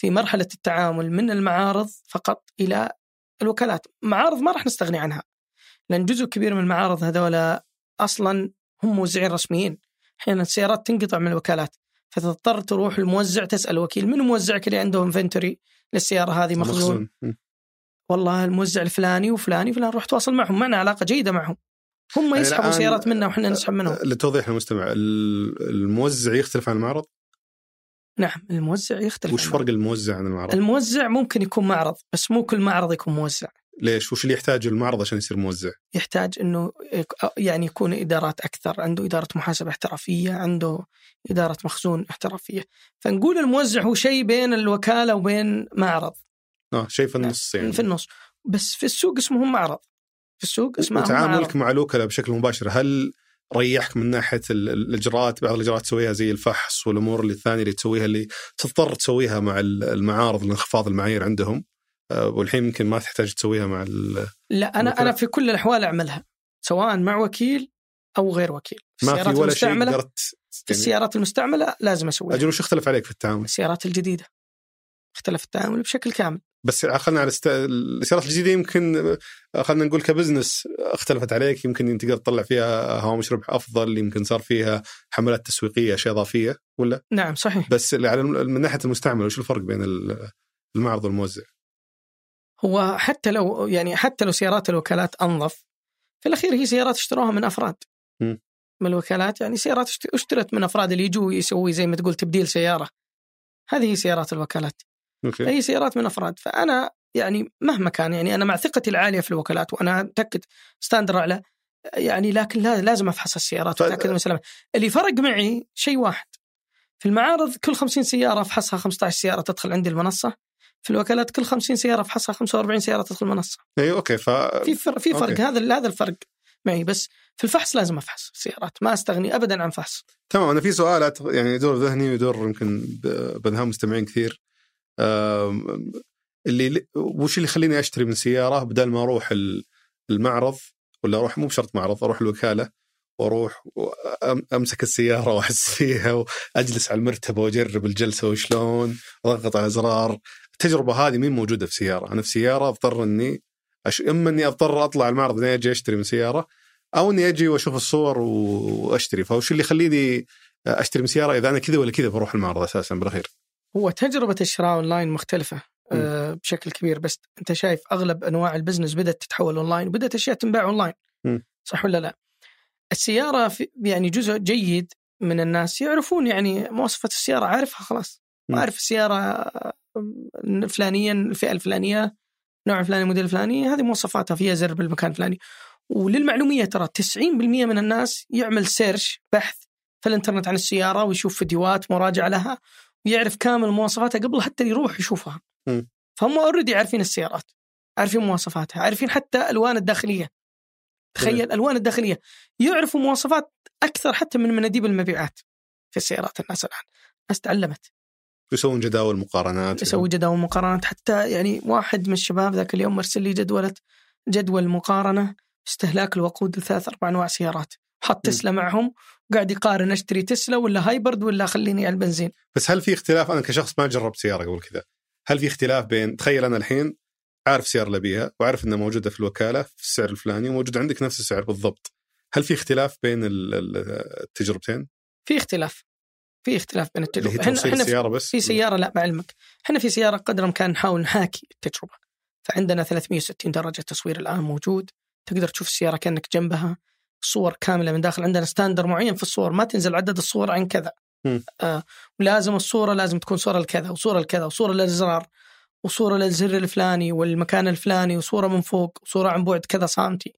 Speaker 1: في مرحله التعامل من المعارض فقط الى الوكالات معارض ما راح نستغني عنها لان جزء كبير من المعارض هذولا اصلا هم موزعين رسميين احيانا السيارات تنقطع من الوكالات فتضطر تروح الموزع تسال وكيل من موزعك اللي عنده انفنتوري للسياره هذه مخزون
Speaker 2: مم.
Speaker 1: والله الموزع الفلاني وفلاني فلان روح تواصل معهم معنا علاقه جيده معهم هم
Speaker 2: يعني
Speaker 1: يسحبوا
Speaker 2: الآن-
Speaker 1: سيارات منا وحنا نسحب منهم
Speaker 2: للتوضيح للمستمع ال- الموزع يختلف عن المعرض
Speaker 1: نعم الموزع يختلف
Speaker 2: وش
Speaker 1: عن
Speaker 2: فرق الموزع عن المعرض؟
Speaker 1: الموزع ممكن يكون معرض بس مو كل معرض يكون موزع
Speaker 2: ليش؟ وش اللي يحتاجه المعرض عشان يصير موزع؟
Speaker 1: يحتاج انه يك- يعني يكون ادارات اكثر عنده اداره محاسبه احترافيه عنده اداره مخزون احترافيه فنقول الموزع هو شيء بين الوكاله وبين معرض
Speaker 2: اه شيء في النص يعني
Speaker 1: في النص بس في السوق اسمهم معرض في السوق اسمهم معرض
Speaker 2: وتعاملك مع الوكلاء بشكل مباشر هل ريحك من ناحيه ال- ال- الاجراءات بعض الاجراءات تسويها زي الفحص والامور اللي الثانيه اللي تسويها اللي تضطر تسويها مع ال- المعارض لانخفاض المعايير عندهم آه، والحين يمكن ما تحتاج تسويها مع ال-
Speaker 1: لا انا
Speaker 2: مثلاً.
Speaker 1: انا في كل الاحوال اعملها سواء مع وكيل او غير وكيل في
Speaker 2: ما في
Speaker 1: السيارات
Speaker 2: ولا شيء
Speaker 1: المستعمله
Speaker 2: قدرت يعني
Speaker 1: في السيارات المستعمله لازم اسويها
Speaker 2: اجل وش اختلف عليك في التعامل؟
Speaker 1: السيارات الجديده اختلف التعامل بشكل كامل
Speaker 2: بس خلينا على است... السيارات الجديده يمكن خلينا نقول كبزنس اختلفت عليك يمكن انت تقدر تطلع فيها هوامش ربح افضل يمكن صار فيها حملات تسويقيه اشياء اضافيه ولا
Speaker 1: نعم صحيح
Speaker 2: بس على الم- من ناحيه المستعمل وش الفرق بين ال- المعرض والموزع؟
Speaker 1: هو حتى لو يعني حتى لو سيارات الوكالات انظف في الاخير هي سيارات اشتروها من افراد
Speaker 2: مم.
Speaker 1: من الوكالات يعني سيارات اشت- اشترت من افراد اللي يجوا يسوي زي ما تقول تبديل سياره هذه هي سيارات الوكالات
Speaker 2: اوكي
Speaker 1: فهي سيارات من افراد فانا يعني مهما كان يعني انا مع ثقتي العاليه في الوكالات وانا اتاكد ستاندر اعلى يعني لكن لا- لازم افحص السيارات
Speaker 2: طيب.
Speaker 1: واتاكد من سلامتها اللي فرق معي شيء واحد في المعارض كل 50 سياره افحصها 15 سياره تدخل عندي المنصه في الوكالات كل 50 سياره افحصها 45 سياره تدخل المنصه
Speaker 2: اي اوكي إيه، ف
Speaker 1: في فر... في فرق
Speaker 2: أوكي.
Speaker 1: هذا هذا الفرق معي بس في الفحص لازم افحص السيارات ما استغني ابدا عن فحص
Speaker 2: تمام انا في سؤال أعتقد- يعني يدور ذهني ويدور يمكن ب- بنهام مستمعين كثير أم، اللي وش اللي يخليني اشتري من سياره بدل ما اروح ال- المعرض ولا اروح مو بشرط معرض اروح الوكاله واروح وأم- امسك السياره واحس فيها واجلس على المرتبه واجرب الجلسه وشلون اضغط على ازرار التجربه هذه مين موجوده في سياره انا في سياره اضطر اني أش... اما اني اضطر اطلع المعرض اني اجي اشتري من سياره او اني اجي واشوف الصور و- واشتري فوش اللي يخليني اشتري من سياره اذا انا كذا ولا كذا بروح المعرض اساسا بالاخير
Speaker 1: هو تجربة الشراء اونلاين مختلفة آه، بشكل كبير بس انت شايف اغلب انواع البزنس بدات تتحول اونلاين وبدات اشياء تنباع اونلاين
Speaker 2: مم.
Speaker 1: صح ولا لا؟ السيارة في يعني جزء جيد من الناس يعرفون يعني مواصفات السيارة عارفها خلاص
Speaker 2: مم.
Speaker 1: عارف السيارة آه، فلانيا الفئة الفلانية نوع فلاني موديل الفلاني هذه مواصفاتها فيها زر بالمكان الفلاني وللمعلومية ترى 90% من الناس يعمل سيرش بحث في الانترنت عن السيارة ويشوف فيديوهات مراجعة لها ويعرف كامل مواصفاتها قبل حتى يروح يشوفها
Speaker 2: م.
Speaker 1: فهم اوريدي عارفين السيارات عارفين مواصفاتها عارفين حتى الوان الداخليه تخيل الالوان الداخليه يعرفوا مواصفات اكثر حتى من مناديب المبيعات في السيارات الناس الان الناس تعلمت
Speaker 2: يسوون جداول مقارنات
Speaker 1: يسوي جداول مقارنات حتى يعني واحد من الشباب ذاك اليوم ارسل لي جدولة جدول مقارنة استهلاك الوقود لثلاث أربع أنواع سيارات
Speaker 2: نعم.
Speaker 1: حط تسلا معهم وقاعد يقارن اشتري تسلا ولا هايبرد ولا خليني على البنزين
Speaker 2: بس هل في اختلاف انا كشخص ما جربت سياره قبل كذا هل في اختلاف بين تخيل انا الحين عارف السياره اللي ابيها وعارف انها موجوده في الوكاله في السعر الفلاني وموجود عندك نفس السعر بالضبط هل في اختلاف بين ال- ال- التجربتين
Speaker 1: في اختلاف في اختلاف بين
Speaker 2: اللي هي
Speaker 1: التجربه احنا
Speaker 2: توصيل
Speaker 1: احنا في-
Speaker 2: السياره بس
Speaker 1: في سياره لا مع علمك احنا في سياره قدر الامكان نحاول نحاكي التجربه فعندنا 360 درجه تصوير الان موجود تقدر تشوف السياره كانك جنبها صور كامله من داخل عندنا ستاندر معين في الصور ما تنزل عدد الصور عن كذا
Speaker 2: مم.
Speaker 1: آه ولازم الصوره لازم تكون صوره لكذا وصوره لكذا وصوره للازرار وصوره للزر الفلاني والمكان الفلاني وصوره من فوق وصوره عن بعد كذا سنتي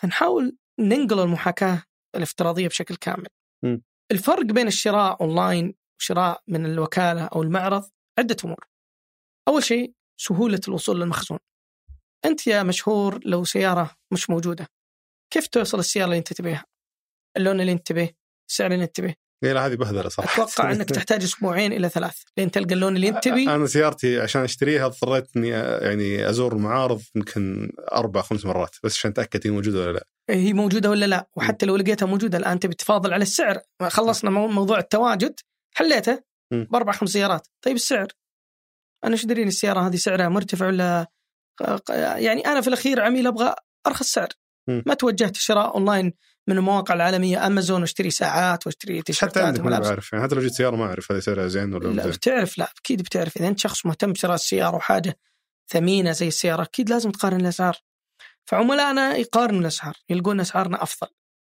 Speaker 1: فنحاول ننقل المحاكاه الافتراضيه بشكل كامل
Speaker 2: مم.
Speaker 1: الفرق بين الشراء اونلاين وشراء من الوكاله او المعرض عده امور اول شيء سهوله الوصول للمخزون انت يا مشهور لو سياره مش موجوده كيف توصل السياره اللي انت تبيها اللون اللي انت تبيه السعر اللي انت تبيه
Speaker 2: إيه لا هذه بهذله صراحه
Speaker 1: اتوقع انك تحتاج اسبوعين الى ثلاث لين تلقى اللون اللي انت
Speaker 2: [LAUGHS]
Speaker 1: تبيه
Speaker 2: انا سيارتي عشان اشتريها اضطريت اني أ- يعني ازور المعارض يمكن اربع خمس مرات بس عشان اتاكد هي موجوده ولا لا
Speaker 1: إيه، هي موجوده ولا لا وحتى لو لقيتها موجوده الان تبي تفاضل على السعر ما خلصنا مو- موضوع التواجد حليته
Speaker 2: مم.
Speaker 1: باربع خمس سيارات طيب السعر انا ايش داريني السياره هذه سعرها مرتفع ولا يعني انا في الاخير عميل ابغى ارخص سعر
Speaker 2: مم.
Speaker 1: ما توجهت شراء اونلاين من المواقع العالميه امازون واشتري ساعات واشتري
Speaker 2: مش حتى
Speaker 1: تيشيرتات
Speaker 2: عندك ما
Speaker 1: وملابس
Speaker 2: بعرف يعني حتى لو جيت سياره ما اعرف هذا سعرها زين ولا مو
Speaker 1: لا
Speaker 2: زين
Speaker 1: بتعرف لا اكيد بتعرف اذا انت شخص مهتم بشراء السياره وحاجه ثمينه زي السياره اكيد لازم تقارن الاسعار فعملائنا يقارنوا الاسعار يلقون اسعارنا افضل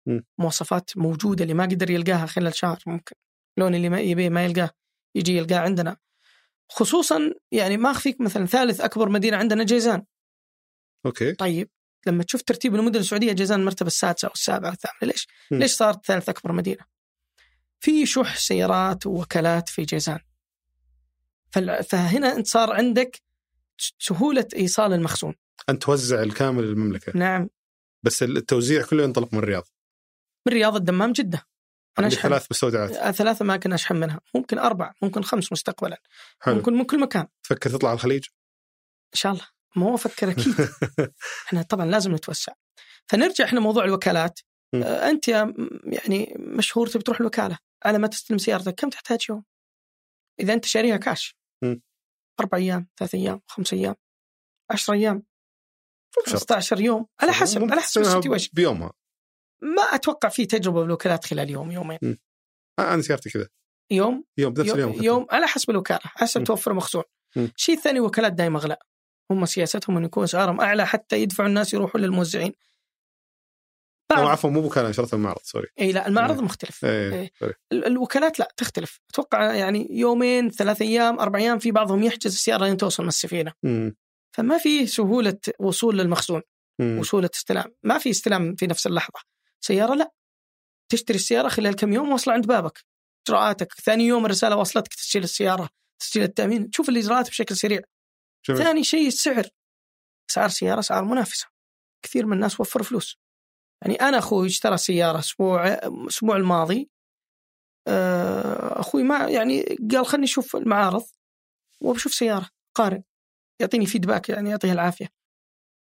Speaker 2: مم.
Speaker 1: مواصفات موجوده اللي ما قدر يلقاها خلال شهر ممكن لون اللي ما يبيه ما يلقاه يجي يلقاه عندنا خصوصا يعني ما اخفيك مثلا ثالث اكبر مدينه عندنا جيزان
Speaker 2: اوكي
Speaker 1: طيب لما تشوف ترتيب المدن السعوديه جيزان المرتبه السادسه او السابعه او الثامنه ليش؟
Speaker 2: مم.
Speaker 1: ليش صارت ثالث اكبر مدينه؟ في شح سيارات ووكالات في جيزان. فال- فهنا انت صار عندك س- سهوله ايصال المخزون،
Speaker 2: انت توزع الكامل للمملكه
Speaker 1: نعم من
Speaker 2: بس التوزيع كله ينطلق من الرياض
Speaker 1: الرياض الدمام جده. انا
Speaker 2: عندك
Speaker 1: اشحن
Speaker 2: ثلاث مستودعات
Speaker 1: ثلاث اماكن اشحن منها، ممكن اربع، ممكن خمس مستقبلا،
Speaker 2: حلو
Speaker 1: ممكن من كل مكان، ان
Speaker 2: تفكر تطلع على الخليج
Speaker 1: شاء الله. ما هو افكر اكيد احنا طبعا لازم نتوسع فنرجع احنا موضوع الوكالات
Speaker 2: مم.
Speaker 1: آه، انت يا م- يعني مشهور تبي تروح الوكاله على ما تستلم سيارتك كم تحتاج يوم؟ اذا انت شاريها كاش
Speaker 2: مم.
Speaker 1: اربع ايام ثلاث ايام خمس ايام 10 ايام
Speaker 2: مو بشرط.
Speaker 1: 15 يوم طيب، على حسب
Speaker 2: ممكن
Speaker 1: على حسب
Speaker 2: تسويها
Speaker 1: السيتويشن
Speaker 2: بيومها
Speaker 1: ما اتوقع في تجربه بالوكالات خلال يوم يومين
Speaker 2: آه، انا سيارتي كذا
Speaker 1: يوم
Speaker 2: يوم بنفس اليوم
Speaker 1: يوم,
Speaker 2: حتى.
Speaker 1: يوم على حسب الوكاله حسب
Speaker 2: مم.
Speaker 1: توفر مخزون
Speaker 2: مم.
Speaker 1: شيء ثاني وكالات دائما اغلى هم سياستهم انه يكون اسعارهم اعلى حتى يدفعوا الناس يروحوا للموزعين
Speaker 2: أو
Speaker 1: بعض
Speaker 2: عفوا مو بكان شرط المعرض سوري
Speaker 1: اي لا المعرض
Speaker 2: إيه.
Speaker 1: مختلف
Speaker 2: ايه
Speaker 1: إيه.
Speaker 2: سوري.
Speaker 1: ال- الوكالات لا تختلف اتوقع يعني يومين ثلاث ايام اربع ايام في بعضهم يحجز السياره لين توصل من السفينه
Speaker 2: مم.
Speaker 1: فما في سهوله وصول للمخزون
Speaker 2: مم.
Speaker 1: وسهوله استلام ما في استلام في نفس اللحظه سياره لا تشتري السياره خلال كم يوم واصله عند بابك اجراءاتك ثاني يوم الرساله وصلتك تسجيل السياره تسجيل التامين تشوف الاجراءات بشكل سريع
Speaker 2: جميل.
Speaker 1: ثاني شيء السعر اسعار سياره اسعار منافسه كثير من الناس وفروا فلوس يعني انا اخوي اشترى سياره اسبوع الاسبوع الماضي آه، اخوي ما يعني قال خلني اشوف المعارض وبشوف سياره قارن يعطيني فيدباك يعني يعطيه العافيه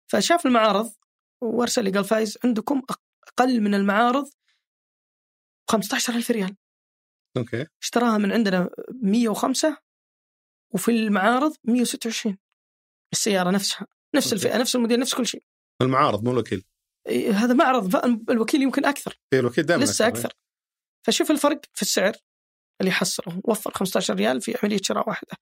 Speaker 1: فشاف المعارض وارسل لي قال فايز عندكم اقل من المعارض ب 15000 ريال
Speaker 2: اوكي
Speaker 1: اشتراها من عندنا 105 وفي المعارض 126 السياره نفسها نفس الفئه نفس الموديل نفس كل شيء
Speaker 2: المعارض مو الوكيل
Speaker 1: إيه، هذا معرض فالوكيل يمكن اكثر
Speaker 2: إيه، الوكيل دائما
Speaker 1: لسه اكثر فشوف الفرق في السعر اللي حصله وفر 15 ريال في عمليه شراء واحده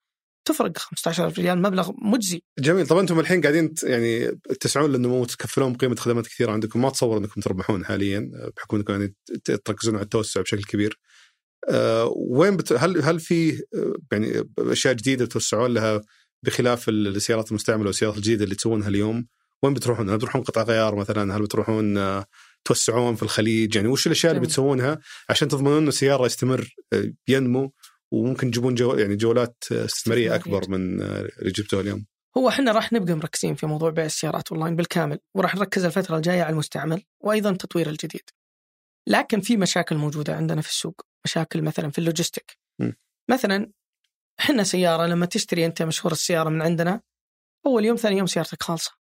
Speaker 1: تفرق 15000 ريال مبلغ مجزي
Speaker 2: جميل طب انتم الحين قاعدين ت- يعني تسعون للنمو وتكفلون بقيمه خدمات كثيره عندكم ما تصور انكم تربحون حاليا بحكم انكم يعني ت- تركزون على التوسع بشكل كبير. أه وين بت... هل هل في آه، يعني اشياء جديده بتوسعون لها بخلاف ال- السيارات المستعمله والسيارات الجديده اللي تسوونها اليوم؟ وين بتروحون؟ هل بتروحون قطع غيار مثلا؟ هل بتروحون آه، توسعون في الخليج؟ يعني وش الاشياء اللي
Speaker 1: جميل.
Speaker 2: بتسوونها عشان تضمنون انه السياره يستمر آه، ينمو وممكن تجيبون جو... يعني جولات آه،
Speaker 1: استثمارية.
Speaker 2: استثماريه اكبر من آه، اللي جبتوها اليوم؟
Speaker 1: هو احنا راح نبقى مركزين في موضوع بيع السيارات اونلاين بالكامل وراح نركز الفتره الجايه على المستعمل وايضا تطوير الجديد. لكن في مشاكل موجوده عندنا في السوق، مشاكل مثلا في اللوجستيك.
Speaker 2: مم.
Speaker 1: مثلا احنا سياره لما تشتري انت مشهور السياره من عندنا اول يوم ثاني يوم سيارتك خالصه.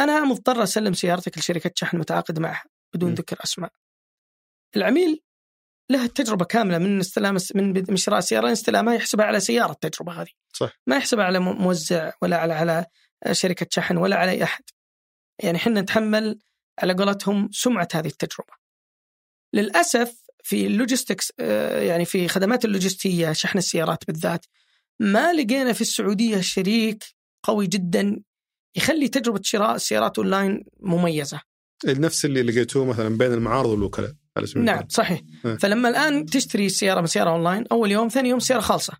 Speaker 1: انا مضطر اسلم سيارتك لشركه شحن متعاقد معها بدون
Speaker 2: مم.
Speaker 1: ذكر اسماء. العميل له تجربه كامله من استلام من من شراء سياره استلامها يحسبها على سياره التجربه هذه.
Speaker 2: صح.
Speaker 1: ما يحسبها على مو- موزع ولا على على شركه شحن ولا على اي احد. يعني احنا نتحمل على قولتهم سمعه هذه التجربه. للاسف في اللوجيستكس آه، يعني في خدمات اللوجستيه شحن السيارات بالذات ما لقينا في السعوديه شريك قوي جدا يخلي تجربه شراء السيارات اونلاين مميزه.
Speaker 2: نفس اللي لقيتوه مثلا بين المعارض والوكلاء على سبيل
Speaker 1: نعم
Speaker 2: المثال.
Speaker 1: صحيح
Speaker 2: إيه.
Speaker 1: فلما الان تشتري سياره من سياره اونلاين اول يوم ثاني يوم سياره خالصه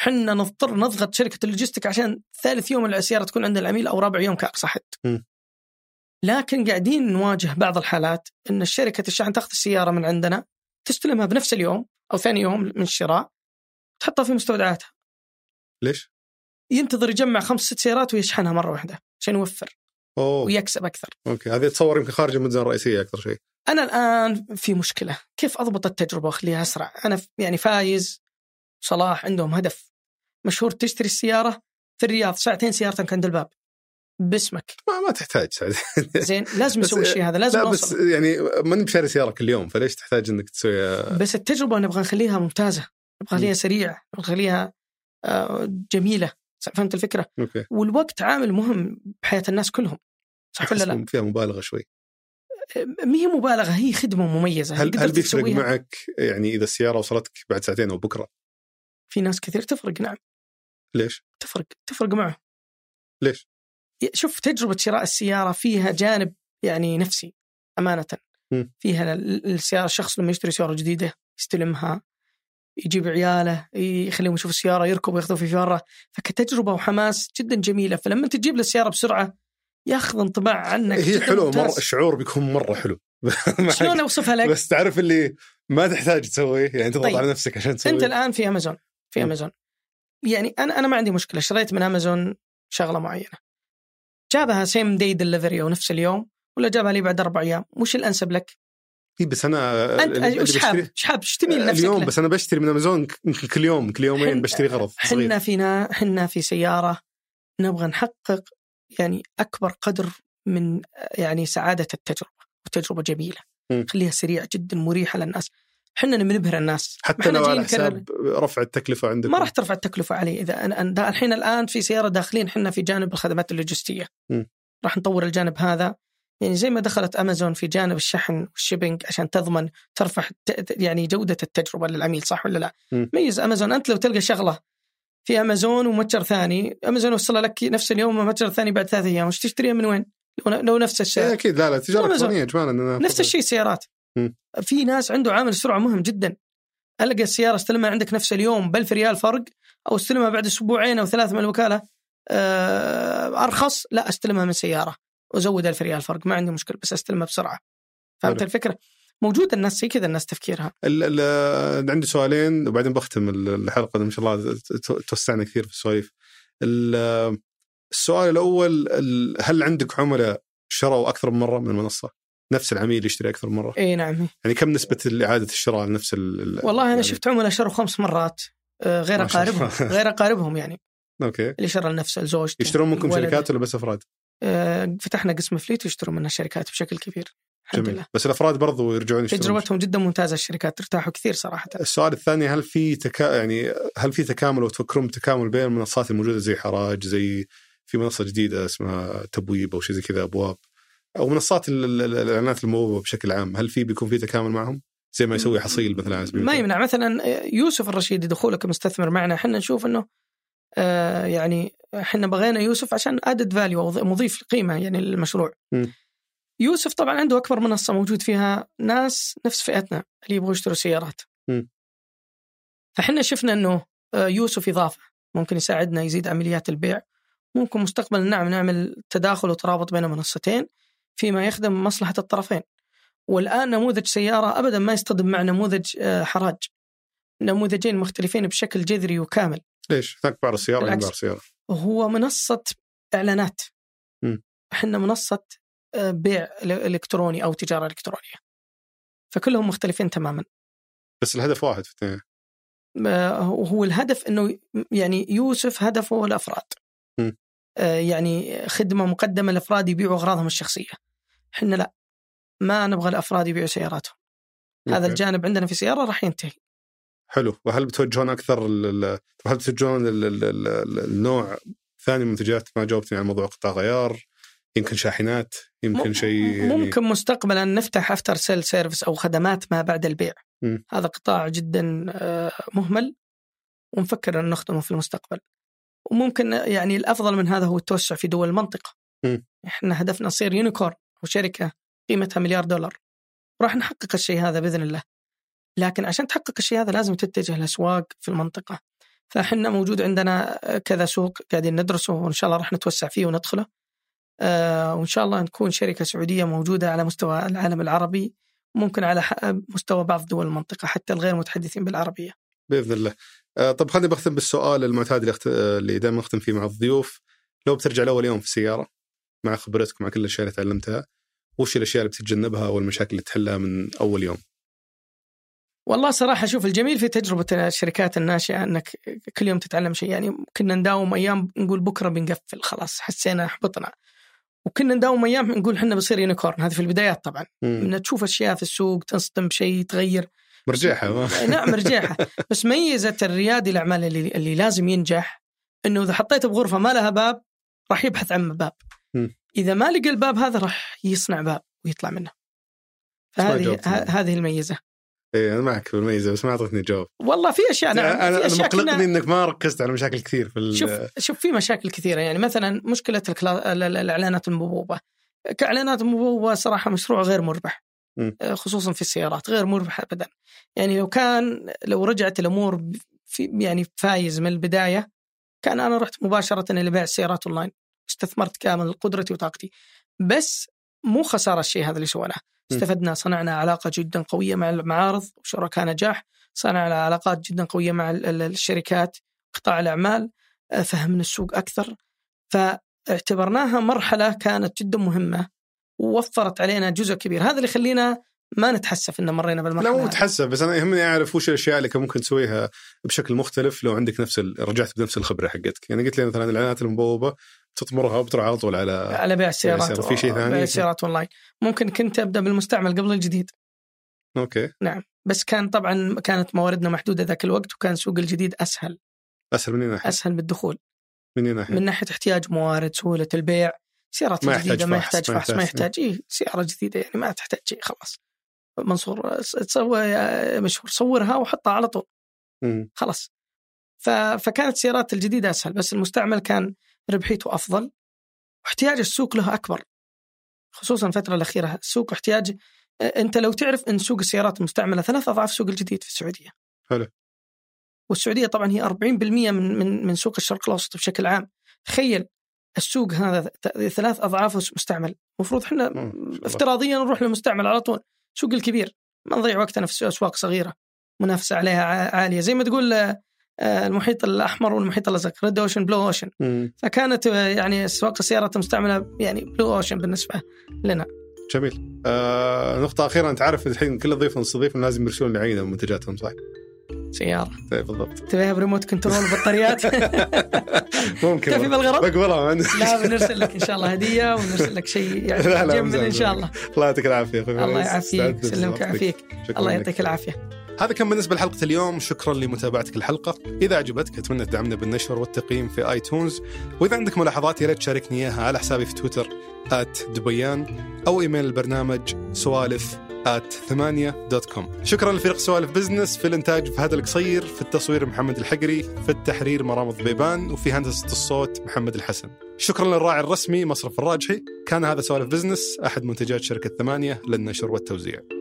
Speaker 1: حنا نضطر نضغط شركه اللوجستيك عشان ثالث يوم السياره تكون عند العميل او رابع يوم كاقصى حد
Speaker 2: مم.
Speaker 1: لكن قاعدين نواجه بعض الحالات ان شركه الشحن تاخذ السياره من عندنا تستلمها بنفس اليوم او ثاني يوم من الشراء تحطها في مستودعاتها
Speaker 2: ليش؟
Speaker 1: ينتظر يجمع خمس ست سيارات ويشحنها مره واحده عشان يوفر
Speaker 2: اوه
Speaker 1: ويكسب اكثر
Speaker 2: اوكي هذه اتصور يمكن خارج الميزانيه الرئيسيه اكثر شيء
Speaker 1: انا الان في مشكله كيف اضبط التجربه واخليها اسرع انا ف- يعني فايز صلاح عندهم هدف مشهور تشتري السياره في الرياض ساعتين سيارتك عند الباب
Speaker 2: [LAUGHS]
Speaker 1: باسمك
Speaker 2: ما, ما تحتاج سعد
Speaker 1: زين لازم
Speaker 2: بس-
Speaker 1: نسوي الشيء هذا لازم
Speaker 2: لا بس
Speaker 1: نوصل
Speaker 2: يعني ماني بشاري سياره كل يوم فليش تحتاج انك تسوي
Speaker 1: بس التجربه نبغى نخليها ممتازه نبغى نخليها سريعه نبغى نخليها آه، جميله فهمت الفكره
Speaker 2: اوكي
Speaker 1: والوقت عامل مهم بحياه الناس كلهم صح ولا لا؟ يعني
Speaker 2: أحس فيها مبالغه شوي
Speaker 1: ما هي مبالغه هي خدمه مميزه
Speaker 2: هل هل
Speaker 1: قدرت
Speaker 2: بيفرق
Speaker 1: تسويها.
Speaker 2: معك يعني اذا السياره وصلتك بعد ساعتين او بكره
Speaker 1: في ناس كثير تفرق نعم
Speaker 2: ليش؟
Speaker 1: تفرق تفرق معه
Speaker 2: ليش؟
Speaker 1: شوف تجربة شراء السيارة فيها جانب يعني نفسي أمانة
Speaker 2: م.
Speaker 1: فيها ال- السيارة الشخص لما يشتري سيارة جديدة يستلمها يجيب عياله يخليهم يشوفوا السيارة يركبوا ياخذوا في فرة فكتجربة وحماس جدا جميلة فلما تجيب له السيارة بسرعة ياخذ انطباع عنك
Speaker 2: هي
Speaker 1: جداً
Speaker 2: حلوه
Speaker 1: ممتاز.
Speaker 2: مره الشعور بيكون مره حلو [LAUGHS]
Speaker 1: شلون أوصفها لك؟
Speaker 2: بس تعرف اللي ما تحتاج تسويه يعني تضغط
Speaker 1: طيب.
Speaker 2: على نفسك عشان تسويه
Speaker 1: انت الان في امازون في
Speaker 2: مم.
Speaker 1: امازون يعني انا انا ما عندي مشكله شريت من امازون شغله معينه جابها سيم داي دليفري او نفس اليوم ولا جابها لي بعد اربع ايام وش الانسب لك؟
Speaker 2: إيه، بس انا
Speaker 1: انت
Speaker 2: اللي
Speaker 1: وش حاب؟
Speaker 2: بشتريه- أه،
Speaker 1: وش حاب؟ وش تميل نفسك
Speaker 2: آه، اليوم
Speaker 1: له؟
Speaker 2: بس انا بشتري من امازون يمكن كل يوم كل يومين
Speaker 1: حنا-
Speaker 2: بشتري غرض صغير
Speaker 1: حنا فينا حنا في سياره نبغى نحقق يعني اكبر قدر من يعني سعاده التجربه وتجربه جميله
Speaker 2: مم.
Speaker 1: خليها سريعه جدا مريحه للناس احنا نبهر الناس
Speaker 2: حتى
Speaker 1: إحنا
Speaker 2: لو على
Speaker 1: جايين نكرر-
Speaker 2: حساب رفع التكلفه عندكم
Speaker 1: ما راح ترفع التكلفه عليه اذا أنا أنا- الحين الان في سياره داخلين احنا في جانب الخدمات اللوجستيه
Speaker 2: م.
Speaker 1: راح نطور الجانب هذا يعني زي ما دخلت امازون في جانب الشحن والشيبنج عشان تضمن ترفع الت- ت- يعني جوده التجربه للعميل صح ولا لا؟
Speaker 2: م.
Speaker 1: ميز امازون انت لو تلقى شغله في امازون ومتجر ثاني امازون وصلها لك نفس اليوم ومتجر ثاني بعد ثلاث ايام وش تشتريها من وين؟ لو, لو نفس الشيء
Speaker 2: إيه، اكيد لا لا تجاره
Speaker 1: أمازون.
Speaker 2: الكترونيه اجمالا أنا
Speaker 1: نفس
Speaker 2: أفضل.
Speaker 1: الشيء سيارات
Speaker 2: مم.
Speaker 1: في ناس عنده عامل سرعه مهم جدا القى السياره استلمها عندك نفس اليوم ب 1000 ريال فرق او استلمها بعد اسبوعين او ثلاثه من الوكاله آه، ارخص لا استلمها من سياره وازود 1000 ريال فرق ما عندي مشكله بس استلمها بسرعه فهمت
Speaker 2: حلو.
Speaker 1: الفكره؟ موجود الناس زي كذا الناس تفكيرها
Speaker 2: ال- ال- عندي سؤالين وبعدين بختم ال- الحلقه ما شاء الله ت- ت- توسعنا كثير في السواليف. ال- السؤال الاول ال- هل عندك عملاء شروا اكثر من مره من المنصه؟ نفس العميل يشتري اكثر من مره،
Speaker 1: اي نعم
Speaker 2: يعني كم نسبه اعاده الشراء لنفس ال
Speaker 1: والله انا
Speaker 2: يعني-
Speaker 1: شفت عملاء شروا خمس مرات آه، غير
Speaker 2: ما شاء الله.
Speaker 1: اقاربهم غير اقاربهم يعني
Speaker 2: اوكي
Speaker 1: اللي شرى لنفسه الزوج آه،
Speaker 2: يشترون منكم شركات ولا بس افراد؟
Speaker 1: فتحنا قسم فليت ويشتروا منها شركات بشكل كبير الحمد لله
Speaker 2: جميل بس الافراد برضو يرجعون يشترون
Speaker 1: تجربتهم جدا ممتازه الشركات ارتاحوا كثير صراحه
Speaker 2: السؤال الثاني هل في تكا... يعني هل في تكامل وتفكرون بتكامل بين المنصات الموجوده زي حراج زي في منصه جديده اسمها تبويب او شيء زي كذا ابواب او منصات ال- ال- ال- الاعلانات الموهوبه بشكل عام هل في بيكون في تكامل معهم؟ زي ما يسوي حصيل مثلا على سبيل
Speaker 1: ما
Speaker 2: المثال.
Speaker 1: يمنع مثلا يوسف الرشيدي دخوله كمستثمر معنا احنا نشوف انه آه، يعني احنا بغينا يوسف عشان ادد فاليو او مضيف قيمه يعني للمشروع
Speaker 2: م.
Speaker 1: يوسف طبعا عنده اكبر منصه موجود فيها ناس نفس فئتنا اللي يبغوا يشتروا سيارات
Speaker 2: م.
Speaker 1: فاحنا شفنا انه آه، يوسف اضافه ممكن يساعدنا يزيد عمليات البيع ممكن مستقبلا نعم نعمل تداخل وترابط بين المنصتين فيما يخدم مصلحه الطرفين والان نموذج سياره ابدا ما يصطدم مع نموذج آه، حراج نموذجين مختلفين بشكل جذري وكامل
Speaker 2: ليش؟ ذاك بعرض سياره هنا
Speaker 1: بالعكس.
Speaker 2: بعرض سياره
Speaker 1: هو منصة إعلانات
Speaker 2: مم.
Speaker 1: احنا منصة آه، بيع ال- إلكتروني أو تجارة إلكترونية فكلهم مختلفين تماما
Speaker 2: بس الهدف واحد في الثنين.
Speaker 1: آه، وهو الهدف أنه يعني يوسف هدفه الأفراد
Speaker 2: مم.
Speaker 1: آه، يعني خدمة مقدمة للأفراد يبيعوا أغراضهم الشخصية احنا لا ما نبغى الأفراد يبيعوا سياراتهم هذا
Speaker 2: أوكي.
Speaker 1: الجانب عندنا في سيارة راح ينتهي
Speaker 2: حلو وهل بتوجهون اكثر ال- ال- طب هل بتوجهون ال- ال- ال- ال- النوع ثاني من المنتجات ما جاوبتني عن موضوع قطاع غيار يمكن شاحنات يمكن
Speaker 1: مم-
Speaker 2: شيء يعني-
Speaker 1: ممكن مستقبلا نفتح افتر سيل سيرفيس او خدمات ما بعد البيع
Speaker 2: مم.
Speaker 1: هذا قطاع جدا آه، مهمل ونفكر ان نخدمه في المستقبل وممكن يعني الافضل من هذا هو التوسع في دول المنطقه
Speaker 2: مم.
Speaker 1: احنا هدفنا نصير يونيكورن او شركه قيمتها مليار دولار راح نحقق الشيء هذا باذن الله لكن عشان تحقق الشيء هذا لازم تتجه الاسواق في المنطقه فاحنا موجود عندنا آه، كذا سوق قاعدين ندرسه وان شاء الله راح نتوسع فيه وندخله آه، وان شاء الله نكون شركه سعوديه موجوده على مستوى العالم العربي ممكن على ح- مستوى بعض دول المنطقه حتى الغير متحدثين بالعربيه
Speaker 2: باذن الله. آه، طب خليني بختم بالسؤال المعتاد اللي, أخت... آه، اللي دائما اختم فيه مع الضيوف لو بترجع لاول يوم في السياره مع خبرتك مع كل الاشياء اللي تعلمتها وش الاشياء اللي بتتجنبها والمشاكل اللي تحلها من اول يوم؟
Speaker 1: والله صراحه شوف الجميل في تجربه الشركات الناشئه انك كل يوم تتعلم شيء يعني كنا نداوم ايام نقول بكره بنقفل خلاص حسينا حبطنا وكنا نداوم ايام نقول احنا بنصير يونيكورن هذا في البدايات طبعا
Speaker 2: مم،
Speaker 1: إن تشوف اشياء في السوق تنصدم بشيء تغير
Speaker 2: مرجعها ما-
Speaker 1: نعم مرجعها بس ميزة الريادي الأعمال اللي, اللي لازم ينجح أنه إذا حطيته بغرفة ما لها باب راح يبحث عن باب
Speaker 2: م.
Speaker 1: إذا ما لقى الباب هذا راح يصنع باب ويطلع منه
Speaker 2: ما
Speaker 1: فهذه
Speaker 2: جاوبت.
Speaker 1: ه- هذه الميزة
Speaker 2: [LAUGHS] إيه، انا معك بالميزه بس ما اعطتني جواب.
Speaker 1: والله في أشياء نعم
Speaker 2: انا
Speaker 1: في
Speaker 2: انا
Speaker 1: أشياء
Speaker 2: مقلقني
Speaker 1: كنا-
Speaker 2: انك ما ركزت على مشاكل كثير في ال...
Speaker 1: شوف شوف في مشاكل كثيره يعني مثلا مشكله الكلا... ال- ال- الاعلانات المبوبه كاعلانات مبوبه صراحه مشروع غير مربح
Speaker 2: مم.
Speaker 1: آه، خصوصا في السيارات غير مربح ابدا يعني لو كان لو رجعت الامور ب- في يعني فايز من البدايه كان انا رحت مباشره الى بيع السيارات اونلاين استثمرت كامل قدرتي وطاقتي بس مو خساره الشيء هذا اللي سويناه
Speaker 2: مم.
Speaker 1: استفدنا صنعنا علاقه جدا قويه مع المعارض وشركاء نجاح صنعنا علاقات جدا قويه مع ال- ال- الشركات قطاع الاعمال فهمنا السوق اكثر فاعتبرناها مرحله كانت جدا مهمه ووفرت علينا جزء كبير هذا اللي يخلينا ما نتحسف ان مرينا
Speaker 2: لا
Speaker 1: بالمرحله
Speaker 2: مو
Speaker 1: هذه.
Speaker 2: متحسب بس انا يهمني اعرف وش الاشياء اللي كان ممكن تسويها بشكل مختلف لو عندك نفس ال... رجعت بنفس الخبره حقتك، يعني قلت لي مثلا الاعلانات المبوبه تطمرها وبتروح على طول على
Speaker 1: على بيع السيارات
Speaker 2: السيارات. في شيء ثاني؟
Speaker 1: بيع السيارات اونلاين ممكن كنت ابدا بالمستعمل قبل الجديد
Speaker 2: اوكي
Speaker 1: بس كان طبعا كانت مواردنا محدوده ذاك الوقت وكان سوق الجديد اسهل
Speaker 2: اسهل من أي ناحيه
Speaker 1: اسهل بالدخول
Speaker 2: من أي ناحيه
Speaker 1: من ناحيه احتياج موارد سهوله البيع سيارات
Speaker 2: ما
Speaker 1: ما
Speaker 2: يحتاج
Speaker 1: جديده ما
Speaker 2: فحص،
Speaker 1: يحتاج
Speaker 2: ما
Speaker 1: فحص ما
Speaker 2: يحتاج-
Speaker 1: يحتاج إيه سياره جديده يعني ما تحتاج شيء خلاص منصور س- تسوى يا مشهور صورها وحطها على طول
Speaker 2: مم.
Speaker 1: خلاص ف... فكانت السيارات الجديده اسهل بس المستعمل كان ربحيته افضل واحتياج السوق له اكبر خصوصا الفتره الاخيره السوق احتياج انت لو تعرف ان سوق السيارات المستعمله ثلاث اضعاف سوق الجديد في السعوديه
Speaker 2: حلو.
Speaker 1: والسعوديه طبعا هي 40% من من من سوق الشرق الاوسط بشكل عام تخيل السوق هذا ت- ثلاث اضعافه مستعمل المفروض احنا
Speaker 2: مم، إن شاء الله.
Speaker 1: افتراضيا نروح للمستعمل على طول سوق الكبير ما نضيع وقتنا في اسواق صغيره منافسه عليها ع- عاليه زي ما تقول آه، آه، المحيط الاحمر والمحيط الازرق ريد اوشن بلو اوشن
Speaker 2: مم.
Speaker 1: فكانت آه، يعني اسواق السيارات المستعمله يعني بلو اوشن بالنسبه لنا
Speaker 2: جميل آه نقطة أخيرة أنت عارف الحين كل ضيف نستضيف لازم يرسلون لي عينة من منتجاتهم صح؟
Speaker 1: سياره
Speaker 2: إيه، بالضبط
Speaker 1: تبيها بريموت كنترول
Speaker 2: [LAUGHS]
Speaker 1: وبطاريات
Speaker 2: ممكن
Speaker 1: تكفي بالغرض
Speaker 2: بقول والله ما عندي
Speaker 1: لا بنرسل لك ان شاء الله هديه ونرسل لك شيء يعني
Speaker 2: لا، لا،
Speaker 1: جمل ان شاء الله
Speaker 2: [LAUGHS] الله يعطيك العافية أخوي
Speaker 1: الله
Speaker 2: فارس.
Speaker 1: يعافيك
Speaker 2: استعدت
Speaker 1: يسلمك
Speaker 2: لوقتك.
Speaker 1: ويعافيك
Speaker 2: شكراً
Speaker 1: الله
Speaker 2: لك.
Speaker 1: يعطيك العافيه
Speaker 2: هذا كان بالنسبة لحلقة اليوم شكرا لمتابعتك الحلقة إذا عجبتك أتمنى تدعمنا بالنشر والتقييم في آي تونز وإذا عندك ملاحظات يا ريت تشاركني إياها على حسابي في تويتر آت دبيان أو إيميل البرنامج سوالف آت ثمانية دوت كوم شكرا لفريق سوالف بزنس في الإنتاج فهد القصير في التصوير محمد الحقري في التحرير مرام الضبيبان وفي هندسة الصوت محمد الحسن شكرا للراعي الرسمي مصرف الراجحي كان هذا سوالف بزنس أحد منتجات شركة ثمانية للنشر والتوزيع